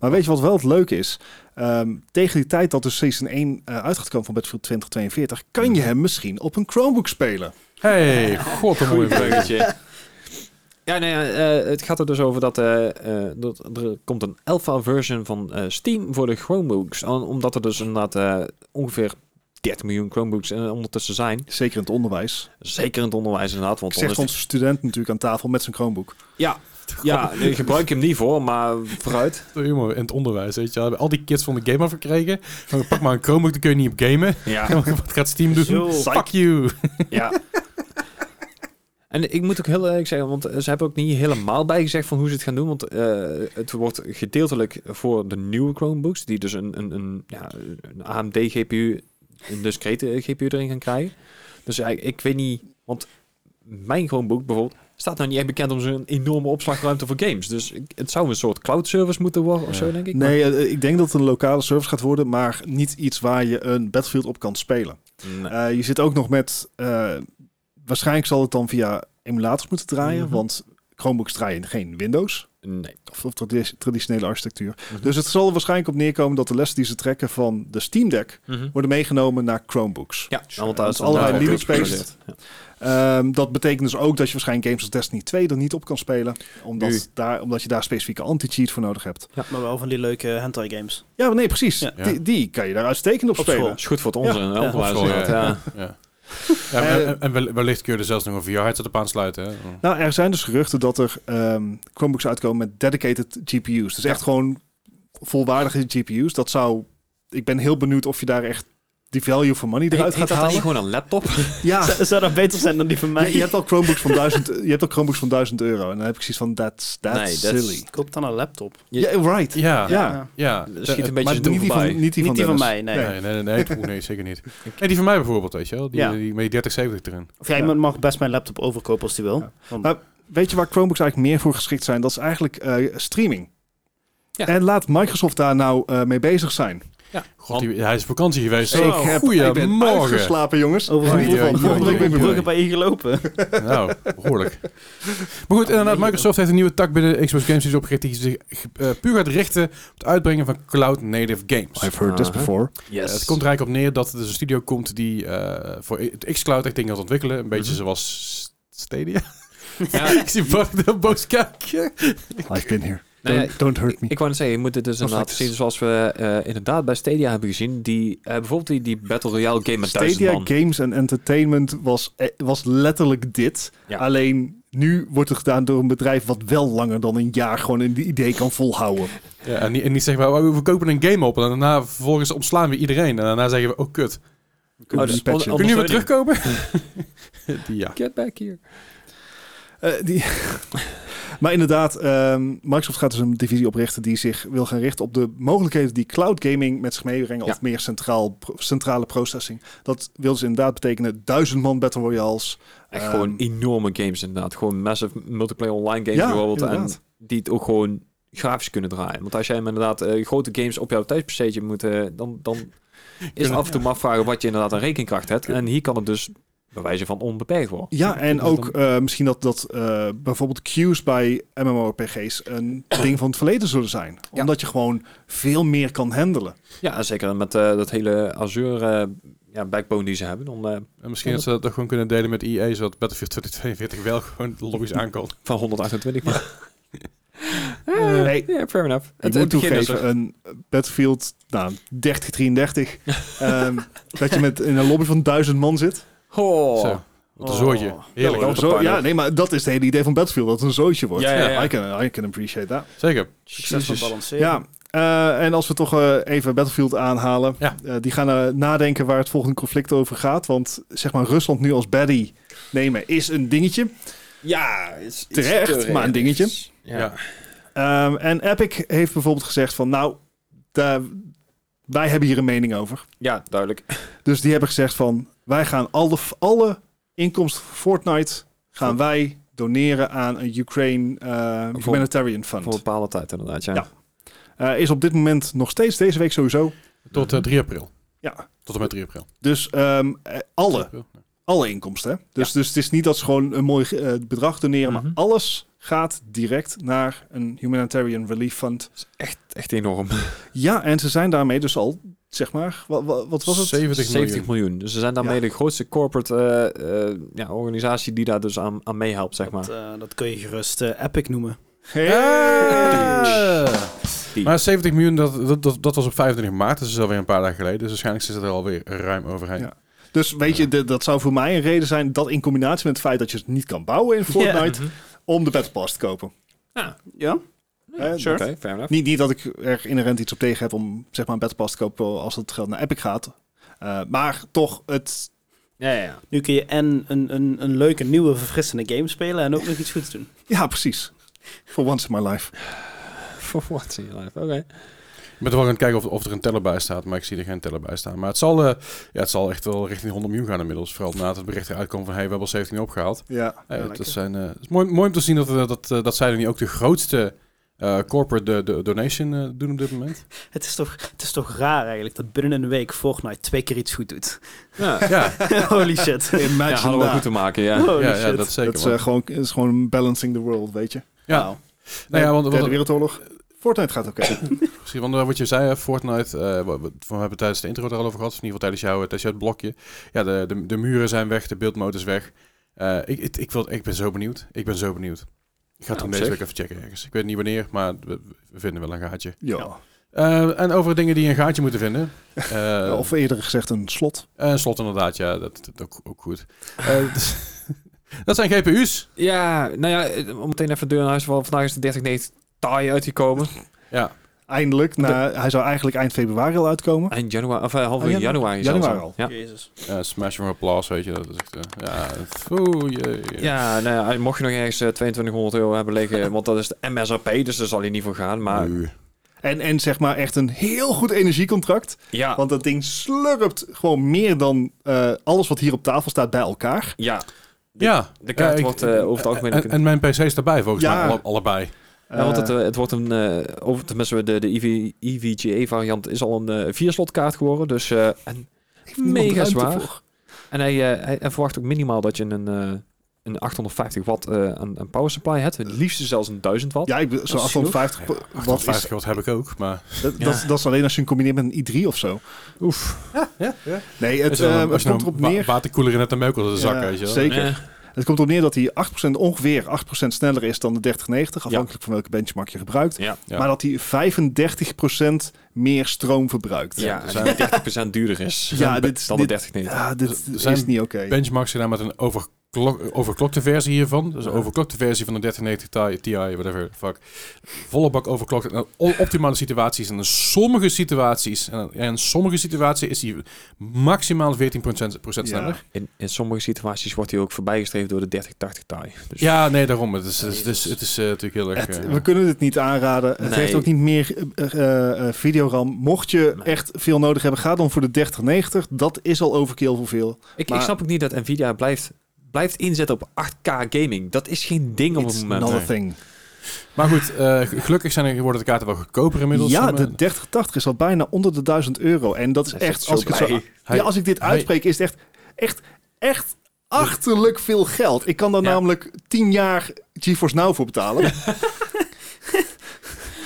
Speaker 4: Maar weet je wat wel het leuke is? Ehm, tegen die tijd dat de Season 1 eh, uit gaat komen van Battlefield 2042...
Speaker 3: Mhm.
Speaker 4: kan je hem misschien op een Chromebook spelen.
Speaker 1: Hey, god, een mooie breuk.
Speaker 3: Ja, nee, eh, het gaat er dus over dat, eh, eh, dat er komt een alpha version van eh, Steam voor de Chromebooks. Om- Omdat er dus inderdaad eh, ongeveer 30 miljoen Chromebooks eh, ondertussen zijn.
Speaker 4: Zeker in het onderwijs.
Speaker 3: Zeker in het onderwijs inderdaad. Want dan
Speaker 4: Zegt
Speaker 3: is
Speaker 4: onze student natuurlijk aan tafel met zijn Chromebook.
Speaker 3: Ja, ja nee, gebruik je hem niet voor, maar vooruit.
Speaker 1: Humor in het onderwijs, weet je wel. Hebben Al die kids van de game afgekregen. Van, Pak maar een Chromebook, dan kun je niet op gamen.
Speaker 3: Ja.
Speaker 1: Wat gaat Steam doen?
Speaker 2: Zo.
Speaker 1: Fuck you.
Speaker 3: ja. En ik moet ook heel eerlijk zeggen, want eh, ze hebben ook niet helemaal bijgezegd van hoe ze het gaan doen. Want eh, het wordt gedeeltelijk voor de nieuwe Chromebooks, die dus een, een, een, ja, een AMD GPU, een discrete eh, GPU erin gaan krijgen. Dus ja, ik- ik weet niet, want mijn Chromebook bijvoorbeeld staat nou niet echt bekend om zo'n enorme opslagruimte voor games. Dus ik- het zou een soort cloud service moeten worden of zo, denk ik.
Speaker 4: Nee, eh, ik denk dat het een lokale service gaat worden... maar niet iets waar je een Battlefield op kan spelen.
Speaker 3: Nee.
Speaker 4: Eh, je zit ook nog met... eh, waarschijnlijk zal het dan via emulators moeten draaien...
Speaker 3: Mhm.
Speaker 4: want Chromebooks draaien geen Windows...
Speaker 3: nee.
Speaker 4: of, of tradi- traditionele architectuur. Dus het zal er waarschijnlijk op neerkomen dat de lessen die ze trekken van de Steam Deck
Speaker 3: Mhm.
Speaker 4: worden meegenomen naar Chromebooks.
Speaker 3: Ja, want daar is
Speaker 4: Want allerlei
Speaker 3: daar-
Speaker 4: Linux-based. Ehm, dat betekent dus ook dat je waarschijnlijk games als Destiny 2 er niet op kan spelen, omdat,
Speaker 3: Nu.
Speaker 4: daar, omdat je daar specifieke anti-cheat voor nodig hebt.
Speaker 2: Maar wel van die leuke hentai games.
Speaker 4: Ja, maar nee, precies.
Speaker 2: Ja.
Speaker 4: Die, die kan je daar uitstekend op,
Speaker 2: Op
Speaker 4: spelen.
Speaker 2: school.
Speaker 3: Is goed voor het onze
Speaker 2: Ja,
Speaker 3: onderwijs.
Speaker 1: ja.
Speaker 3: inderdaad, ja.
Speaker 1: Ja. Ja, en- en, en wel- wellicht kun je er zelfs nog een VR-headset op aansluiten. Hè?
Speaker 4: Nou, er zijn dus geruchten dat er ehm, Chromebooks uitkomen met dedicated GPU's. Dus echt gewoon volwaardige GPU's. Dat zou... Ik ben heel benieuwd of je daar echt die value for money eruit
Speaker 3: Heet dat
Speaker 4: gaat
Speaker 3: dan niet
Speaker 4: halen.
Speaker 3: gewoon een laptop?
Speaker 4: Ja,
Speaker 2: Z- Ah. Zou dat beter zijn dan die van
Speaker 4: Ja,
Speaker 2: mij?
Speaker 4: je hebt al Chromebooks van 1000, je hebt al Chromebooks van 1000 euro. En dan heb ik zoiets van, that's, that's
Speaker 3: Nee, that's-
Speaker 4: silly.
Speaker 2: Ik koop dan een laptop.
Speaker 3: je-
Speaker 4: Ja, right.
Speaker 1: Ja, ja.
Speaker 4: Ja.
Speaker 3: Schiet een
Speaker 1: Eh,
Speaker 3: beetje
Speaker 4: niet
Speaker 3: doen
Speaker 4: die
Speaker 3: voorbij.
Speaker 4: van, niet die
Speaker 2: Niet
Speaker 4: van,
Speaker 2: die van
Speaker 4: Dennis.
Speaker 2: mij, nee.
Speaker 1: Nee, nee, nee, nee, oeh, nee, zeker niet. Nee, die van mij bijvoorbeeld, weet je wel. Die,
Speaker 2: Ja.
Speaker 1: die met die 3070 erin.
Speaker 2: Of jij
Speaker 4: Ja.
Speaker 2: mag best mijn laptop overkopen als die wil.
Speaker 4: Ja.
Speaker 2: Want-
Speaker 4: Maar- Weet je waar Chromebooks eigenlijk meer voor geschikt zijn? Dat is eigenlijk eh, streaming.
Speaker 3: Ja.
Speaker 4: En laat Microsoft daar nou eh, mee bezig zijn.
Speaker 1: God, die- hij is op vakantie geweest.
Speaker 4: ik,
Speaker 1: Zo,
Speaker 4: heb, ik ben
Speaker 1: goeiemorgen.
Speaker 4: uitgeslapen, jongens.
Speaker 2: Over
Speaker 1: Oei,
Speaker 2: een
Speaker 1: oei, oei,
Speaker 2: volgende
Speaker 1: oei,
Speaker 2: week
Speaker 1: oei.
Speaker 2: bruggen bij je gelopen.
Speaker 1: Nou, behoorlijk. Maar goed, inderdaad, Microsoft heeft een nieuwe tak binnen de Xbox Games Series opgericht die zich eh, puur gaat richten op het uitbrengen van cloud-native games.
Speaker 4: I've heard this
Speaker 3: Aha.
Speaker 4: before.
Speaker 3: Yes.
Speaker 1: Eh, het komt er eigenlijk op neer dat er dus een studio komt die eh, voor het xCloud echt dingen gaat ontwikkelen. Een beetje zoals Stadia.
Speaker 3: Ja,
Speaker 1: ik zie Bart heel boos kijken.
Speaker 4: I've been here.
Speaker 3: nou ja,
Speaker 4: Don't, don't hurt me.
Speaker 3: ik wou net zeggen, je moet het dus
Speaker 4: Perfect.
Speaker 3: inderdaad zien zoals we eh, inderdaad bij Stadia hebben gezien. Die, eh, bijvoorbeeld die, die Battle Royale game met duizend
Speaker 4: Stadia
Speaker 3: man.
Speaker 4: Games and Entertainment was, eh, was letterlijk dit.
Speaker 3: Ja.
Speaker 4: Alleen nu wordt het gedaan door een bedrijf wat wel langer dan een jaar gewoon een idee kan volhouden.
Speaker 1: Ja, en, niet, en niet zeggen, maar, we kopen een game op en daarna vervolgens ontslaan we iedereen. En daarna zeggen we, oh kut,
Speaker 3: Oh,
Speaker 4: Die
Speaker 3: dus on-
Speaker 4: patchen.
Speaker 3: on-
Speaker 1: kun je weer
Speaker 3: ondersteuning.
Speaker 1: terugkomen? ja.
Speaker 3: Get back here.
Speaker 4: Eh, die maar inderdaad, ehm, Microsoft gaat dus een divisie oprichten die zich wil gaan richten op de mogelijkheden die cloud gaming met zich meebrengen
Speaker 3: Ja.
Speaker 4: of meer centraal, pro- centrale processing. Dat wil dus inderdaad betekenen duizend man battle royales.
Speaker 3: Echt
Speaker 4: Ehm,
Speaker 3: gewoon enorme games inderdaad. Gewoon massive multiplayer online games
Speaker 4: Ja,
Speaker 3: bijvoorbeeld.
Speaker 4: inderdaad.
Speaker 3: En die het ook gewoon grafisch kunnen draaien. Want als jij hem inderdaad eh, grote games op jouw thuis-pc'tje moet... eh, dan, dan is het af en toe maar afvragen wat je inderdaad aan rekenkracht hebt. En hier kan het dus bij wijze van onbeperkt worden.
Speaker 4: Ja, en
Speaker 1: dat is
Speaker 4: ook eh, misschien dat, dat eh, bijvoorbeeld queues bij MMORPG's een ding van het verleden zullen zijn.
Speaker 3: Ja.
Speaker 4: Omdat je gewoon veel meer kan handelen.
Speaker 3: Ja, en zeker met eh, dat hele Azure eh, ja, backbone die ze hebben. Dan, eh,
Speaker 1: En misschien dat ze dat ook gewoon kunnen delen met EA, zodat Battlefield 2042 wel gewoon logisch aankomt.
Speaker 3: van 128. Maar.
Speaker 4: Eh, nee.
Speaker 3: Ja, fair enough.
Speaker 4: Ik moet toegeven,
Speaker 3: dus-
Speaker 4: een Battlefield nou, 3033, ehm, dat je met, in een lobby van duizend man zit.
Speaker 3: Oh.
Speaker 1: Zo, wat een zooitje.
Speaker 3: Oh.
Speaker 1: Heerlijk.
Speaker 3: Ja,
Speaker 4: Nou,
Speaker 3: hoor.
Speaker 4: zo,
Speaker 3: Pijn
Speaker 4: ja,
Speaker 3: ook.
Speaker 4: nee, maar dat is het hele idee van Battlefield, dat het een zootje wordt.
Speaker 3: Ja, ja, ja.
Speaker 4: I, can, I can appreciate that.
Speaker 1: Zeker.
Speaker 2: Succesvol
Speaker 3: Jezus.
Speaker 2: balanceren.
Speaker 4: Ja, eh, en als we toch eh, even Battlefield aanhalen.
Speaker 1: Ja.
Speaker 4: eh, die gaan eh, nadenken waar het volgende conflict over gaat. Want zeg maar, Rusland nu als baddie nemen is een dingetje.
Speaker 3: Ja, is,
Speaker 4: Terecht, maar een dingetje.
Speaker 3: Ja.
Speaker 1: Ja.
Speaker 4: Ehm, en Epic heeft bijvoorbeeld gezegd van, nou, daar- wij hebben hier een mening over.
Speaker 3: Ja, duidelijk.
Speaker 4: Dus die hebben gezegd van, wij gaan alle, alle inkomsten van Fortnite gaan wij doneren aan een Ukraine eh,
Speaker 3: Voor-
Speaker 4: Humanitarian Fund.
Speaker 3: Voor een bepaalde tijd inderdaad, ja.
Speaker 4: Ja. Eh, is op dit moment nog steeds, deze week sowieso.
Speaker 1: Tot eh, 3 april.
Speaker 4: Ja.
Speaker 1: Tot en met 3 april.
Speaker 4: Dus ehm, eh, alle,
Speaker 1: Ja.
Speaker 4: alle inkomsten. hè? Dus, dus het is niet dat ze gewoon een mooi eh, bedrag doneren,
Speaker 3: Mhm.
Speaker 4: maar alles gaat direct naar een Humanitarian Relief Fund.
Speaker 3: is echt, echt enorm.
Speaker 4: Ja, en ze zijn daarmee dus al, zeg maar, wat, wat was het?
Speaker 1: 70,
Speaker 3: 70
Speaker 1: miljoen.
Speaker 3: miljoen. Dus ze zijn daarmee
Speaker 4: Ja.
Speaker 3: de grootste corporate eh, eh, ja, organisatie die daar dus aan, aan meehelpt, zeg maar.
Speaker 2: Dat, eh, dat kun je gerust eh, Epic noemen.
Speaker 1: Hey!
Speaker 3: Die.
Speaker 1: Maar 70 miljoen, dat, dat, dat, dat was op 25 maart, dus dat is alweer een paar dagen geleden. Dus waarschijnlijk zit het er alweer ruim overheen.
Speaker 4: Ja. Dus weet je, de- dat zou voor mij een reden zijn, dat in combinatie met het feit dat je het niet kan bouwen in Fortnite,
Speaker 3: Mhm.
Speaker 4: om de Battle Pass te kopen.
Speaker 2: Ja?
Speaker 4: Eh,
Speaker 3: Oké,
Speaker 4: dat-
Speaker 3: fair enough.
Speaker 4: Niet, niet dat ik er inherent iets op tegen heb om zeg maar, een Battle Pass te kopen als het geld naar Epic gaat. Eh, maar toch, het,
Speaker 3: Ja, ja, ja.
Speaker 2: Nu kun je en een, een, een leuke, nieuwe, verfrissende game spelen en ook nog iets goeds doen.
Speaker 4: ja precies. For once in my life.
Speaker 3: For once in your life. Oké.
Speaker 1: Ik ben er wel aan het kijken of, of er een teller bij staat, maar ik zie er geen teller bij staan. Maar het zal, eh, ja, het zal echt wel richting 100 miljoen gaan inmiddels. Vooral na het bericht eruit kwam van, hey, we hebben al 17 miljoen opgehaald.
Speaker 4: Ja.
Speaker 1: Eh,
Speaker 2: lekker.
Speaker 1: dat zijn, eh, het is mooi, mooi om te zien dat, eh, dat, eh, dat zij er nu ook de grootste eh, corporate de, de donation eh, doen op dit moment.
Speaker 2: Het is, toch, het is toch raar eigenlijk dat binnen een week Fortnite twee keer iets goed doet.
Speaker 3: Ja,
Speaker 1: Ja,
Speaker 2: Holy shit.
Speaker 3: ja
Speaker 4: Eh, Imagine
Speaker 3: hadden we wel
Speaker 4: that.
Speaker 3: goed te maken, ja.
Speaker 2: Holy
Speaker 1: ja, ja
Speaker 2: shit.
Speaker 1: dat zeker.
Speaker 4: Dat is,
Speaker 1: man.
Speaker 4: eh, gewoon, het is gewoon balancing the world, weet je.
Speaker 1: ja.
Speaker 2: Wauw.
Speaker 1: Nou ja, want,
Speaker 4: de Tweede
Speaker 1: want, Eh.
Speaker 4: Wereldoorlog. Fortnite gaat oké.
Speaker 1: precies, want, eh, wat je zei, eh, Fortnite, eh, wa- wa- we hebben tijdens de intro er al over gehad, of in ieder geval tijdens, jou, tijdens jouw blokje. Ja, de, de, de muren zijn weg, de beeldmotor is weg. Eh, ik, ik, ik, wil, ik ben zo benieuwd. Ik ben zo benieuwd. Ik ga het
Speaker 3: Nou,
Speaker 1: hem
Speaker 3: op
Speaker 1: deze
Speaker 3: zich.
Speaker 1: week even checken ergens. Ik weet niet wanneer, maar we, we vinden wel een gaatje.
Speaker 4: ja.
Speaker 1: Eh, en over dingen die een gaatje moeten vinden.
Speaker 4: Ja,
Speaker 1: Eh
Speaker 4: Of eerder gezegd een slot.
Speaker 1: En slot inderdaad, ja, dat, dat ook, ook goed. Eh, dus- dat zijn GPU's.
Speaker 3: Ja, nou ja, eh, om meteen even deur naar huis te vallen. Vandaag is de 3090 Ti uitgekomen.
Speaker 1: Ja,
Speaker 4: Eindelijk. Na, hij zou eigenlijk eind februari al uitkomen.
Speaker 3: Eind januari, of eh, halverwege
Speaker 4: Ah, janu-
Speaker 3: januari. zelfs
Speaker 4: januari al.
Speaker 3: Ja.
Speaker 2: Jezus.
Speaker 1: eh, smash from applause, weet je. Dat is echt, eh, ja, het- oeh, jee.
Speaker 3: Ja, nou ja, mocht je nog ergens eh, 2200 euro hebben liggen, want dat is de MSRP, dus daar zal je niet voor gaan. Maar
Speaker 1: Nu.
Speaker 4: En, en zeg maar echt een heel goed energiecontract.
Speaker 3: ja,
Speaker 4: Want dat ding slurpt gewoon meer dan eh, alles wat hier op tafel staat bij elkaar.
Speaker 3: ja
Speaker 1: ja.
Speaker 3: de kaart
Speaker 1: eh, ik-
Speaker 3: wordt eh, over het algemeen...
Speaker 1: En, en mijn PC is daarbij volgens
Speaker 4: Ja.
Speaker 1: mij, alle- allebei.
Speaker 3: ja, want het,
Speaker 4: Eh,
Speaker 3: eh, het wordt een, eh over, tenminste de, de EV, EVGA-variant is al een eh vierslot kaart geworden, dus eh, en,
Speaker 4: heeft niemand
Speaker 3: mega
Speaker 4: ruimte
Speaker 3: zwaar.
Speaker 4: voor.
Speaker 3: en hij, eh, hij, hij verwacht ook minimaal dat je een, eh, een 850 watt eh, aan, aan power supply hebt, het liefst zelfs een 1000 watt.
Speaker 4: Ja, ik, ben- zo'n
Speaker 3: is
Speaker 4: 850...
Speaker 1: Ja,
Speaker 4: po- wat
Speaker 1: 50 geld heb ik ook, maar...
Speaker 4: is, dat,
Speaker 3: Ja.
Speaker 4: dat, dat is alleen als je hem combineert met een i3 of zo.
Speaker 1: Oef. Ja, ja, ja.
Speaker 4: Nee, het,
Speaker 1: Is er dan-
Speaker 4: eh,
Speaker 1: als
Speaker 4: het
Speaker 1: je nou
Speaker 4: komt erop
Speaker 1: wa-
Speaker 4: neer...
Speaker 1: waterkoeler in het en melk als de zak,
Speaker 4: Ja,
Speaker 1: weet je wel.
Speaker 4: zeker.
Speaker 3: Eh,
Speaker 4: Het komt erop neer dat hij 8%, ongeveer 8% sneller is dan de 3090, afhankelijk van welke benchmark je gebruikt.
Speaker 3: ja.
Speaker 1: Ja.
Speaker 4: Maar dat hij 35% meer stroom verbruikt.
Speaker 3: Ja, dus
Speaker 1: er zijn-
Speaker 3: en die 30% duurder is
Speaker 4: Ja,
Speaker 3: dan,
Speaker 4: dit-
Speaker 3: dan
Speaker 4: dit-
Speaker 3: de 3090.
Speaker 4: Ja, dit
Speaker 1: Er zijn
Speaker 4: is niet oké.
Speaker 1: Benchmarks gedaan met een overklok, overklokte versie hiervan. Dus een
Speaker 3: Ja.
Speaker 1: overklokte versie van de 1390 Ti, Ti, whatever, fuck. Volle bak overklokt. En o- optimale situaties. En in sommige situaties, en in sommige situaties is die maximaal 14% procent
Speaker 4: Ja.
Speaker 1: sneller.
Speaker 3: In, in sommige situaties wordt hij ook voorbijgestreefd door de 3080 Ti. Dus
Speaker 1: Ja, nee, daarom. Het is, het is, het is, het is, eh, natuurlijk heel erg...
Speaker 4: Het-
Speaker 1: eh,
Speaker 4: we kunnen dit niet aanraden. Het
Speaker 3: Nee.
Speaker 4: heeft ook niet meer eh, eh, eh, videoram. Mocht je
Speaker 3: Nee.
Speaker 4: echt veel nodig hebben, ga dan voor de 3090. Dat is al overkill voor veel.
Speaker 3: ik,
Speaker 4: maar-
Speaker 3: ik snap ook niet dat Nvidia blijft, blijft inzetten op 8K gaming. Dat is geen ding op
Speaker 4: It's
Speaker 3: het
Speaker 4: not
Speaker 3: moment.
Speaker 4: a
Speaker 1: nee.
Speaker 4: thing.
Speaker 1: Maar goed, eh, g- gelukkig zijn er, worden de kaarten wel goedkoper inmiddels.
Speaker 4: Ja,
Speaker 1: Maar-
Speaker 4: de 3080 is al bijna onder de 1000 euro. En dat is
Speaker 3: Hij is
Speaker 4: echt,
Speaker 3: echt
Speaker 4: als
Speaker 3: zo
Speaker 4: ik, het zo,
Speaker 3: blij.
Speaker 1: Hij-
Speaker 4: ja, als ik dit
Speaker 1: hij-
Speaker 4: uitspreek, is het echt, echt, echt achterlijk veel geld. Ik kan daar
Speaker 3: Ja.
Speaker 4: namelijk 10 jaar GeForce Now voor betalen.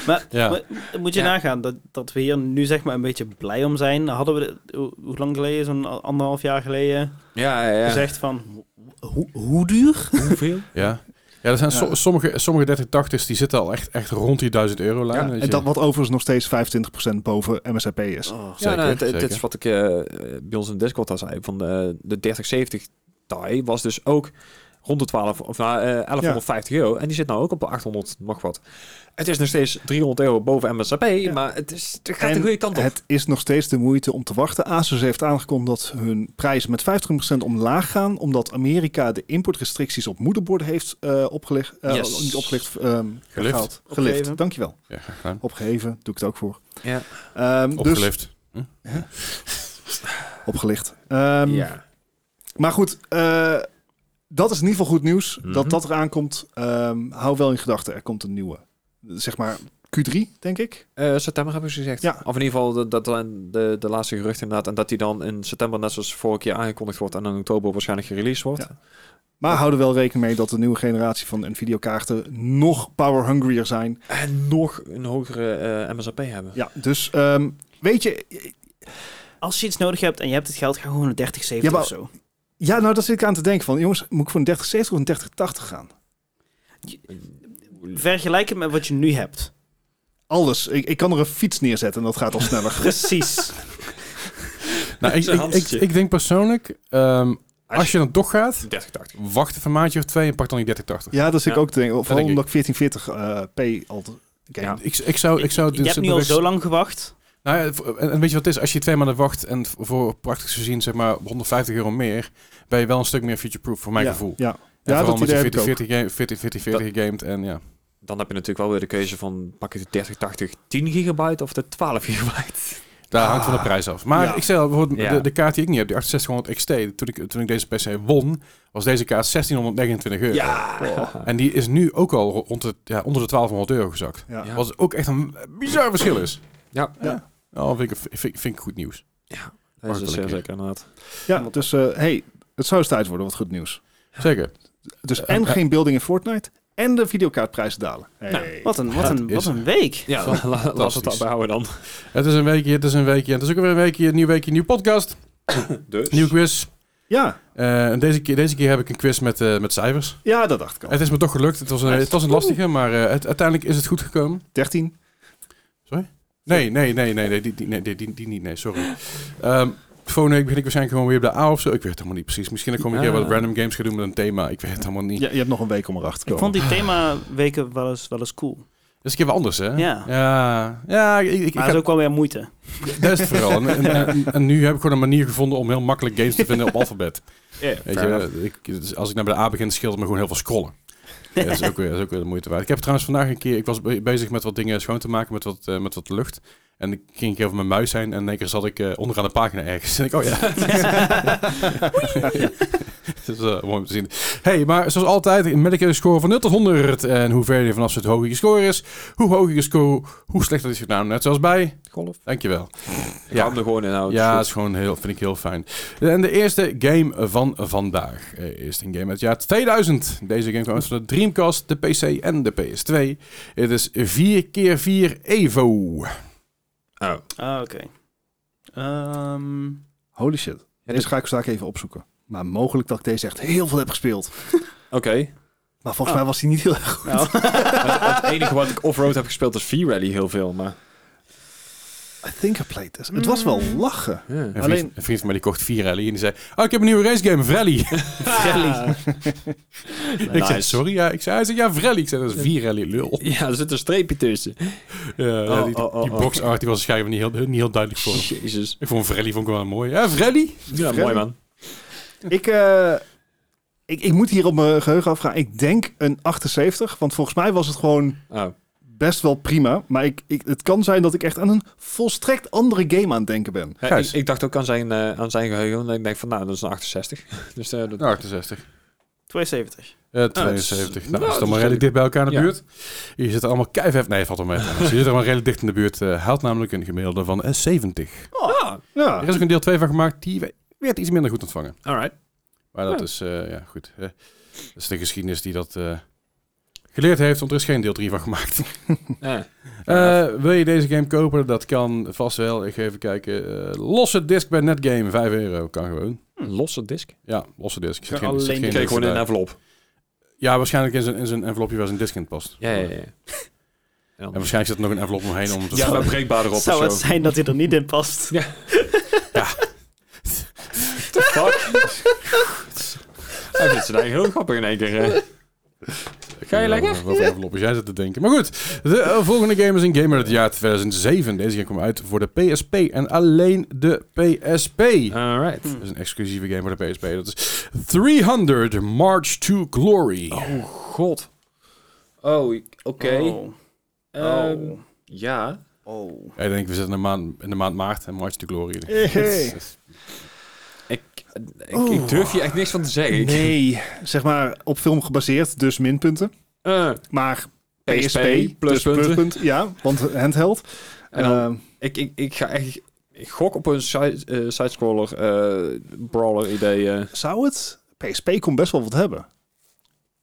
Speaker 2: Maar,
Speaker 1: Ja.
Speaker 2: maar moet je
Speaker 3: Ja.
Speaker 2: nagaan dat, dat we hier nu zeg maar een beetje blij om zijn. Hadden we, dit- hoe- hoe lang geleden, zo'n a- anderhalf jaar geleden,
Speaker 3: Ja, ja, ja.
Speaker 2: gezegd van, hoe, hoe duur?
Speaker 3: Hoeveel?
Speaker 1: Ja. Ja, er zijn so-
Speaker 4: Ja.
Speaker 1: sommige, sommige 3080's die zitten al echt, echt rond die 1000 euro lijn. weet
Speaker 4: en
Speaker 1: je.
Speaker 4: dat wat overigens nog steeds 25% boven MSRP is.
Speaker 2: Oh,
Speaker 1: Zeker,
Speaker 3: ja, nou, dit-
Speaker 1: zeker.
Speaker 3: dit is wat ik eh, eh, bij ons in de Discord al zei. Van de, de 3070 Ti was dus ook rond de 12, of, nou, eh, 1150 euro. En die zit nou ook op de 800 nog wat. Het is nog steeds 300 euro boven MSRP, maar het, is, het gaat
Speaker 4: En
Speaker 3: de goede kant op.
Speaker 4: Het is nog steeds de moeite om te wachten. Asus heeft aangekondigd dat hun prijzen met 50% omlaag gaan. Omdat Amerika de importrestricties op moederborden heeft eh, opgelegd. eh,
Speaker 3: Yes.
Speaker 4: Niet opgelegd. ehm,
Speaker 1: Gelift.
Speaker 4: gehaald.
Speaker 2: Opgeheven.
Speaker 4: Gelift. Dankjewel.
Speaker 1: Ja, graag gedaan.
Speaker 4: Opgeheven. Doe ik het ook voor.
Speaker 3: Ja.
Speaker 4: Ehm, dus
Speaker 1: Opgelift.
Speaker 4: opgelicht. Ehm,
Speaker 2: "Hm,
Speaker 3: ja.
Speaker 4: Maar goed, eh, dat is in ieder geval goed nieuws.
Speaker 3: Mhm.
Speaker 4: Dat dat eraan komt. Ehm, hou wel in gedachten, er komt een nieuwe. Zeg maar Q3, denk ik.
Speaker 3: Eh, september hebben ze gezegd.
Speaker 4: Ja.
Speaker 3: Of in ieder geval de, dat zijn de, de laatste geruchten inderdaad. En dat die dan in september net zoals vorige keer aangekondigd wordt. En in oktober waarschijnlijk gereleased wordt.
Speaker 4: Ja. Maar hou er wel rekening mee dat de nieuwe generatie van Nvidia-kaarten nog power-hungrier zijn.
Speaker 3: En nog een hogere eh, MSRP hebben.
Speaker 4: Ja, dus ehm, weet je,
Speaker 2: Als je iets nodig hebt en je hebt het geld, ga gewoon een 3070
Speaker 4: Ja, maar-
Speaker 2: of zo.
Speaker 4: ja, nou dat zit ik aan te denken van, jongens, moet ik voor een 3070 of een 3080 gaan?
Speaker 2: Vergelijk het met wat je nu hebt.
Speaker 4: Alles. Ik, ik kan er een fiets neerzetten en dat gaat al sneller.
Speaker 2: Precies.
Speaker 1: Nou, ik,
Speaker 3: Zo'n
Speaker 1: ik, ik,
Speaker 3: handsetje.
Speaker 1: ik denk persoonlijk, ehm,
Speaker 3: Als
Speaker 1: als je dan toch gaat,
Speaker 3: 30, 80.
Speaker 1: wacht even een maandje of twee en pak dan die 3080.
Speaker 4: ja, dat is ik
Speaker 3: Ja,
Speaker 4: ook te denken. Vooral
Speaker 1: denk
Speaker 4: omdat ik 1440p al te- game.
Speaker 3: Ja.
Speaker 1: Ik, ik zou... Oh, Ik zou dus
Speaker 2: je hebt nu al zo lang gewacht.
Speaker 1: Nou ja, v- en en weet je wat het is? Als je twee maanden wacht en v- voor praktisch gezien zeg maar 150 euro meer, ben je wel een stuk meer future-proof voor mijn
Speaker 4: Ja,
Speaker 1: gevoel.
Speaker 4: Ja,
Speaker 1: En
Speaker 4: ja,
Speaker 1: vooral
Speaker 4: dat
Speaker 1: omdat je
Speaker 4: idee heb ik
Speaker 1: 40,
Speaker 4: ook.
Speaker 1: 40, game, 40, 40, 40 gamet en ja.
Speaker 3: Dan heb je natuurlijk wel weer de keuze van pak je de 30, 80, 10 gigabyte of de 12 gigabyte.
Speaker 1: Daar hangt van de prijs af. Maar
Speaker 4: Ja.
Speaker 1: ik zei al, bijvoorbeeld
Speaker 3: Ja.
Speaker 1: de, de kaart die ik niet heb, die 6800 XT, toen ik, toen ik deze PC won, was deze kaart 1629 euro.
Speaker 3: Ja!
Speaker 1: En die is nu ook al rond de, ja, onder de 1200 euro gezakt.
Speaker 4: Ja.
Speaker 3: Ja.
Speaker 1: Wat ook echt een bizar verschil is.
Speaker 3: Ja,
Speaker 4: Ja.
Speaker 1: Nou, vind ik, vind, ik- vind ik goed nieuws.
Speaker 3: dat is dus
Speaker 1: Makkelijker.
Speaker 3: zeer zeker inderdaad.
Speaker 4: Ja, dus eh, hey, het zou eens tijd worden, wat goed nieuws.
Speaker 1: Zeker.
Speaker 4: Dus
Speaker 1: Eh,
Speaker 4: en
Speaker 1: eh,
Speaker 4: geen building in Fortnite en de videokaartprijzen dalen. Hey.
Speaker 2: Wat een, wat
Speaker 1: Dat
Speaker 2: een,
Speaker 1: is-
Speaker 2: wat een week.
Speaker 3: Ja, la- la- laten we het daarbij houden dan.
Speaker 1: Het is een weekje, het is een weekje. Het is ook weer een weekje, een nieuw weekje, een nieuw podcast,
Speaker 3: Dus?
Speaker 1: nieuw quiz.
Speaker 4: Ja,
Speaker 1: Eh, en deze keer, deze keer heb ik een quiz met, eh, met cijfers.
Speaker 4: ja, dat dacht ik al.
Speaker 1: Het is me toch gelukt. Het was een, het was een lastige, maar eh, het, uiteindelijk is het goed gekomen.
Speaker 4: 13.
Speaker 1: Nee, nee, nee, nee, nee, die, die, nee, die, die, die niet, nee, sorry. Ehm volgende week begin ik waarschijnlijk gewoon weer bij de A of zo. Ik weet het helemaal niet precies. Misschien dat ik gewoon een keer
Speaker 3: Ah.
Speaker 1: wat random games ga doen met een thema. Ik weet het helemaal niet.
Speaker 4: Ja, je hebt nog een week om erachter te
Speaker 2: Ik
Speaker 4: komen.
Speaker 2: vond die themaweken wel eens, wel eens cool.
Speaker 1: Dat is een keer wat anders, hè?
Speaker 2: Ja.
Speaker 1: Ja, ja ik, ik, ik
Speaker 2: Maar
Speaker 1: ga-
Speaker 2: dat is ook wel weer moeite.
Speaker 1: dat is het vooral. En, en, en- en nu heb ik gewoon een manier gevonden om heel makkelijk games te vinden op alfabet. Weet
Speaker 3: fair
Speaker 1: je, ik, dus als ik naar bij de A begin, scheelt het me gewoon heel veel scrollen. Ja, dat, is ook weer, dat is ook weer de moeite waard. Ik heb trouwens vandaag een keer... Ik was be- bezig met wat dingen schoon te maken, met wat, eh, met wat lucht. En ik ging een keer over mijn muis heen en in één keer zat ik eh, onderaan de pagina ergens. En ik, oh ja. Dat is eh, mooi om te zien. Hey, maar zoals altijd, een medicare score van 0 tot 100. En hoe verder je vanaf zit, hoe hoger je score is. Hoe hoger je score, hoe slechter is je naam. Net zoals bij...
Speaker 3: Golf.
Speaker 1: Dankjewel.
Speaker 3: Ik hou hem er gewoon in houden.
Speaker 1: Ja,
Speaker 3: Goed.
Speaker 1: is gewoon heel, vind ik heel fijn. En de eerste game van vandaag eh, is een game uit het jaar 2000. Deze game kwam uit van de Dreamcast, de PC en de PS2. Het is 4x4 Evo.
Speaker 3: Oh.
Speaker 2: Ah, oké. Ehm,
Speaker 4: Holy shit. En deze ga ik straks even opzoeken. Maar mogelijk dat ik deze echt heel veel heb gespeeld.
Speaker 3: Oké.
Speaker 4: Maar volgens
Speaker 2: Ah.
Speaker 4: mij was die niet heel erg.
Speaker 2: nou.
Speaker 3: het, het enige wat ik off-road heb gespeeld is V-Rally heel veel, maar...
Speaker 4: I think I played this. Het was wel lachen.
Speaker 1: Een vriend,
Speaker 4: Alleen-
Speaker 1: een vriend van mij die kocht 4 rally en die zei... Oh, ik heb een nieuwe race game, Vrally.
Speaker 2: Frelly.
Speaker 1: Ik zei, sorry, ja. Ik zei, hij zei, ja, Vrally. Ik zei, dat is 4 rally, lul.
Speaker 3: Ja, er zit een streepje tussen.
Speaker 1: Ja,
Speaker 3: Oh,
Speaker 1: die,
Speaker 3: oh, oh,
Speaker 1: die
Speaker 3: oh.
Speaker 1: box art die was waarschijnlijk niet heel, niet heel duidelijk voor hem.
Speaker 3: Jezus.
Speaker 1: Ik vond Vrally vond ik wel mooi. Ja, Vrally?
Speaker 3: Ja, mooi man.
Speaker 4: Ik, eh, ik, ik moet hier op mijn geheugen afgaan. Ik denk een 78. Want volgens mij was het gewoon
Speaker 3: Oh.
Speaker 4: best wel prima. Maar ik, ik, het kan zijn dat ik echt aan een volstrekt andere game aan het denken ben.
Speaker 3: Ja, ik,
Speaker 1: Gijs.
Speaker 3: ik dacht ook aan zijn, eh, aan zijn geheugen. En ik denk van, nou, dat is een 68. Dus eh, dat-
Speaker 1: 68.
Speaker 2: 72.
Speaker 1: Eh,
Speaker 3: dat is-
Speaker 1: 72.
Speaker 3: nou,
Speaker 1: nou, is
Speaker 3: dat
Speaker 1: dan
Speaker 3: is
Speaker 1: maar redelijk dicht bij elkaar in de
Speaker 3: ja.
Speaker 1: buurt. Je zit er allemaal keihard... Nee, valt wel mee. trouwens. Je zit er allemaal redelijk dicht in de buurt. eh haalt namelijk een gemiddelde van eh, 70.
Speaker 3: Ah,
Speaker 1: Er
Speaker 4: Ja,
Speaker 1: is ook een deel 2 van gemaakt. Die we- werd iets minder goed ontvangen.
Speaker 3: alright.
Speaker 1: Maar dat
Speaker 3: Ja.
Speaker 1: is... eh, ja, goed. eh, dat is de geschiedenis die dat... eh, Geleerd heeft, want er is geen deel 3 van gemaakt.
Speaker 3: Ja.
Speaker 1: Eh, wil je deze game kopen? Dat kan vast wel. Ik ga even kijken. Eh, losse disc bij Netgame, 5 euro. Kan gewoon.
Speaker 3: Hm, losse disk. Ik
Speaker 1: Ja, losse disc. Zit
Speaker 2: Ja,
Speaker 1: geen,
Speaker 2: alleen
Speaker 1: zit geen
Speaker 2: die
Speaker 3: kreeg
Speaker 1: disc
Speaker 3: gewoon in een
Speaker 1: erbij.
Speaker 3: envelop.
Speaker 1: Ja, waarschijnlijk in zijn, in zijn envelopje waar zijn disc in past.
Speaker 3: Ja, ja, ja.
Speaker 1: En waarschijnlijk zit er nog een envelop omheen om hem te
Speaker 3: Ja, maar breekbaar erop of
Speaker 2: Zou
Speaker 3: zo.
Speaker 2: het zijn dat hij er niet in past?
Speaker 3: Ja. Fuck. Hij vindt ze daar heel grappig in één keer. eh. Ga je lekker?
Speaker 1: Over enveloppen jij zit te denken. Maar goed, de eh, volgende game is een game uit het jaar 2007. Deze game kwam uit voor de PSP en alleen de PSP.
Speaker 3: Alright.
Speaker 1: Dat is een exclusieve game voor de PSP. Dat is 300 March to Glory.
Speaker 3: Oh, god. Oh, oké.
Speaker 2: Oh.
Speaker 3: Ehm, ja.
Speaker 2: Oh.
Speaker 1: Ja, ik denk, we zitten in de, maand, in de maand maart en March to Glory.
Speaker 4: Hey, hey.
Speaker 1: Dat is-
Speaker 3: Ik, ik,
Speaker 4: Oeh.
Speaker 3: ik durf hier echt niks van te zeggen. Ik-
Speaker 4: Nee, zeg maar op film gebaseerd, dus minpunten.
Speaker 3: Eh,
Speaker 4: Maar
Speaker 3: PSP, pluspunten.
Speaker 4: dus Ja, want handheld.
Speaker 3: En dan,
Speaker 4: Eh,
Speaker 3: ik, ik, ik ga echt... Ik gok op een side, eh, sidescroller eh, brawler idee. eh.
Speaker 4: zou het? PSP kon best wel wat hebben.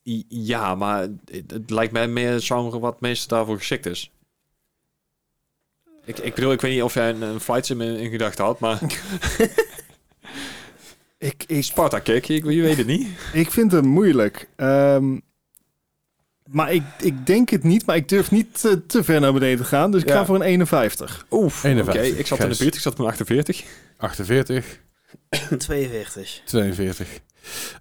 Speaker 3: I- ja, maar het, het lijkt mij meer een genre wat meestal daarvoor geschikt is. Ik, ik bedoel, ik weet niet of jij een, een flight sim in, in gedachten had, maar
Speaker 4: Ik, ik,
Speaker 3: Sparta Kick, ik, je weet het niet.
Speaker 4: ik vind hem moeilijk. Ehm, maar ik, ik denk het niet, maar ik durf niet te, te ver naar beneden te gaan. Dus ik
Speaker 3: Ja.
Speaker 4: ga voor een 51.
Speaker 3: Oef, oké.
Speaker 1: 51,
Speaker 3: Ik zat in de
Speaker 1: Gijs.
Speaker 3: buurt, ik zat met 48.
Speaker 1: 48,
Speaker 2: 42.
Speaker 1: 42.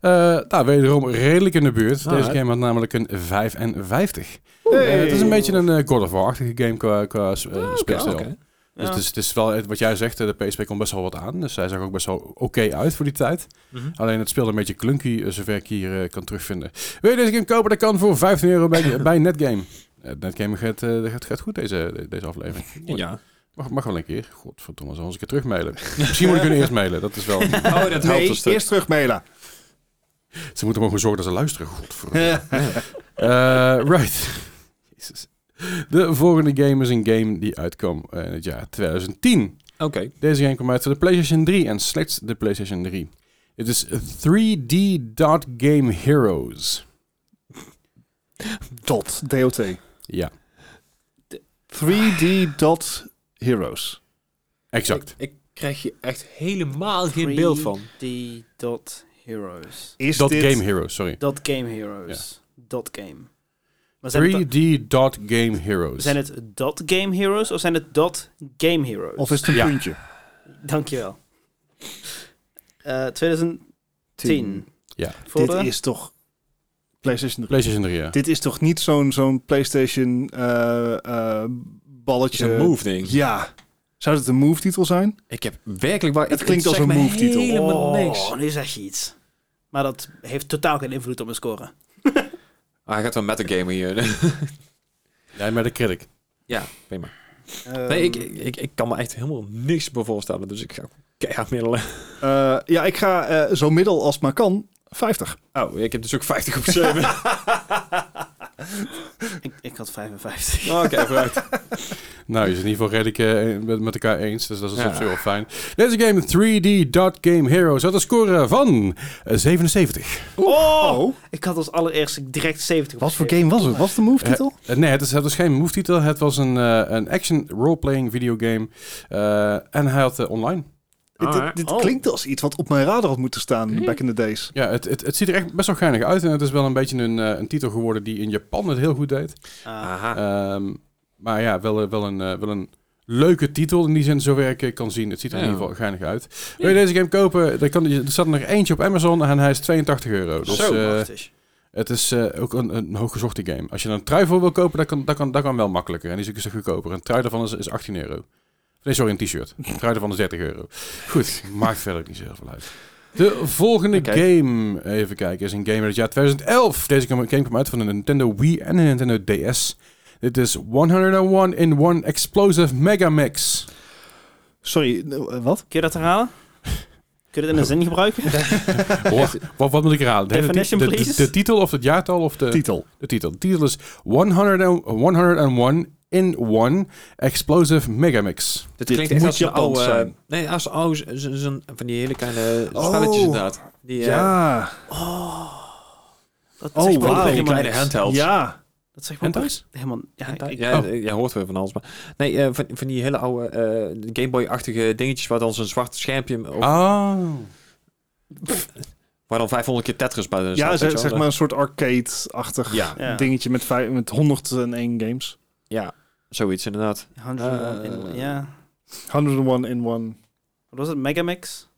Speaker 1: Eh nou, wederom redelijk in de buurt.
Speaker 3: Ah,
Speaker 1: Deze
Speaker 3: hè.
Speaker 1: game had namelijk een 55.
Speaker 4: Hey.
Speaker 1: Eh, het is een beetje een eh, God of War-achtige game qua, qua eh, speelstijl.
Speaker 3: Ah, oké.
Speaker 1: Dus het is, het is wel, wat jij zegt, eh, de PSP kon best wel wat aan. Dus hij zag ook best wel oké uit voor die tijd. Alleen het speelde een beetje clunky, eh, zover ik hier eh, kan terugvinden. Wil je deze game kopen? Dat kan voor 15 euro bij, bij Netgame. Eh, Netgame gaat, eh, gaat, gaat goed deze, deze aflevering.
Speaker 3: Ja.
Speaker 1: Mag, mag wel een keer. Godverdomme, zal ik een keer terugmailen. Misschien moet ik hun eerst mailen. Dat is wel...
Speaker 3: Oh, dat helpt een
Speaker 4: Nee,
Speaker 3: stuk.
Speaker 4: eerst terug mailen.
Speaker 1: Ze moeten gewoon zorgen dat ze luisteren. Godverdomme. Eh, right. Jezus. De volgende game is een game die uitkwam eh, in het jaar 2010.
Speaker 3: Oké.
Speaker 1: Deze game kwam uit voor de PlayStation 3 en slechts de PlayStation 3. Het is 3D Dot Game Heroes.
Speaker 4: Dot. DOT.
Speaker 1: Ja,
Speaker 4: 3D Dot Heroes.
Speaker 1: exact.
Speaker 3: Ik, ik krijg hier echt helemaal geen
Speaker 2: Three-
Speaker 3: beeld van.
Speaker 2: Die dot heroes.
Speaker 4: Is
Speaker 1: Dot
Speaker 4: dit...
Speaker 1: Game Heroes, sorry.
Speaker 2: Dot game heroes. Dot game. Maar zijn, het,
Speaker 1: 3D Dot Game Heroes.
Speaker 2: zijn het dot game heroes of zijn het dot game heroes?
Speaker 4: Of is het een
Speaker 1: Ja.
Speaker 4: puntje?
Speaker 2: Dankjewel. Eh 2010.
Speaker 1: Ja.
Speaker 2: Voor
Speaker 4: Dit
Speaker 2: de...
Speaker 4: is toch... PlayStation 3.
Speaker 1: PlayStation 3, ja.
Speaker 4: Dit is toch niet zo'n zo'n PlayStation eh, eh,
Speaker 3: Het
Speaker 4: balletje?
Speaker 3: is een move ding.
Speaker 4: Ja. Zou dit een move-titel zijn?
Speaker 3: Ik heb werkelijk waar...
Speaker 4: Het klinkt als
Speaker 3: zegt
Speaker 4: een
Speaker 3: mij
Speaker 4: move-titel.
Speaker 3: helemaal niks.
Speaker 2: Oh, nu zeg je iets. Maar dat heeft totaal geen invloed op mijn score.
Speaker 3: Ah, hij gaat wel metagamen hier.
Speaker 1: Jij met de critic.
Speaker 3: ja, prima. Nee, ik, ik, ik kan me echt helemaal niks bij voorstellen. Dus ik ga keihard middelen.
Speaker 4: Eh, ja, ik ga eh, zo middel als maar kan 50.
Speaker 3: Oh, ik heb dus ook 50 op 7.
Speaker 2: ik, ik had 55.
Speaker 3: Oké, vooruit.
Speaker 1: Nou, je is het in ieder geval redelijk eh, met, met elkaar eens, dus dat is
Speaker 3: Ja.
Speaker 1: op zich wel fijn. Deze game 3D Dot Game Heroes had een score van eh, 77.
Speaker 2: Oh!
Speaker 4: Oh.
Speaker 2: Ik had als allereerste direct 70.
Speaker 4: Wat voor
Speaker 2: opgeschreven.
Speaker 4: game was het? Was het een move-titel?
Speaker 1: Eh, nee, het is, het is geen move-titel, het was een, eh, een action role-playing videogame. eh, en hij had eh, online.
Speaker 4: Dit-
Speaker 3: Alright.
Speaker 4: dit dit
Speaker 2: Oh.
Speaker 4: klinkt als iets wat op mijn radar had moeten staan back in the days.
Speaker 1: Ja, het, het, het ziet er echt best wel geinig uit en het is wel een beetje een, eh, een titel geworden die in Japan het heel goed deed.
Speaker 2: Ah,
Speaker 3: Aha.
Speaker 1: Ehm, maar ja, wel, eh, wel, een, eh, wel een leuke titel in die zin, zover ik eh, kan zien. Het ziet er in
Speaker 3: Ja.
Speaker 1: ieder geval geinig uit. Wil je deze game kopen? Er, kan, er staat er nog eentje op Amazon en hij is 82 euro. Dus
Speaker 3: Zo,
Speaker 1: eh,
Speaker 2: prachtig.
Speaker 1: het is eh, ook een, een hooggezochte game. Als je een trui voor wil kopen, dat kan, dat, kan, dat kan wel makkelijker. En die is ook een stuk goedkoper. Een trui daarvan is, is 18 euro. Nee, sorry, een t-shirt. Een trui daarvan is 30 euro. Goed, maakt verder ook niet zo heel veel uit. De volgende
Speaker 3: Oké.
Speaker 1: game, even kijken, is een game uit het jaar 2011. Deze game game kwam uit van de Nintendo Wii en de Nintendo DS. Dit is 101 in 1 Explosive Mega Mix.
Speaker 4: Sorry, eh, wat?
Speaker 2: Kun je dat herhalen? Kun je dat in een zin gebruiken?
Speaker 1: Wat, wat, wat moet ik herhalen? De, hele ti-
Speaker 2: Definition,
Speaker 1: de, de-
Speaker 2: please.
Speaker 1: de titel of het jaartal of de...
Speaker 4: Titel.
Speaker 1: De titel. De titel is 100 en- 101 in 1 Explosive Megamix.
Speaker 3: Dit
Speaker 4: dit
Speaker 3: klinkt echt
Speaker 4: moet
Speaker 3: als een
Speaker 4: Japan
Speaker 3: oude...
Speaker 4: zijn.
Speaker 3: Nee, als oude... z- z- zo'n- van die hele kleine
Speaker 4: Oh.
Speaker 3: spelletjes inderdaad. Die, eh,
Speaker 4: Ja.
Speaker 2: Dat
Speaker 4: Oh,
Speaker 2: zegt me
Speaker 4: wauw.
Speaker 2: ook
Speaker 3: die
Speaker 2: helemaal
Speaker 3: kleine
Speaker 2: niks.
Speaker 3: handhelds.
Speaker 4: Ja.
Speaker 2: Dat zegt me ook
Speaker 1: Hentais?
Speaker 2: helemaal... Ja, ik- ik-
Speaker 3: Ja,
Speaker 1: Oh.
Speaker 3: eh, jij hoort weer van alles. Maar nee, eh, van, van die hele oude eh, Game Boy-achtige dingetjes waar dan zo'n zwart schermpje... Of,
Speaker 1: Oh.
Speaker 3: Waar dan 500 keer Tetris bij de
Speaker 4: Ja,
Speaker 3: staat, weet je
Speaker 4: zeg,
Speaker 3: wel.
Speaker 4: zeg maar een soort arcade-achtig
Speaker 3: Ja,
Speaker 2: Ja.
Speaker 4: dingetje met, vijf, met 101 games.
Speaker 3: zoiets inderdaad.
Speaker 2: 101 in-
Speaker 3: Eh.
Speaker 2: ja.
Speaker 4: 101 in one.
Speaker 2: Wat was het? Megamix?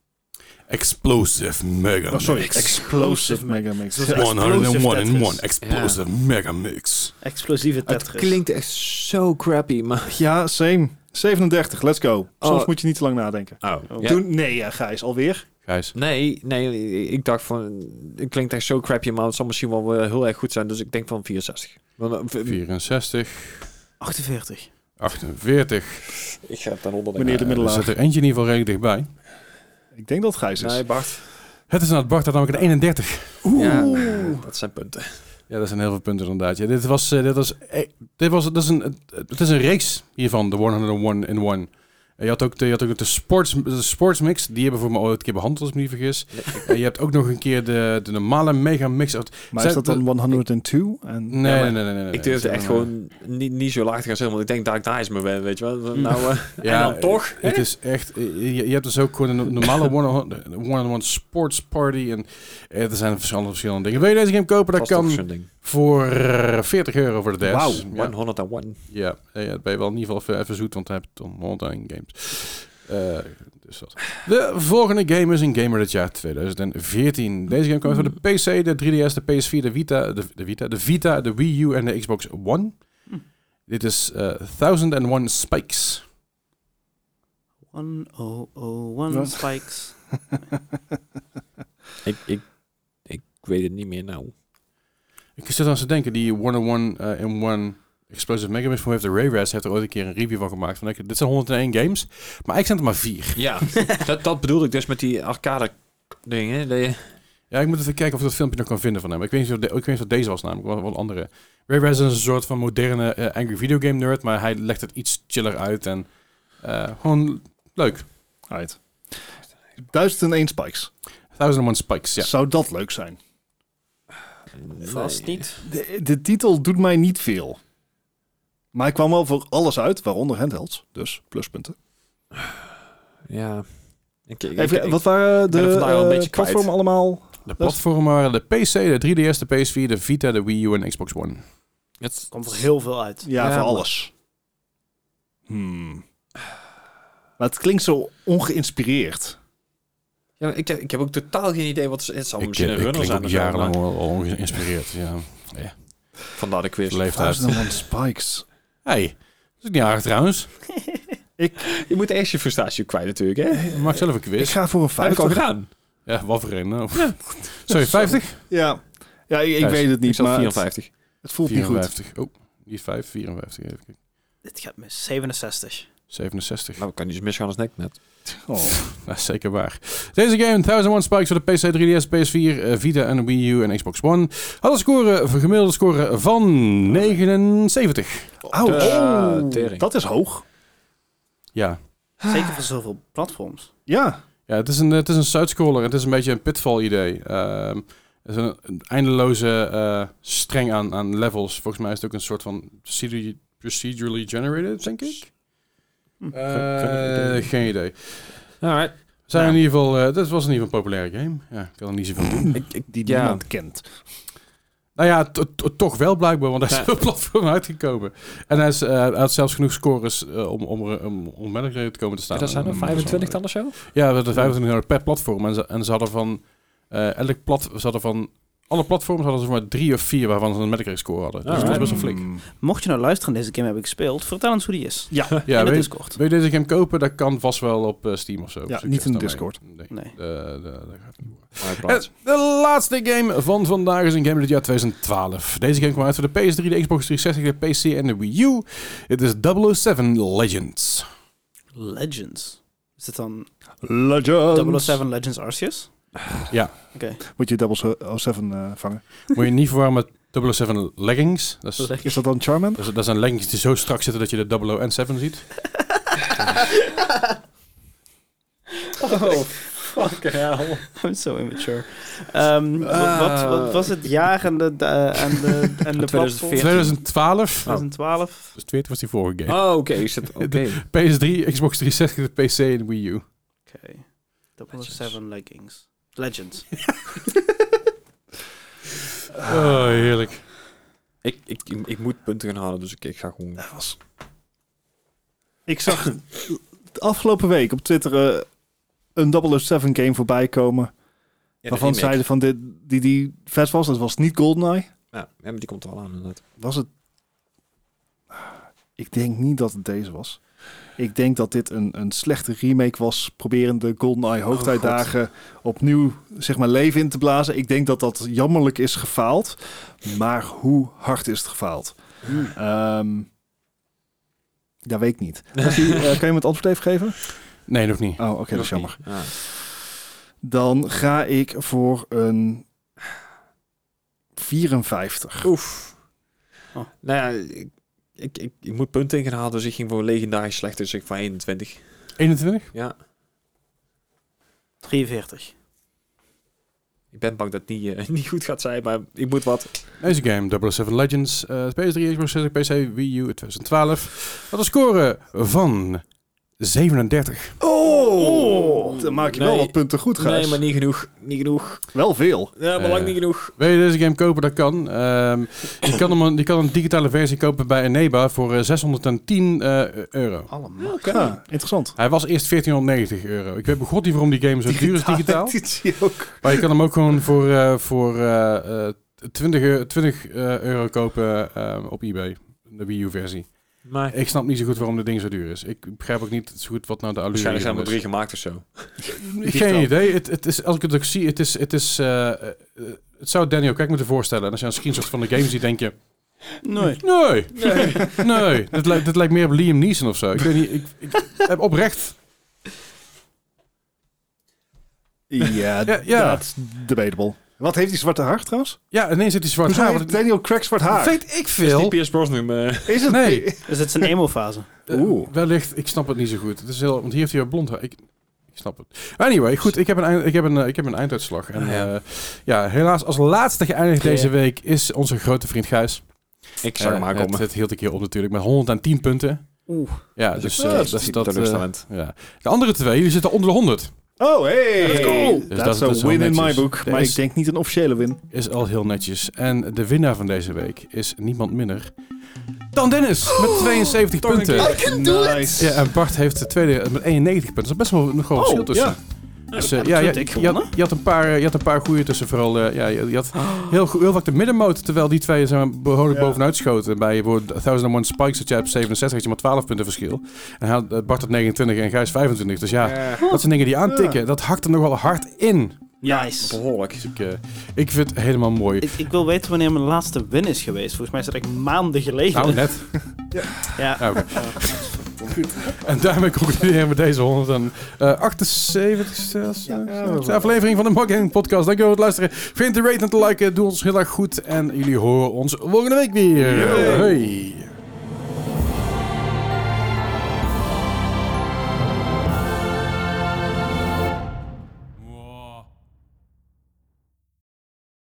Speaker 1: Explosive Megamix.
Speaker 4: Oh, sorry, Explosive Mega Mix.
Speaker 2: Dat is-
Speaker 1: 101
Speaker 2: Explosive
Speaker 1: in 1
Speaker 2: Tetris.
Speaker 1: Explosive Megamix.
Speaker 2: Explosieve
Speaker 3: Het
Speaker 2: Tetris.
Speaker 3: klinkt echt zo crappy, maar...
Speaker 4: Ja, same. 37, let's go. Soms
Speaker 3: Oh.
Speaker 4: moet je niet te lang nadenken.
Speaker 3: Oh,
Speaker 2: Oh.
Speaker 3: ja.
Speaker 4: Toen, nee, ja, Gijs, alweer.
Speaker 1: Gijs.
Speaker 3: Nee, nee, ik dacht van, het klinkt echt zo crappy, maar het zal misschien wel eh, heel erg goed zijn. Dus ik denk van 64. Want, eh, v-
Speaker 1: 64,
Speaker 2: 48.
Speaker 1: 48.
Speaker 3: Ik ga het dan onder
Speaker 4: Meneer de
Speaker 1: Eh, Er
Speaker 4: middelaar.
Speaker 1: zit er eentje in ieder geval redelijk dichtbij.
Speaker 4: Ik denk dat het Gijs is.
Speaker 3: Nee, Bart.
Speaker 1: Het is aan het Bart dat namelijk een 31.
Speaker 3: Ja, dat zijn punten.
Speaker 1: Ja, dat zijn heel veel punten inderdaad. Ja, dit was, eh, dit was, eh, dit was, dat is een, het is een reeks hiervan, de 101 in One. En je had ook de, je had ook de, sports, de sportsmix, die hebben we voor me ooit een keer behandeld, als ik me niet vergis. En je hebt ook nog een keer de, de normale mega mix. uit-
Speaker 4: Maar
Speaker 1: Zijn-
Speaker 4: is dat dan 102? En,
Speaker 1: Nee,
Speaker 3: Ja,
Speaker 1: nee, nee,
Speaker 3: maar
Speaker 1: nee, nee, nee.
Speaker 3: ik durfde
Speaker 1: Zijn
Speaker 3: echt
Speaker 1: dan, eh,
Speaker 3: gewoon niet, niet zo laag te gaan zeggen, want ik denk dat ik nice me ben, weet je wel. Nou, eh,
Speaker 1: Ja,
Speaker 3: en dan toch.
Speaker 1: Het is echt, eh, je, je hebt dus ook gewoon een normale one- one-on-one sports party. En eh, er zijn verschillende, verschillende dingen. Wil je deze game kopen? Dat
Speaker 3: was toch
Speaker 1: kan
Speaker 3: zo'n ding.
Speaker 1: voor 40 euro voor de DS.
Speaker 3: Wauw,
Speaker 1: Ja.
Speaker 3: 101.
Speaker 1: Ja, ja, ja, dat ben je wel in ieder geval even, even zoet, want dan heb je dan online games. Eh, dus dat. De volgende game is een gamer dit jaar 2014. Deze game kwam voor de PC, de 3DS, de PS4, de Vita, de, de Vita, de Vita, de Wii U en de Xbox One.
Speaker 2: Hm.
Speaker 1: Dit is eh 1001 Spikes.
Speaker 2: 1001
Speaker 4: Wat?
Speaker 2: Spikes.
Speaker 3: Ik, ik, ik weet het niet meer nou.
Speaker 1: Ik zit aan te denken, die 101 eh, in One Explosive Mega Mix, voor heeft de Ray Res heeft er ooit een keer een review van gemaakt. Van, ik- dit zijn 101 games, maar ik zijn er maar vier.
Speaker 3: Ja, dat, dat bedoelde ik dus met die arcade dingen. Die,
Speaker 1: Ja, ik moet even kijken of ik dat filmpje nog kan vinden van hem. Ik weet niet of, de- ik weet niet of dat deze was namelijk, wel wel een andere. Ray Res is een soort van moderne eh, angry video game nerd, maar hij legt het iets chiller uit en eh, gewoon leuk.
Speaker 4: Right. 1001 Spikes.
Speaker 1: 1001 Spikes, ja.
Speaker 4: Zou dat leuk zijn?
Speaker 2: Vast niet.
Speaker 4: De, de titel doet mij niet veel. Maar hij kwam wel voor alles uit, waaronder handhelds. Dus pluspunten.
Speaker 3: Ja. Ik, ik,
Speaker 4: Even,
Speaker 3: ik-
Speaker 4: wat waren de
Speaker 3: ben er vandaag al een
Speaker 4: eh,
Speaker 3: beetje kwijt.
Speaker 4: platformen allemaal?
Speaker 1: De platformen waren de PC, de 3DS, de PS4, de Vita, de Wii U en Xbox One.
Speaker 3: het-
Speaker 2: Komt er heel veel uit.
Speaker 4: Ja,
Speaker 3: Ja,
Speaker 4: voor
Speaker 3: maar-
Speaker 4: alles. Hmm. Maar het klinkt zo ongeïnspireerd.
Speaker 3: ja, maar ik, heb- ik heb ook totaal geen idee wat... ze- Het zal
Speaker 1: Ik, eh,
Speaker 3: misschien een
Speaker 1: ik, ik
Speaker 3: runner
Speaker 1: klink
Speaker 3: zijn
Speaker 1: ook
Speaker 3: of zo,
Speaker 1: jarenlang
Speaker 3: maar-
Speaker 1: al, al ongeïnspireerd, ja.
Speaker 3: Vandaar de quiz.
Speaker 1: Leeftijd.
Speaker 4: 1001 Spikes.
Speaker 1: Hey, dat is ook niet aardig trouwens.
Speaker 3: Je moet eerst je frustratie kwijt natuurlijk, hè?
Speaker 1: Ik maak zelf een
Speaker 4: Ik
Speaker 1: quiz.
Speaker 4: ga voor een
Speaker 3: Heb ik al
Speaker 4: 50.
Speaker 3: gedaan.
Speaker 1: Ja, wat voor een nou. Sorry, 50?
Speaker 4: Ja, ja ik, ik
Speaker 1: Thuis.
Speaker 4: weet het
Speaker 3: Ik
Speaker 4: niet,
Speaker 3: zat
Speaker 4: maar
Speaker 3: 54.
Speaker 4: Het, het voelt niet goed.
Speaker 1: 54. Oh, niet 5, 54. Even kijken.
Speaker 2: Dit gaat mis. 67.
Speaker 1: 67.
Speaker 3: Nou, kan niet misgaan als nek net.
Speaker 4: Oh.
Speaker 1: Dat is zeker waar. Deze game, 1001 Spikes voor de PC, 3DS, PS4, eh, Vita en Wii U en Xbox One, had een score, een gemiddelde score van 79.
Speaker 4: Auw.
Speaker 3: Dus, eh, tering.
Speaker 4: Oh. dat is hoog.
Speaker 1: Ja.
Speaker 2: Zeker voor zoveel platforms.
Speaker 4: Ja,
Speaker 1: Ja, het is een, het is een side-scroller. Het is een beetje een pitfall idee. Ehm, het is een, een eindeloze eh, streng aan, aan levels. Volgens mij is het ook een soort van procedur- procedurally generated, denk ik.
Speaker 2: Hm.
Speaker 1: Eh,
Speaker 3: Geen idee.
Speaker 1: geen idee.
Speaker 3: Alright.
Speaker 1: Zijn
Speaker 3: Nou.
Speaker 1: in ieder geval, eh, dat was in ieder geval een populaire game. Ja, ik kan er niet zoveel doen.
Speaker 3: Ik, ik,
Speaker 4: die
Speaker 3: ja.
Speaker 4: niemand kent.
Speaker 1: Nou ja, to- to- toch wel blijkbaar, want hij is
Speaker 3: Ja.
Speaker 1: op het platform uitgekomen. En hij, is, eh, hij had zelfs genoeg scores eh, om, om, er- om, om manager te komen te staan.
Speaker 3: Dat zijn er
Speaker 1: En-
Speaker 3: 25 dan of zo?
Speaker 1: Ja, we hadden 25 euro per platform. En ze, en ze hadden van eh, elk plat, ze hadden van alle platforms hadden ze maar drie of vier waarvan ze een Metacritic score hadden. Dus
Speaker 3: Ah,
Speaker 1: dat was
Speaker 3: right.
Speaker 1: best wel flink.
Speaker 4: Mm.
Speaker 2: Mocht je nou luisteren en deze game heb ik gespeeld, vertel ons hoe die is.
Speaker 4: Ja,
Speaker 1: Ja,
Speaker 2: In de
Speaker 1: weet,
Speaker 2: Discord.
Speaker 1: wil je deze game kopen? Dat kan vast wel op eh, Steam of zo.
Speaker 4: Ja,
Speaker 1: Zoek eens
Speaker 4: niet in
Speaker 1: daarmee.
Speaker 4: Discord.
Speaker 1: Nee,
Speaker 2: Nee.
Speaker 1: eh, dat- dat gaat niet worden. Eh, De laatste game van vandaag is een game uit het jaar 2012. Deze game kwam uit voor de PS3, de Xbox 360, de PC en de Wii U. Het is 007 Legends.
Speaker 2: Legends. Is dit dan
Speaker 4: Legends.
Speaker 2: 007 Legends Arceus?
Speaker 1: Ja.
Speaker 2: Oké.
Speaker 4: Moet je 007 eh vangen.
Speaker 1: Moet je niet verwarren met 007 Leggings. Dat, is, dat,
Speaker 4: Is dat dan Charmander?
Speaker 1: is- dat zijn leggings die zo strak zitten dat je de 007 ziet.
Speaker 3: Oh, fuck hell.
Speaker 2: I'm so immature. Ehm, wa- wat,
Speaker 1: Ah.
Speaker 2: wat was het jaar en de, de, en de, en de platform?
Speaker 3: 2014.
Speaker 1: 2012.
Speaker 2: 2012.
Speaker 1: Dus 20 was die vorige game.
Speaker 3: Oh, oké. is het- Oké.
Speaker 1: Ah. PS3, Xbox 360, de PC en de Wii U.
Speaker 2: Oké. 007 Leggings. Legends.
Speaker 1: Oh, heerlijk.
Speaker 3: Ik, ik, ik moet punten gaan halen, dus ik, ik ga gewoon...
Speaker 4: Dat was- Ik zag de afgelopen week op Twitter eh, een 007 game voorbij komen. waarvan zeiden van dit, die, die vet was. Dat was niet GoldenEye.
Speaker 3: Ja, maar die komt er wel aan inderdaad.
Speaker 4: Was het... Ik denk niet dat het deze was. Ik denk dat dit een, een slechte remake was. Proberen de GoldenEye hoogtijdagen opnieuw zeg maar, leven in te blazen. Ik denk dat dat jammerlijk is gefaald. Maar hoe hard is het gefaald? Ehm dat weet ik niet. Als je, eh, kan je me het antwoord even geven?
Speaker 1: Nee, nog niet.
Speaker 4: Oh, oké, dat is
Speaker 3: Nog
Speaker 4: jammer.
Speaker 3: niet. Ja.
Speaker 4: Dan ga ik voor een 54.
Speaker 3: Oef.
Speaker 2: Oh.
Speaker 3: Nou ja, ik, ik, ik, ik moet punten in gaan halen, dus ik ging voor legendarisch slecht, dus ik voor 21.
Speaker 1: 21?
Speaker 3: Ja,
Speaker 2: 43.
Speaker 3: ik ben bang dat het niet, eh, niet goed gaat zijn, maar ik moet wat.
Speaker 1: Deze game, 007 Legends, eh, PS3, Xbox 360, PC, Wii U 2012. Wat een score van 37.
Speaker 4: Oh! Dan maak je wel
Speaker 3: Nee.
Speaker 4: wat punten goed, Gijs.
Speaker 3: Nee, maar niet genoeg. Niet genoeg.
Speaker 4: Wel veel.
Speaker 3: Ja, maar
Speaker 1: Eh.
Speaker 3: lang niet genoeg.
Speaker 1: Wil je deze game kopen? Dat kan. Ehm, je, kan hem, een- je kan een digitale versie kopen bij Eneba voor eh, 610 eh, euro.
Speaker 4: Allemaal.
Speaker 3: Oké.
Speaker 4: interessant.
Speaker 1: Hij was eerst 1490 euro. Ik weet begot niet waarom die game zo duur is digitaal.
Speaker 4: Editie ook.
Speaker 1: Maar je kan hem ook gewoon voor, eh, voor eh, eh, 20, eu- 20 eh, euro kopen eh, op eBay. De Wii U-versie.
Speaker 3: Maar
Speaker 1: Ik snap niet zo goed waarom dit ding zo duur is. Ik begrijp ook niet zo goed wat nou de allure
Speaker 3: waarschijnlijk zijn
Speaker 1: hiervan
Speaker 3: er
Speaker 1: is.
Speaker 3: drie gemaakt of zo.
Speaker 1: Geen idee. Het, het is, als ik het ook zie, het is... Het, is, eh, eh, het zou Daniel Kijk moeten voorstellen. En als je een screenshot van de game ziet, denk je...
Speaker 2: Nee.
Speaker 1: Nee, nee, Dit, lijkt, dit lijkt meer op Liam Neeson of zo. Ik weet niet, ik, ik heb oprecht...
Speaker 4: Ja,
Speaker 1: Ja, ja.
Speaker 4: dat is debatable. Wat heeft die zwarte haar trouwens?
Speaker 1: Ja, ineens zit hij zwart
Speaker 4: Hoezo
Speaker 1: haar.
Speaker 4: heeft Daniel Craig zwart haar?
Speaker 1: Weet ik
Speaker 3: Is die
Speaker 1: veel.
Speaker 3: Piers Brosnan? eh,
Speaker 4: Is het?
Speaker 1: Nee.
Speaker 2: Dus het is een emo-fase.
Speaker 1: Eh,
Speaker 4: Oeh.
Speaker 1: wellicht, ik snap het niet zo goed. Het is heel, want hier heeft hij weer blond haar. Ik, ik snap het. Anyway, goed, ik heb een, eind- ik heb een, eh, ik heb een einduitslag. En,
Speaker 3: Ah,
Speaker 1: ja.
Speaker 3: ja.
Speaker 1: ja, helaas als laatste geëindigd
Speaker 3: Ja.
Speaker 1: deze week is onze grote vriend Gijs.
Speaker 3: ik zag hem
Speaker 1: Eh,
Speaker 3: aankomen.
Speaker 1: het, het hield ik hier op natuurlijk met 110 punten.
Speaker 2: Oeh.
Speaker 1: Ja,
Speaker 3: Dus
Speaker 1: dus
Speaker 3: ik-
Speaker 1: eh,
Speaker 3: ja,
Speaker 1: dat
Speaker 3: dat
Speaker 1: is
Speaker 3: is
Speaker 1: dat. eh,
Speaker 3: teleurstellend.
Speaker 1: ja. De andere twee, die zitten onder de 100.
Speaker 4: Oh, hey!
Speaker 2: Let's go.
Speaker 1: Dus
Speaker 4: That's
Speaker 1: dat- dat is
Speaker 4: a
Speaker 1: wel
Speaker 4: win in my
Speaker 1: netjes.
Speaker 4: book.
Speaker 1: Er
Speaker 4: Maar
Speaker 1: is-
Speaker 4: ik denk niet een officiële win.
Speaker 1: Is al heel netjes. En de winnaar van deze week is niemand minder dan Dennis met 72
Speaker 3: Toch een
Speaker 1: punten.
Speaker 3: keer.
Speaker 4: can do nice.
Speaker 1: Ja, en Bart heeft de tweede met 91 punten. Dat is best wel nog wel een verschil tussen.
Speaker 4: ja.
Speaker 1: Dus, eh,
Speaker 2: heb
Speaker 1: ja,
Speaker 2: ik
Speaker 1: je,
Speaker 2: natuurlijk
Speaker 1: je had,
Speaker 2: gewonnen.
Speaker 1: je had een paar, eh, je had een paar goede tussen. Vooral, eh, ja, je, je had heel, goed- heel vaak de middenmoot. Terwijl die twee zijn behoorlijk
Speaker 4: Ja.
Speaker 1: bovenuit schoten. Bij eh, voor 1001 Spikes had je op 67 had je maar 12 punten verschil. En hij had, eh, Bart had 29 en Gijs 25. Dus ja, dat zijn dingen die aantikken. Dat hakt er nog wel hard in.
Speaker 2: Nice.
Speaker 3: Behoorlijk.
Speaker 1: Dus ik, eh, ik vind het helemaal mooi.
Speaker 2: Ik, ik wil weten wanneer mijn laatste win is geweest. Volgens mij is dat echt maanden geleden.
Speaker 1: Nou, net.
Speaker 2: ja.
Speaker 1: Ah, oké. En daarmee concluderen we deze 178 zelfs.
Speaker 4: Ja,
Speaker 1: eh,
Speaker 4: ja,
Speaker 1: zelfs
Speaker 4: wel.
Speaker 1: aflevering van de Mark Gaming Podcast. Dankjewel voor het luisteren. Vind de rate en te liken. Doe ons heel erg goed. En jullie horen ons volgende week weer.
Speaker 4: Yo.
Speaker 1: Hoi.